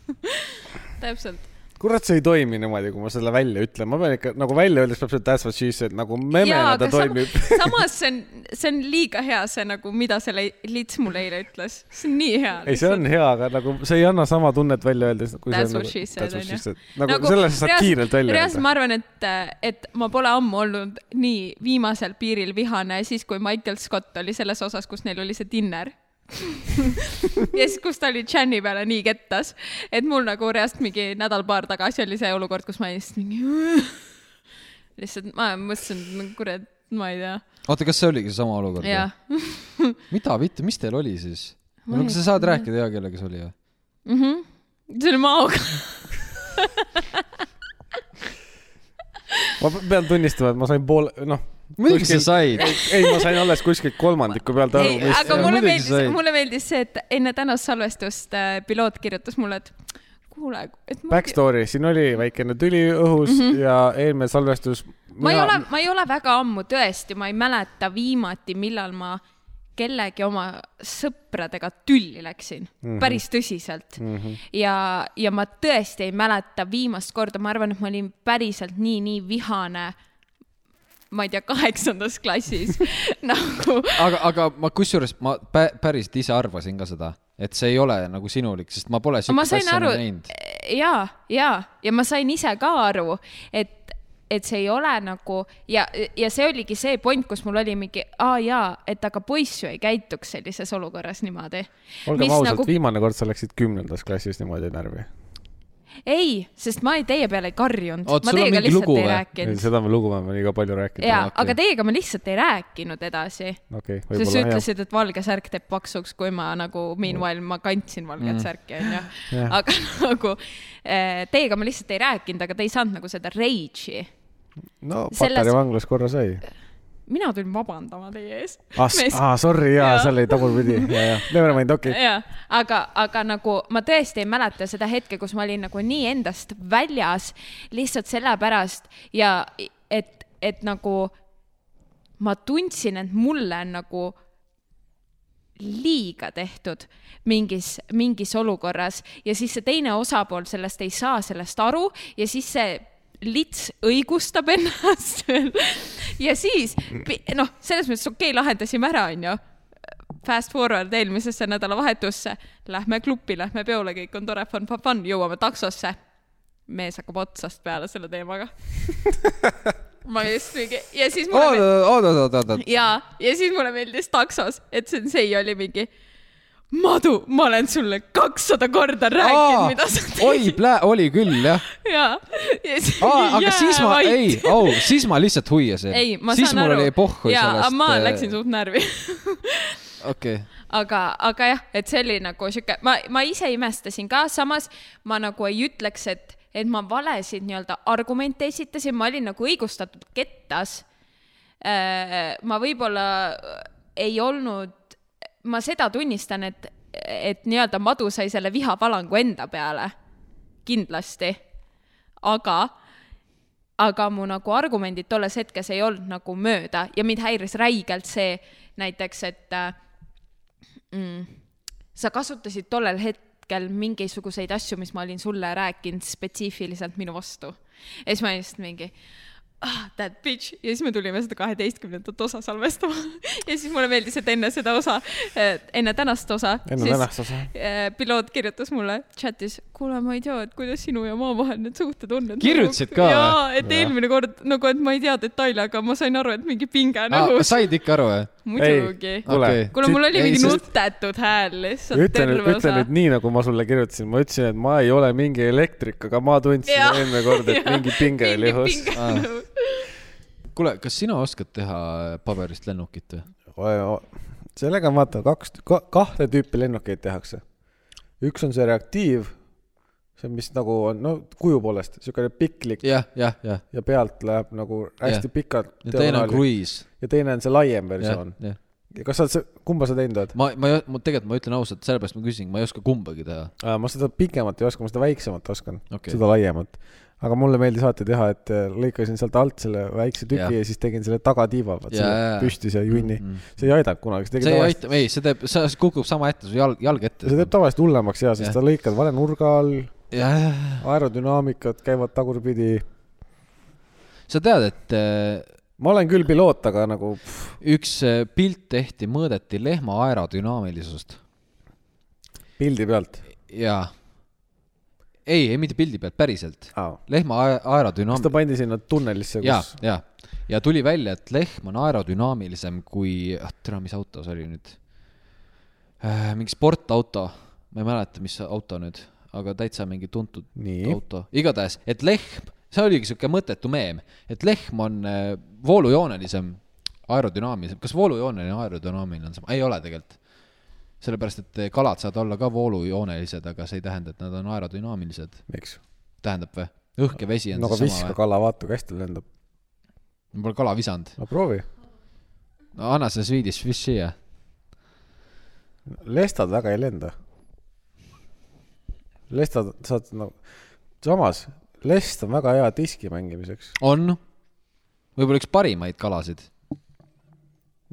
täpselt . kurat , see ei toimi niimoodi , kui ma selle välja ütlen , ma pean ikka nagu välja öeldes peab see that's what she said nagu memena ta toimib . samas see on , see on liiga hea , see nagu , mida see le- lits mulle eile ütles . see on nii hea . ei , see on . hea , aga nagu see ei anna sama tunnet välja öeldes . That's what she said, on ju. nagu, nagu sellest saad kiirelt välja reaalselt ma arvan , et , et ma pole ammu olnud nii viimasel piiril vihane , siis kui Michael Scott oli selles osas , kus neil oli see dinner . ja siis , kus ta oli Jan'i peale nii kettas , et mul nagu reast mingi nädal-paar tagasi oli see olukord , kus ma lihtsalt mingi lihtsalt ma mõtlesin , et nagu kurat , ma ei tea . oota , kas see oligi seesama olukord ? jah , mida , mitte , mis teil oli siis ? Ma no ei kas sa saad rääkida hea kellega see oli või ? see oli maoga . ma pean tunnistama , et ma sain poole , noh . muidugi sa said . ei , ma sain alles kuskilt kolmandiku pealt aru , ei , mis . aga mulle muidugi sai. meeldis , mulle meeldis see , et enne tänast salvestust äh, piloot kirjutas mulle , et kuule , et ma Backstory , siin oli väikene tüli õhus mm -hmm. ja eelmine salvestus . Mhm. ma ei ole , ma ei ole väga ammu , tõesti , ma ei mäleta viimati , millal ma kellegi oma sõpradega tülli läksin mm , -hmm. päris tõsiselt mm . -hmm. ja , ja ma tõesti ei mäleta viimast korda , ma arvan , et ma olin päriselt nii , nii vihane . ma ei tea , kaheksandas klassis nagu aga , aga ma kusjuures ma pä- päriselt ise arvasin ka seda , et see ei ole nagu sinulik , sest ma pole ma siukest sain asja aru aru... näinud ., ja , ja , ja ma sain ise ka aru , et , et see ei ole nagu ja , ja see oligi see point , kus mul oli mingi , aa jaa , et aga poiss ju ei käituks sellises olukorras niimoodi . olgem ausad nagu... , viimane kord sa läksid kümnendas klassis niimoodi närvi . ei , sest ma ei, teie peale ei karjunud Oot, , ma sul on teiega mingi lihtsalt lugu ei või? rääkinud . seda me lugu me oleme liiga palju rääkinud . jaa , okei. aga teiega ma lihtsalt ei rääkinud edasi . okei , sest sa võib-olla . ütlesid , et valge särk teeb paksuks , kui ma nagu meanwhile ma kandsin valget mm. särki onju . Jah. aga nagu eh, teiega ma lihtsalt ei rääkinud , aga te ei saanud nagu seda rage'i no selles- Patarei vanglas korra sai . mina tulin vabandama teie ees . ah , ah , sorry , jaa , Jaa. seal oli tagurpidi , jaa , jaa . Never mind , okei okay. . jaa , aga , aga nagu ma tõesti ei mäleta seda hetke , kus ma olin nagu nii endast väljas lihtsalt sellepärast ja et , et nagu ma tundsin , et mulle on nagu liiga tehtud mingis , mingis olukorras ja siis see teine osapool sellest ei saa sellest aru ja siis see lits õigustab ennast veel . ja siis pi- noh , selles mõttes okei okay, , lahendasime ära , onju . Fast forward eelmisesse nädalavahetusse , lähme klubi , lähme peole , kõik on tore , fun , fun , fun , jõuame taksosse . mees hakkab otsast peale selle teemaga . ma just mingi ja siis mulle oot , oot , oot , oot , oot , ja , ja siis mulle meeldis taksos , et sensei oli mingi . Madu , ma olen sulle kakssada korda rääkinud , mida sa oot . oi , tegid . plää- , oli küll jah . ja , ja siis Aa, aga siis ma , ei , au , siis ma lihtsalt huiasin . ei , ma siis saan mul aru oli pohhu ja sellest . äh, ma läksin . suht närvi . okei , aga , aga jah , et see oli nagu sihuke , ma , ma ise imestasin ka , samas ma nagu ei ütleks , et , et ma valesid nii-öelda argumente esitasin , ma olin nagu õigustatud kettas . ma võib-olla ei olnud , ma seda tunnistan , et , et nii-öelda madu sai selle vihapalangu enda peale , kindlasti , aga aga mu nagu argumendid tolles hetkes ei olnud nagu mööda ja mind häiris räigelt see näiteks , et äh, mm. . sa kasutasid tollel hetkel mingisuguseid asju , mis ma olin sulle rääkinud spetsiifiliselt minu vastu . ja siis ma olin lihtsalt mingi , ah, that bitch ja siis me tulime seda kaheteistkümnendat osa salvestama ja siis mulle meeldis , et enne seda osa , enne tänast osa , enne siis tänast osa . eh, piloot kirjutas mulle chatis , kuule , ma ei tea , et kuidas sinu ja maa vahel need suhted on . Kirjutasid ka või? jaa , et eelmine kord nagu , et ma ei tea detaile , aga ma sain aru , et mingi pinge on ah, . õhus . said ikka aru , jah ? muidugi . kuule Okei. , kuule , mul oli Ei, mingi sest- nutetud hääl lihtsalt ütle nüüd , terve ütle osa nüüd . nii , nagu ma sulle kirjutasin , ma ütlesin , et ma ei ole mingi elektrik , aga ma tundsin Jah. eelmine kord , et mingi pinge oli õhus . Ah. nagu. kuule , kas sina oskad teha paberist lennukit või ? sellega on vaata kaks , kahte tüüpi lennukeid tehakse . üks on see reaktiiv , see , mis nagu on , no kuju poolest niisugune piklik ja, jah , jah , jah . ja pealt läheb nagu hästi Jah. pikalt . ja teine on kruiis . ja teine on see laiem jah versioon ., jah . kas sa oled , kumba sa teinud oled ? ma , ma , ma tegelikult ma ütlen ausalt , sellepärast ma küsin , ma ei oska kumbagi teha . ma seda pikemat ei oska , ma seda väiksemat oskan Okei. okay. , seda laiemat . aga mulle meeldis alati teha , et äh, lõikasin sealt alt selle väikse tüki Jah. ja, ja siis tegin selle tagatiiva , vaat Jaa, jaa. selle püsti see junni mm . -hmm. see ei aidanud kunagi , see see tegi ei tavaliselt , aita , ei , see teeb , see kukub sama ette , su jalg , jalg ette . see teeb tavaliselt hullemaks ja , sest Jah. sa lõikad vale nurga all , jah , aerodünaamikad käivad tagurpidi . sa tead , et äh, ma olen küll piloot , aga nagu pff, üks äh, pilt tehti , mõõdeti lehma aerodünaamilisust pildi pealt . ja ei , ei mitte pildi pealt , päriselt . kas lehma ae- ta aerodünaam- , pandi sinna tunnelisse , ja , kus ? ja , ja tuli välja , et lehm on aerodünaamilisem kui , ah tere , mis auto see oli nüüd äh, ? mingi sportauto , ma ei mäleta , mis auto nüüd , aga täitsa mingi tuntud Nii. auto , igatahes , et lehm , see oligi sihuke mõttetu meem , et lehm on äh, voolujoonelisem , aerodünaamilisem , kas voolujooneline ja aerodünaamiline on sama , ei ole tegelikult sellepärast , et äh, kalad saavad olla ka voolujoonelised , aga see ei tähenda , et nad on aerodünaamilised , miks ? tähendab või ? õhk ja vesi on no aga siis viska sama või ? kala , vaata kui hästi lendab . ma pole kala visanud . no proovi . no anna see Swedish Fish siia . lestad väga ei lenda . lestad saad nagu , samas lest on väga hea diski mängimiseks . on , võib-olla üks parimaid kalasid .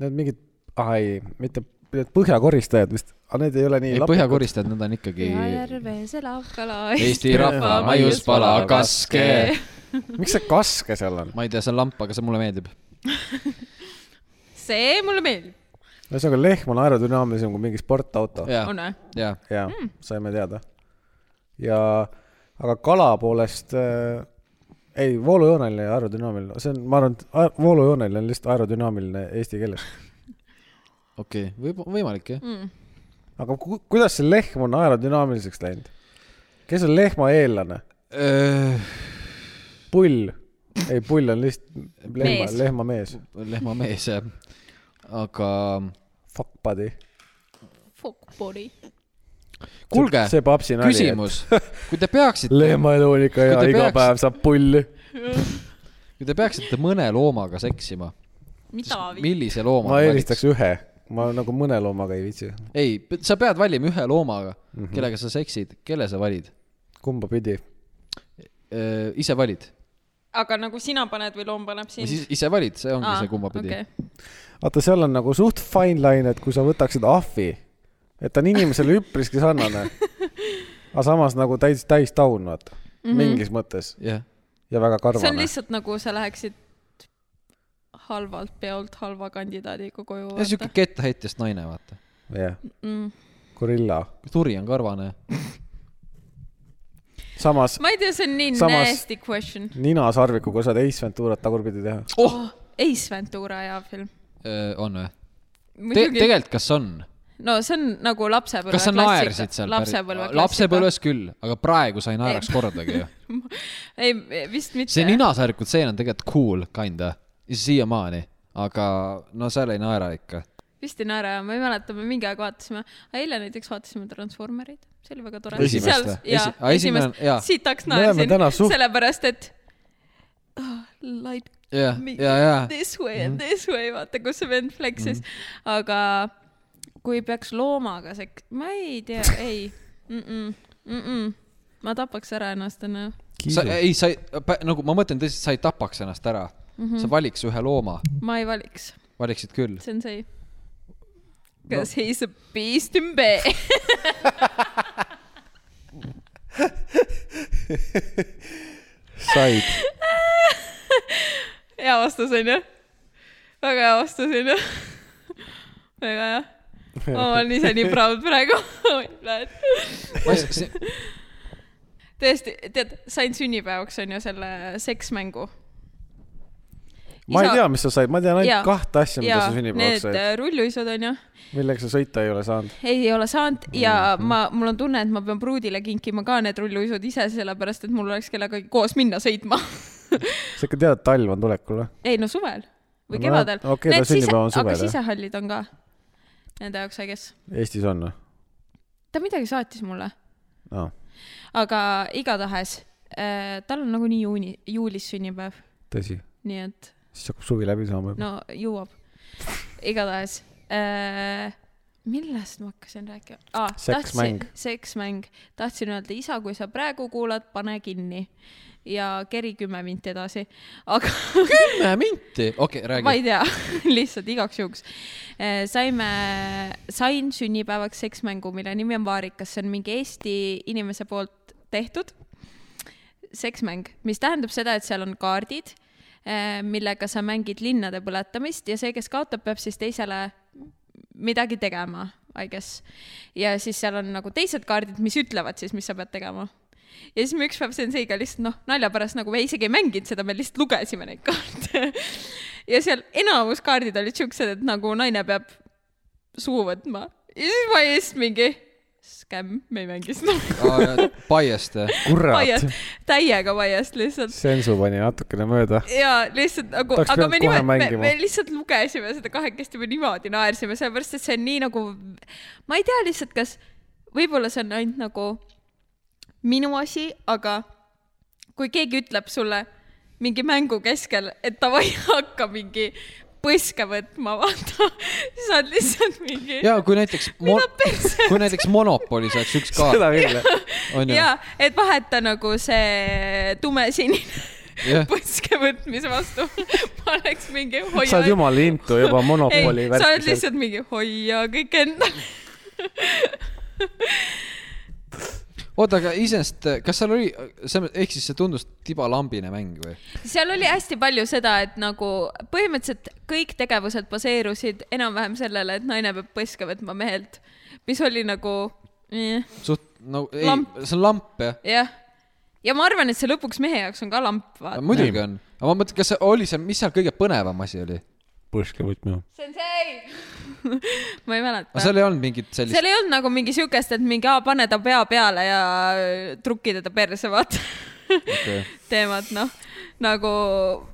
Need mingid , ah ei , mitte need põhjakoristajad vist , aga need ei ole nii ei ,. põhjakoristajad , nad on ikkagi järves elab kala . Eesti rahva maiuspala kaske . miks see kaske seal on ? ma ei tea , see on lamp , aga see mulle meeldib . see mulle meeldib . ühesõnaga lehm on aerodünaamilisem kui mingi sportauto . jaa , on või ? jaa . jaa , saime teada . ja , aga kala poolest äh, , ei , voolujooneline ja aerodünaamiline , see on , ma arvan , et aer- voolujooneline on lihtsalt aerodünaamiline eesti keeles . okei okay. , võib , võimalik Mm. jah . aga ku, kuidas see lehm on aerodünaamiliseks läinud ? kes on lehma eellane ? pull , ei pull on lihtsalt lehma , Mees. lehmamees . lehmamees jah . aga Fuck buddy . Fuck body . kuulge , see papsi nali . küsimus , kui te peaksite , lehmaelu on ikka hea Kui , te iga peaks- päev saab pulli . kui te peaksite mõne loomaga seksima , mida ? millise looma ma ? eelistaks ühe , ma nagu mõne loomaga ei viitsi , ei , sa pead valima ühe loomaga , Mhm. kellega sa seksid , kelle sa valid ? kumba pidi . ise valid , aga nagu sina paned või loom paneb Ah, sind ? siis ise valid , see ongi see kumba pidi . vaata , seal on nagu suht fine line , et kui sa võtaksid ahvi , et ta on inimesele üpriski sarnane , aga samas nagu täis , täis taun , vaata mm , -hmm. mingis mõttes jah , ja väga Mhm. see on karvane . lihtsalt nagu sa läheksid halvalt peolt halva kandidaadiga koju . ja siuke kettaheitjast naine , vaata . jah , Mm. gorilla . turi on karvane . samas ma ei tea , see on nii Samas- Samas... nasty question . ninasarvikuga saad Ace Venturat tagurpidi teha . oh , Ace Ventura hea film . on või ? Te- , muidugi , tegelikult , kas on ? no see on nagu lapsepõlve kas sa naersid seal ? lapsepõlve klassika . lapsepõlves küll , aga praegu sa ei naeraks kordagi ju . ei , vist mitte . see ninasärkud seen on tegelikult cool , kinda , siiamaani , aga no seal ei naera ikka . vist ei naera , ma ei mäleta , me mingi aeg vaatasime , eile näiteks vaatasime Transformereid , see oli väga tore . Esimest või? Esi- aa, esimene on- jaa. siit hakkas Me oleme naersin täna , suht- sellepärast et oh, light jah , me ja , ja , this way Mhm. and this way , vaata kus see vend flex'is mm , -hmm. aga kui peaks loomaga sek- , ma ei tea , ei mm , -mm, mm -mm. ma tapaks ära ennast enne . sa , ei , sa ei , nagu ma mõtlen tõsiselt , sa ei tapaks ennast ära . Mhm. sa valiks ühe looma , ma ei valiks , valiksid küll . see on see . Cause no. he is a beast in bed . said . vastus onju . väga hea vastus onju . väga hea . ma olen ise nii proud praegu . tõesti , tead , sain sünnipäevaks onju selle seksmängu . ma ei tea , mis sa said , ma tean Jaa. ainult kahte asja , mida sa sünnipäevaks Need said , äh, rulluisud onju , millega sa sõita ei ole saanud . ei ei ole saanud ja Mhm. ma , mul on tunne , et ma pean pruudile kinkima ka need rulluisud ise , sellepärast et mul oleks kellegagi koos minna sõitma sa ikka tead , et talv on tulekul või ? ei no suvel No või no, kevadel näed, . okei, ta sünnipäev on suvel, aga jah. sisehallid on ka nende jaoks , I guess . Eestis on või ta midagi saatis mulle , no. ? aga igatahes äh, tal on nagunii juuni , juulis sünnipäev , tõsi , nii et siis hakkab suvi läbi saama juba no. . no jõuab . igatahes äh, , millest ma hakkasin rääkima ah, ? Seksmäng. seksmäng , tahtsin öelda , isa , kui sa praegu kuulad , pane kinni ja keri kümme minti edasi , aga kümme minti , okei , ma räägi ei . tea , lihtsalt igaks juhuks . saime , sain sünnipäevaks seksmängu , mille nimi on Vaarikas , see on mingi Eesti inimese poolt tehtud seksmäng , mis tähendab seda , et seal on kaardid , millega sa mängid linnade põletamist ja see , kes kaotab , peab siis teisele midagi tegema , I guess . ja siis seal on nagu teised kaardid , mis ütlevad siis , mis sa pead tegema . ja siis me ükspäev senseiga lihtsalt noh , nalja pärast nagu me isegi ei mänginud seda , me lihtsalt lugesime neid kaarte . ja seal enamus kaardid olid siuksed , et nagu naine peab suu võtma ja siis ma just mingi , skämm , me ei mängi seda . Biased , kurat Biased , täiega biased lihtsalt sensu pani natukene mööda . ja lihtsalt nagu , Tahaks aga pidanud me kohe niimoodi , me, mängima. me lihtsalt lugesime seda kahekesti , me niimoodi naersime , sellepärast et see on nii nagu , ma ei tea lihtsalt , kas võib-olla see on ainult nagu minu asi , aga kui keegi ütleb sulle mingi mängu keskel , et davai , hakka mingi põske võtma , vaata , siis sa oled lihtsalt mingi ja kui näiteks Mida , perset? kui näiteks Monopolis oleks üks kaart , seda küll , jah . onju , ja et vaheta nagu see tumesinine Eh. Jah. põske võtmise vastu . ma oleks mingi sa oled jumala intu juba Monopoli ei , sa oled värkis . lihtsalt mingi hoia kõik endale . oota , aga iseenesest , kas seal oli , ehk siis see tundus tibalambine mäng või ? seal oli hästi palju seda , et nagu põhimõtteliselt kõik tegevused baseerusid enam-vähem sellele , et naine peab põske võtma mehelt , mis oli nagu eh, suht , no ei Lamp. , see on lamp jah . jah . ja ma arvan , et see lõpuks mehe jaoks on ka lamp , vaata . muidugi on , aga ma mõtlen , kas see oli see , mis seal kõige põnevam asi oli ? põske võtma . Sensei . ma ei mäleta aga . seal ei olnud mingit sellist , seal ei olnud nagu mingi siukest , et mingi aa , pane ta pea peale ja trukki teda perse , vaata okay. . teemat , noh , nagu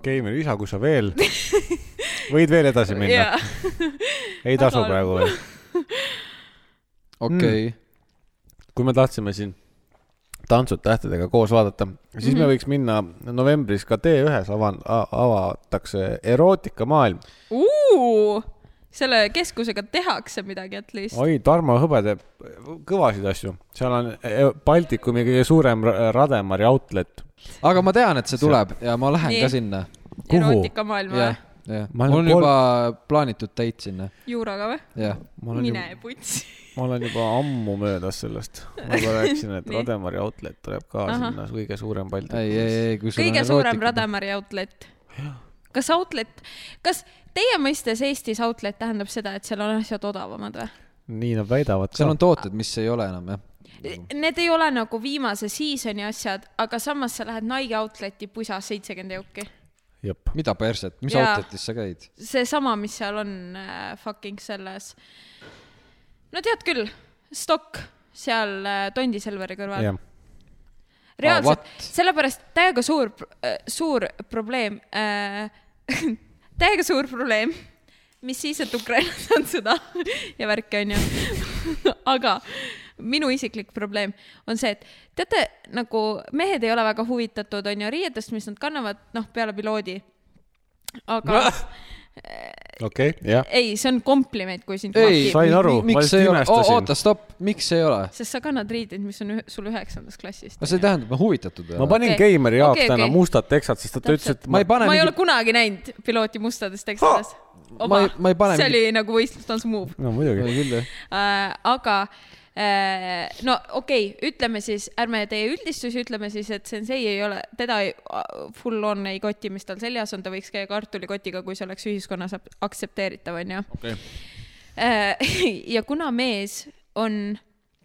Keimeri isa , kui sa veel võid veel edasi minna , jaa , ei tasu Aga- praegu veel . okei , kui me tahtsime siin tantsud tähtedega koos vaadata , siis mm Mhm. -hmm. me võiks minna novembris ka T1-s avan- , avatakse erootikamaailm . selle keskusega tehakse midagi , et lihtsalt . oi , Tarmo Hõbe teeb kõvasid asju , seal on e- Baltikumi kõige suurem ra- Rademari outlet . aga ma tean , et see tuleb ja ma lähen Nii. ka sinna . kuhu? erootikamaailma jah või ?, jah , Ma mul olen on pol- juba plaanitud date sinna , juuraga või ? jah . ma olen mine juba , putsi . ma olen juba ammu möödas sellest , ma juba rääkisin , et Nii. Rademari outlet tuleb ka Ahah. sinna , kõige suurem ei , ei Baltikumis ., ei , kui sul kõige suurem erootika- Rademari outlet . kas outlet , kas teie mõistes Eestis outlet tähendab seda , et seal on asjad odavamad või ? nii nad väidavad seal ka on . tooted , mis ei ole enam jah . Need ei ole nagu viimase seasoni asjad , aga samas sa lähed Nike Outleti pusas seitsekümmend jooki . jep , mida perset , mis Jaa. outlet'is sa käid ? seesama , mis seal on äh, fucking selles . no tead küll , Stock seal äh, Tondi Selveri kõrval jah .. reaalselt Ah, oh, what? , sellepärast täiega suur , suur probleem äh, , täiega suur probleem , mis siis , et Ukrainas on sõda ja värki onju . aga minu isiklik probleem on see , et teate , nagu mehed ei ole väga huvitatud onju riietest , mis nad kannavad , noh , peale piloodi . aga okei , jah . ei , see on kompliment , kui sind ei , maki , Sain aru, ma miks lihtsalt ei ole , imestasin. oota , stopp , miks ei ole ? sest sa kannad riideid , mis on ühe, sul üheksandast klassist . no see tähendab , et ma huvitatud ei ma ole . panin Okei. okay. Keimeri jaoks Okei, okay, täna okei. okay. mustad teksad , sest et ta Täpselt. ütles , et ma ei pane ma ei ole mingit , kunagi näinud pilooti mustades tekstides . Ma ei- ma ei pane see mingi- oli nagu võistlustantsu move . no muidugi , küll jah . aga äh, no okei okay, , ütleme siis , ärme tee üldistusi , ütleme siis , et sensei ei ole , teda ei, full on ei koti , mis tal seljas on , ta võiks käia kartulikotiga , kui see oleks ühiskonnas ap- aktsepteeritav , onju . okei . ja kuna mees on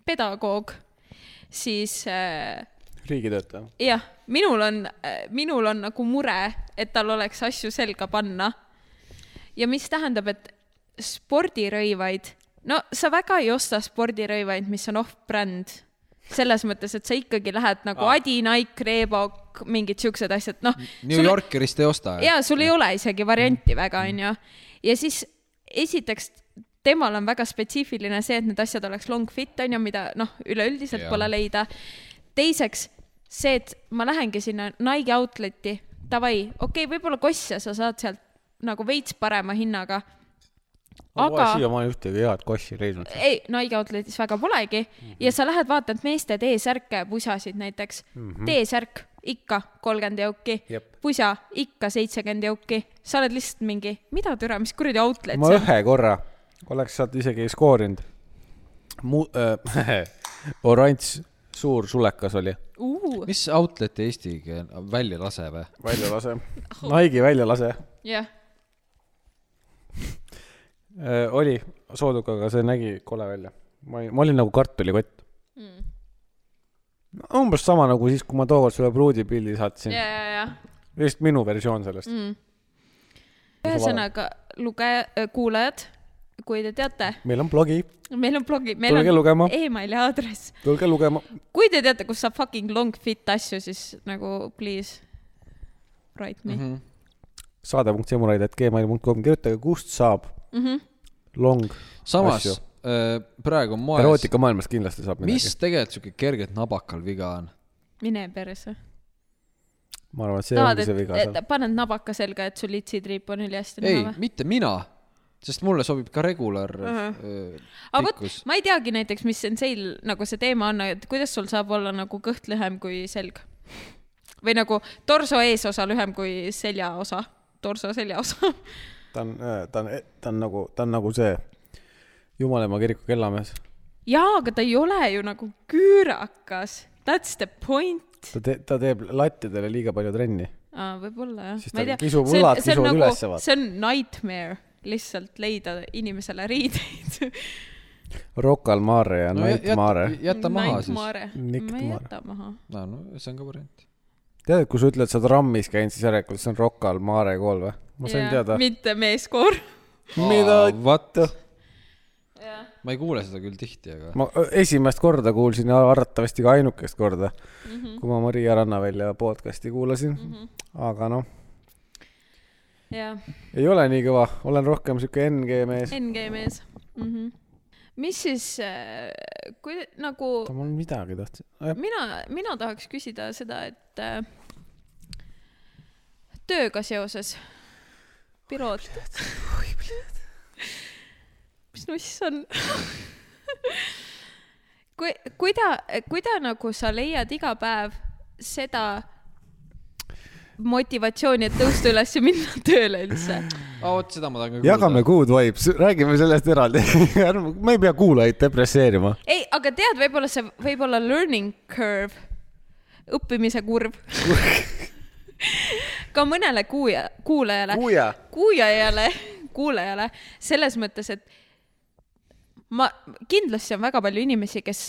pedagoog , siis äh, riigitöötaja . jah , minul on , minul on nagu mure , et tal oleks asju selga panna . ja mis tähendab , et spordirõivaid , no sa väga ei osta spordirõivaid , mis on off-bränd . selles mõttes , et sa ikkagi lähed nagu Aa. Adi , Nike , Reebok , mingid siuksed asjad , noh . New Yorkerist ei osta . jaa , sul ei ole isegi varianti väga , onju . ja siis esiteks , temal on väga spetsiifiline see , et need asjad oleks long fit , onju , mida noh , üleüldiselt Jaa. pole leida . teiseks see , et ma lähengi sinna Nike outlet'i , davai , okei okay, , võib-olla kosse sa saad sealt nagu veits parema hinnaga . ma pole aga siiamaani ühtegi head kossi leidnud . ei , Nike outlet'is väga polegi mm -hmm. ja Mhm. sa lähed vaatad meeste T-särke ja pusasid näiteks mm -hmm. . T-särk ikka kolmkümmend jauki Mhm. Jep. , pusa ikka seitsekümmend jauki , sa oled lihtsalt mingi , mida türa , mis kuradi outlet ma see on ? ühe korra oleks sealt isegi skoorinud . mu- äh, , oranž suur sulekas oli . Uh, mis outlet'i Eesti keel- välja lase või ? väljalase . Nike'i väljalase jah , äh, . oli soodukaga , see nägi kole välja . ma olin , ma olin nagu kartulikott Mm. mm. . umbes sama nagu siis , kui ma tookord sulle pruudipildi saatsin ja , yeah. . ja , ja just minu versioon sellest mm. . mm. . ühesõnaga , lugeja , kuulajad , kui te teate , meil on blogi , meil on blogi , meil tulge on lugema , emaili aadress . tulge lugema . kui te teate , kus saab fucking long fit asju , siis nagu please write Mhm. me mm . -hmm. saade.semuraid.gmail.com , kirjutage , kust saab mm Mhm. -hmm. long . samas Asju. öö, praegu on moes , erootikamaailmas kindlasti saab midagi mis . tegelikult siuke kergelt nabakal viga on ? mine perse . ma arvan , et see tahad , ongi see et, viga et seal . paned nabaka selga , et sul itsitriip on ülihästi ei näha , või ? mitte mina , sest mulle sobib ka regular äh, öö, Mhm. aga vot pikkus ,. ma ei teagi näiteks , mis senseil nagu see teema on , et kuidas sul saab olla nagu kõht lühem kui selg ? või nagu torso eesosa lühem kui seljaosa , torso seljaosa . ta on , ta on , ta on nagu , ta on nagu see Jumalamaa kiriku kellamees . jaa , aga ta ei ole ju nagu küürakas . That's the point . ta te- , ta teeb lattidele liiga palju trenni . aa , võib-olla jah Siis . tal kisub õlad, kisuvad ülesse, vaata. see on nightmare , lihtsalt leida inimesele riideid . Rocca al Mare ja no, Night Mare . jäta maha siis . Nick ma ei Mare. jäta maha . no , no see on ka variant . tead , kui sa ütled , sa oled RAM-is käinud , siis järelikult see on Rocca al Mare kool või ? ma sain teada . mitte meeskoor . mida ? vat ? ma ei kuule seda küll tihti , aga ma ö, esimest korda kuulsin ja arvatavasti ka ainukest korda mm , -hmm. kui ma Maria Rannavälja podcast'i kuulasin mm . -hmm. aga noh , jah ei ole nii kõva , olen rohkem sihuke NG mees . NG mees mm . -hmm. mis siis , kui nagu mul midagi tahtsin . mina , mina tahaks küsida seda , et äh, tööga seoses . piloot . mis nuss on ? kui , kuida , kuida nagu sa leiad iga päev seda motivatsiooni , et tõusta üles ja minna tööle üldse ? aa , vot seda ma tahan ka jagame . good vibes , räägime sellest eraldi . ärme , me ei pea kuulajaid depresseerima . ei , aga tead , võib-olla see , võib-olla learning curve , õppimise kurv . ka mõnele kuuja , kuulajale , kuuja . kuulajale , kuulajale selles mõttes , et ma , kindlasti on väga palju inimesi , kes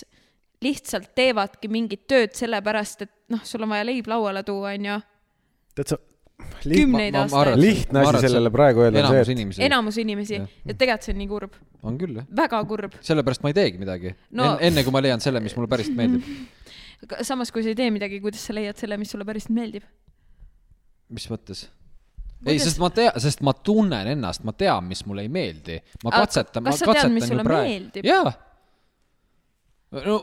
lihtsalt teevadki mingit tööd sellepärast , et noh , sul on vaja leib lauale tuua , onju . tead sa , Kümneid aastaid. lihtne asi sellele praegu öelda on enamus see , inimesi Enam... enamus inimesi Jah. ja tegelikult see on nii kurb , on küll jah , väga kurb . sellepärast ma ei teegi midagi No- no... . enne kui ma leian selle , mis mulle päriselt meeldib , samas , kui sa ei tee midagi , kuidas sa leiad selle , mis sulle päriselt meeldib ? mis mõttes ? ei , Kuidas- sest ma tean , sest ma tunnen ennast , ma tean , mis mulle ei meeldi . ma Aga katsetan , ma kas sa tead, katsetan mis sulle praegu- meeldib? jaa . no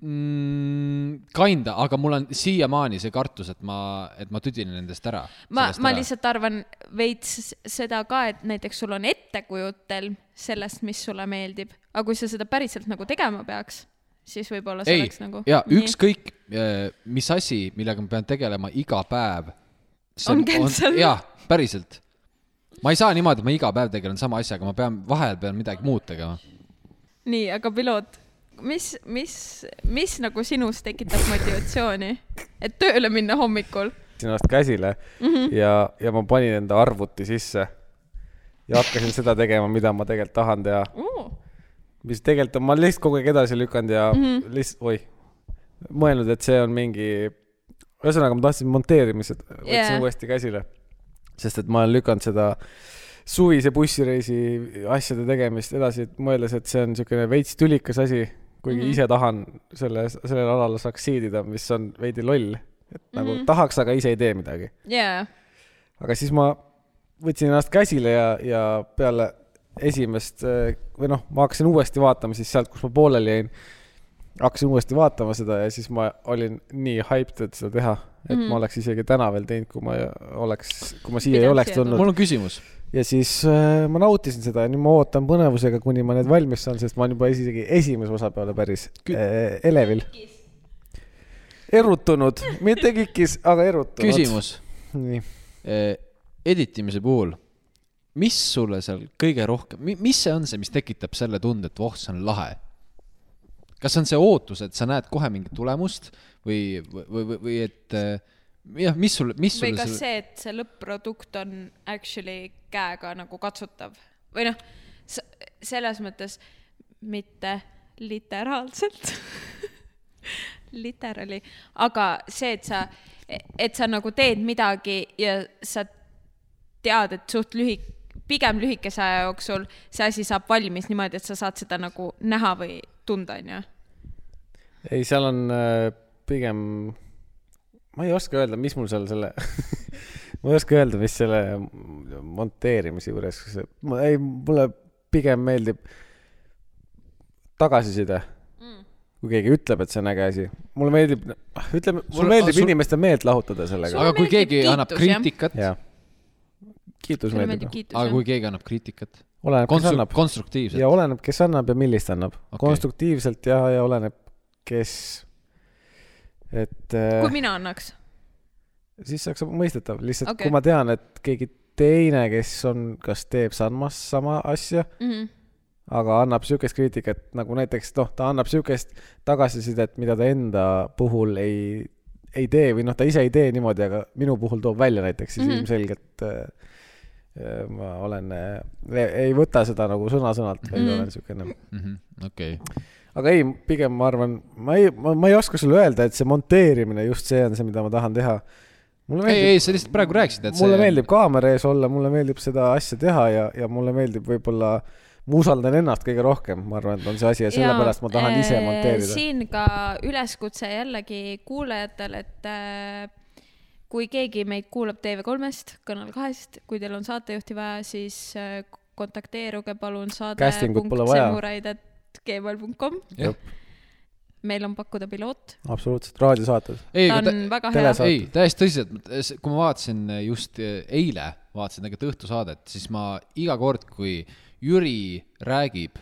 mm, , kinda , aga mul on siiamaani see kartus , et ma , et ma tüdinen endast ära . ma , ma . lihtsalt arvan veits seda ka , et näiteks sul on ettekujutelm sellest , mis sulle meeldib , aga kui sa seda päriselt nagu tegema peaks , siis võib-olla see ei oleks nagu . ja . ükskõik , mis asi , millega ma pean tegelema iga päev . On cancel. jah , päriselt . ma ei saa niimoodi , et ma iga päev tegelen sama asjaga , ma pean , vahel pean midagi muud tegema . nii , aga piloot , mis , mis , mis nagu sinus tekitab motivatsiooni , et tööle minna hommikul ? ennast käsile mm -hmm. ja , ja ma panin enda arvuti sisse ja hakkasin seda tegema , mida ma tegelikult tahan teha , mis tegelikult on , ma olen lihtsalt kogu aeg edasi lükanud ja mm -hmm. lihtsalt , oih , mõelnud , et see on mingi , ühesõnaga ma tahtsin monteerimised , võtsin Jaa. yeah. uuesti käsile , sest et ma olen lükanud seda suvise bussireisi asjade tegemist edasi , mõeldes , et see on niisugune veits tülikas asi , kuigi mm -hmm. ise tahan selle , sellel alal succeedida , mis on veidi loll , et nagu mm -hmm. tahaks , aga ise ei tee midagi . jaa , aga siis ma võtsin ennast käsile ja , ja peale esimest äh, või noh , ma hakkasin uuesti vaatama siis sealt , kus ma pooleli jäin . hakkasin uuesti vaatama seda ja siis ma olin nii hyped , et seda teha , et Mhm. mm -hmm. ma oleks isegi täna veel teinud , kui ma oleks , kui ma siia ei Pidanud oleks siia tulnud . mul on küsimus . ja siis äh, ma nautisin seda ja nüüd ma ootan põnevusega , kuni ma need valmis saan , sest ma olen juba isegi esimese osa peale päris Kü- äh, elevil . erutunud , mitte kikis , aga erutunud . küsimus . nii , Edit imise puhul , mis sulle seal kõige rohkem , mis see on see , mis tekitab selle tunde , et voh , see on lahe ? kas see on see ootus , et sa näed kohe mingit tulemust või , või , või , või et eh, jah , mis sul , mis või sul kas see , et see lõpp-produkt on actually käega nagu katsutav või noh , selles mõttes mitte literaalselt , literaali , aga see , et sa , et sa nagu teed midagi ja sa tead , et suht lühi- , pigem lühikese aja jooksul see asi saab valmis niimoodi , et sa saad seda nagu näha või tunda , onju . ei , seal on äh, pigem , ma ei oska öelda , mis mul seal selle , ma ei oska öelda , mis selle monteerimise juures , ma ei , mulle pigem meeldib tagasiside mm. kui keegi ütleb , et see on äge asi , mulle meeldib , ütleme , Sul- mulle meeldib sul- sul... inimeste meelt lahutada sellega . aga kui meeldib keegi kiitus, annab jah? kriitikat , jaa . kiitus sulle meeldib meeldib meeldi. . kiitus aga ? kui keegi annab kriitikat , oleneb , kes annab konstruktiivselt ja , oleneb , kes annab ja millist annab okay. . Okei. konstruktiivselt ja , ja oleneb , kes , et äh, kui mina annaks , siis saaks olla mõistetav , lihtsalt okay. Okei. kui ma tean , et keegi teine , kes on , kas teeb samas sama asja , Mhm. aga annab siukest kriitikat nagu näiteks noh , ta annab siukest tagasisidet , mida ta enda puhul ei , ei tee või noh , ta ise ei tee niimoodi , aga minu puhul toob välja näiteks , siis mm Mhm. -hmm. ilmselgelt äh, äh, ma olen , ei võta seda nagu sõna-sõnalt , vaid mm Mhm. -hmm. olen siukene Mhm, okei , aga ei , pigem ma arvan , ma ei , ma ei oska sulle öelda , et see monteerimine just see on see , mida ma tahan teha . mulle ei , meeldib , ei sa lihtsalt praegu rääkisid , et mulle meeldib kaamera ees olla , mulle meeldib seda asja teha ja , ja mulle meeldib võib-olla , ma usaldan ennast kõige rohkem , ma arvan , et on see asi ja sellepärast ma tahan ise monteerida . äh, siin ka üleskutse jällegi kuulajatele , et äh, kui keegi meid kuulab TV3-st , Kanal kahest , kui teil on saatejuhti vaja , siis äh, kontakteeruge palun saade . Casting ut pole vaja. gmail.com , Jah. meil on pakkuda piloot , absoluutselt , raadiosaates . ei , ta aga on väga hea telesaade. . ei , täiesti tõsiselt , kui ma vaatasin just e, eile , vaatasin tegelikult õhtusaadet , siis ma iga kord , kui Jüri räägib ,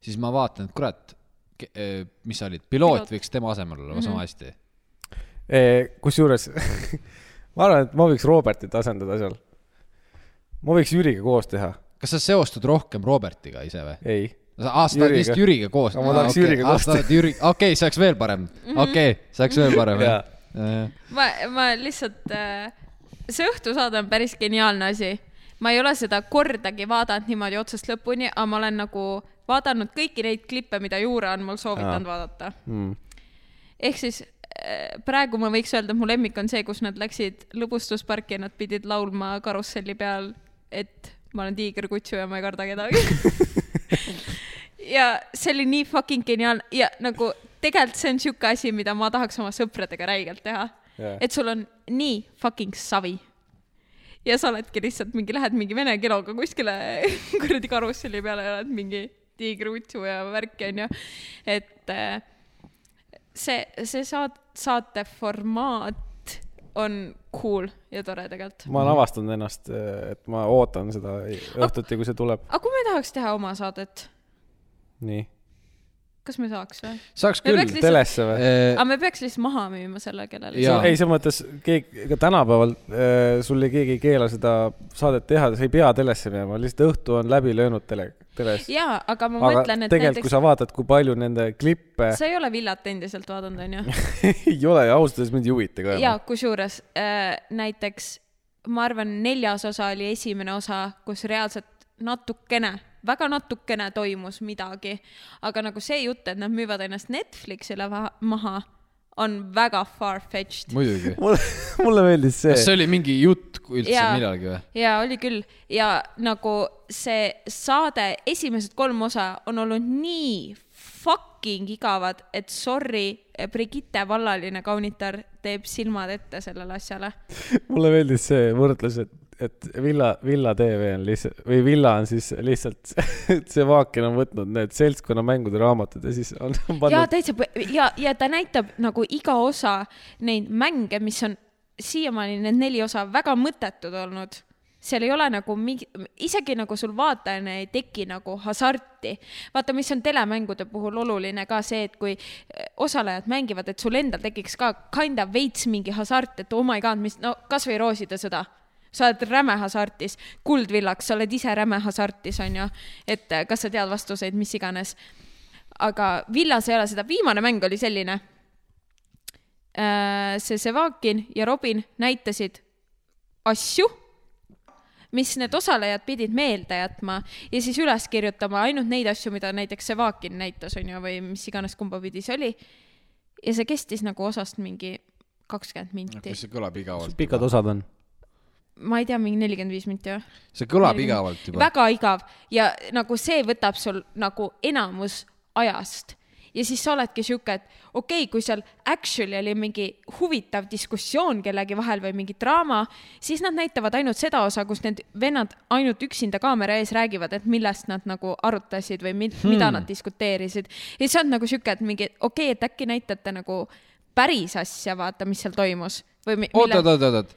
siis ma vaatan , et kurat , mis sa olid , piloot Piloot. Mhm. võiks tema asemel olla sama hästi . kusjuures ma arvan , et ma võiks Robertit asendada seal . ma võiks Jüriga koos teha , kas sa seostud rohkem Robertiga ise või ? ei , aa , sa tahad Jüriga. vist Jüriga koos . Aga ma tahaks Jüriga koos Jüri , okei , see oleks veel parem , Mhm. okei , see oleks veel parem Äh, Jaa. . ma , ma lihtsalt , see õhtusaade on päris geniaalne asi . ma ei ole seda kordagi vaadanud niimoodi otsast lõpuni , aga ma olen nagu vaadanud kõiki neid klippe , mida Juura on mul soovitanud vaadata Mm. . ehk siis äh, praegu ma võiks öelda , et mu lemmik on see , kus nad läksid lõbustusparki ja nad pidid laulma karusselli peal , et ma olen tiigerkutsu ja ma ei karda kedagi . ja see oli nii fucking geniaalne ja nagu tegelikult see on sihuke asi , mida ma tahaks oma sõpradega räigelt teha Jaa. et sul on nii fucking savi . ja sa oledki lihtsalt mingi , lähed mingi vene kiloga kuskile kuradi karusselli peale ja oled mingi tiigrutsu ja värki onju , et äh, see , see saat- , saate formaat on cool ja tore tegelikult . ma olen avastanud ennast , et ma ootan seda õhtuti , kui see tuleb , aga kui me tahaks teha oma saadet , nii . kas me saaks või ? saaks Me küll Äh, peaks . telesse või ? aga me peaks lihtsalt maha müüma selle , kellele Jaa. Sa- ei , selles mõttes keegi , ega tänapäeval äh, sul ei keegi ei keela seda saadet teha , sa ei pea telesse minema , lihtsalt õhtu on läbi löönud telega . teles . jaa , aga ma aga aga mõtlen , et tegelikult , kui näiteks sa... sa vaatad , kui palju nende klippe sa ei ole Villat endiselt vaadanud , onju ? ei ole ja ausalt öeldes mind ei huvita ka jaa , kusjuures äh, näiteks ma arvan , neljas osa oli esimene osa , kus reaalselt natukene , väga natukene toimus midagi , aga nagu see jutt , et nad müüvad ennast Netflixile va- maha , on väga far-fetched . muidugi . mulle , mulle meeldis kas see . see oli mingi jutt kui üldse Jaa. millalgi või ? jaa , oli küll ja nagu see saade , esimesed kolm osa on olnud nii fucking igavad , et sorry , Brigitte Vallaline kaunitar teeb silmad ette sellele asjale . mulle meeldis see võrdlus , et , et Villa , Villa tv on lihtsalt või Villa on siis lihtsalt see vaaken on võtnud need seltskonnamängude raamatud ja siis on ja pannud . täitsa põ- ja , ja ta näitab nagu iga osa neid mänge , mis on siiamaani need neli osa väga mõttetud olnud . seal ei ole nagu mingi , isegi nagu sul vaatajana ei teki nagu hasarti . vaata , mis on telemängude puhul oluline ka see , et kui eh, osalejad mängivad , et sul endal tekiks ka kinda veits mingi hasart , et oh my god , mis , no kasvõi rooside sõda sa oled räme hasartis , kuldvillaks , sa oled ise räme hasartis , onju . et eh, kas sa tead vastuseid , mis iganes aga Villas ei ole seda , viimane mäng oli selline . see Sevakin ja Robin näitasid asju , mis need osalejad pidid meelde jätma ja siis üles kirjutama ainult neid asju , mida näiteks Sevakin näitas , onju , või mis iganes kumba pidi see oli . ja see kestis nagu osast mingi kakskümmend minti , see kõlab igavalt . pikad osad on ? ma ei tea , mingi nelikümmend viis minti või ? see kõlab igavalt juba . väga igav ja nagu see võtab sul nagu enamus ajast ja siis sa oledki sihuke , et okei okay, , kui seal actually oli mingi huvitav diskussioon kellegi vahel või mingi draama , siis nad näitavad ainult seda osa , kus need vennad ainult üksinda kaamera ees räägivad , et millest nad nagu arutasid või mid, hmm. mida nad diskuteerisid . ja siis on nagu sihuke , et mingi okei okay, , et äkki näitate nagu päris asja , vaata , mis seal toimus või mi- oot , oot , oot , oot , oot .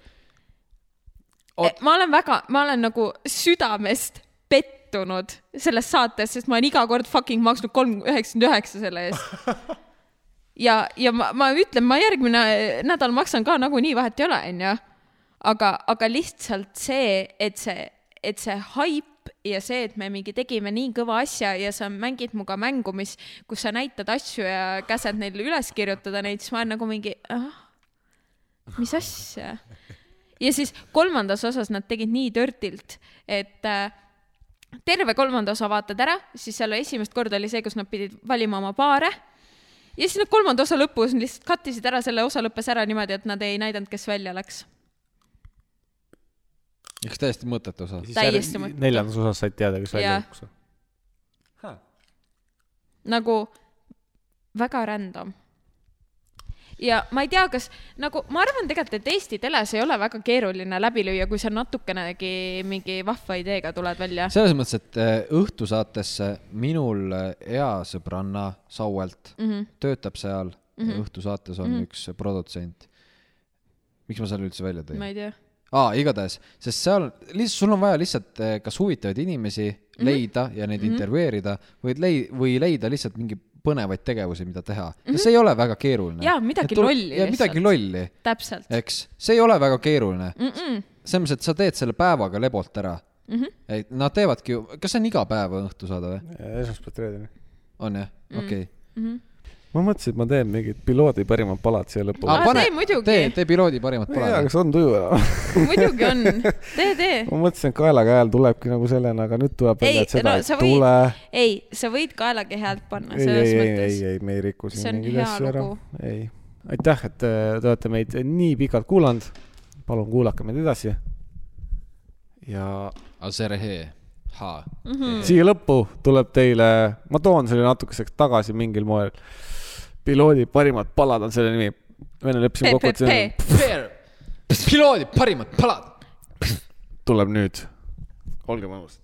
Oot- Et ma olen väga , ma olen nagu südamest pettunud selles saates , sest ma olen iga kord fucking maksnud kolm üheksakümmend üheksa selle eest . ja , ja ma , ma ütlen , ma järgmine nädal maksan ka nagunii , vahet ei ole , onju . aga , aga lihtsalt see , et see , et see haip ja see , et me mingi tegime nii kõva asja ja sa mängid muga mängu , mis , kus sa näitad asju ja käsed neil üles kirjutada neid , siis ma olen nagu mingi ah, , mis asja ja siis kolmandas osas nad tegid nii törtilt , et äh, terve kolmanda osa vaatad ära , siis seal esimest korda oli see , kus nad pidid valima oma paare . ja siis nad kolmanda osa lõpus lihtsalt cut isid ära , selle osa lõppes ära niimoodi , et nad ei näidanud , kes välja läks . üks täiesti mõttetu osa . Täiesti mõttetu. neljandas osas said teada , kes välja Jah. jooksis . nagu väga random . ja ma ei tea , kas nagu ma arvan tegelikult , et Eesti teles ei ole väga keeruline läbi lüüa , kui sa natukenegi mingi vahva ideega tuled välja . selles mõttes , et eh, õhtusaatesse minul eh, hea sõbranna Sauelt mm Mhm. -hmm. töötab seal mm , -hmm. õhtusaates on mm -hmm. üks produtsent . miks ma selle üldse välja tõin ? ma ei tea . aa , igatahes , sest seal lihtsalt sul on vaja lihtsalt eh, kas huvitavaid inimesi mm Mhm. -hmm. leida ja neid mm -hmm. intervjueerida või lei- , või leida lihtsalt mingi põnevaid tegevusi , mida teha mm . -hmm. see ei ole väga keeruline . Mhm. Jaa, midagi lolli ja midagi lihtsalt. Mhm. lolli , täpselt . eks , see ei ole väga keeruline mm . Mm-mm. Mhm. selles mõttes , et sa teed selle päevaga lebolt ära mm . -hmm. et nad teevadki , kas see on iga päev õhtusaade Mhm. või ? esmaspäev reedeni . on jah , Mhm. okei . ma mõtlesin , et ma teen mingit piloodi parimat palat siia lõppu . Aa, tee muidugi. tee , tee piloodi parimat ma ei tea , pole . kas on tuju enam . muidugi on , tee , tee . ma mõtlesin , et kaelaga hääl tulebki nagu sellena , aga nüüd tuleb Eh. ei välja , et seda no ei sa võid tule ,. ei , sa võid kaelagi häält panna , ei , ei selles , ei , ei , mõttes . ei , me ei riku See siin on mingeid hea asju ära lugu. . ei , aitäh , et äh, te olete meid nii pikalt kuulanud . palun kuulake meid edasi . ja Aserhe , ha . Mhm. Hmm. siia lõppu tuleb teile , ma toon selle natukeseks tagasi mingil moel . piloodi parimad palad on selle nimi . Vene leppisime kokku , et see on- PPP , piloodi parimad palad . tuleb nüüd . olge mõnusad .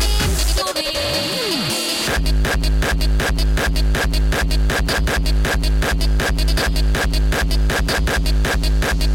Парим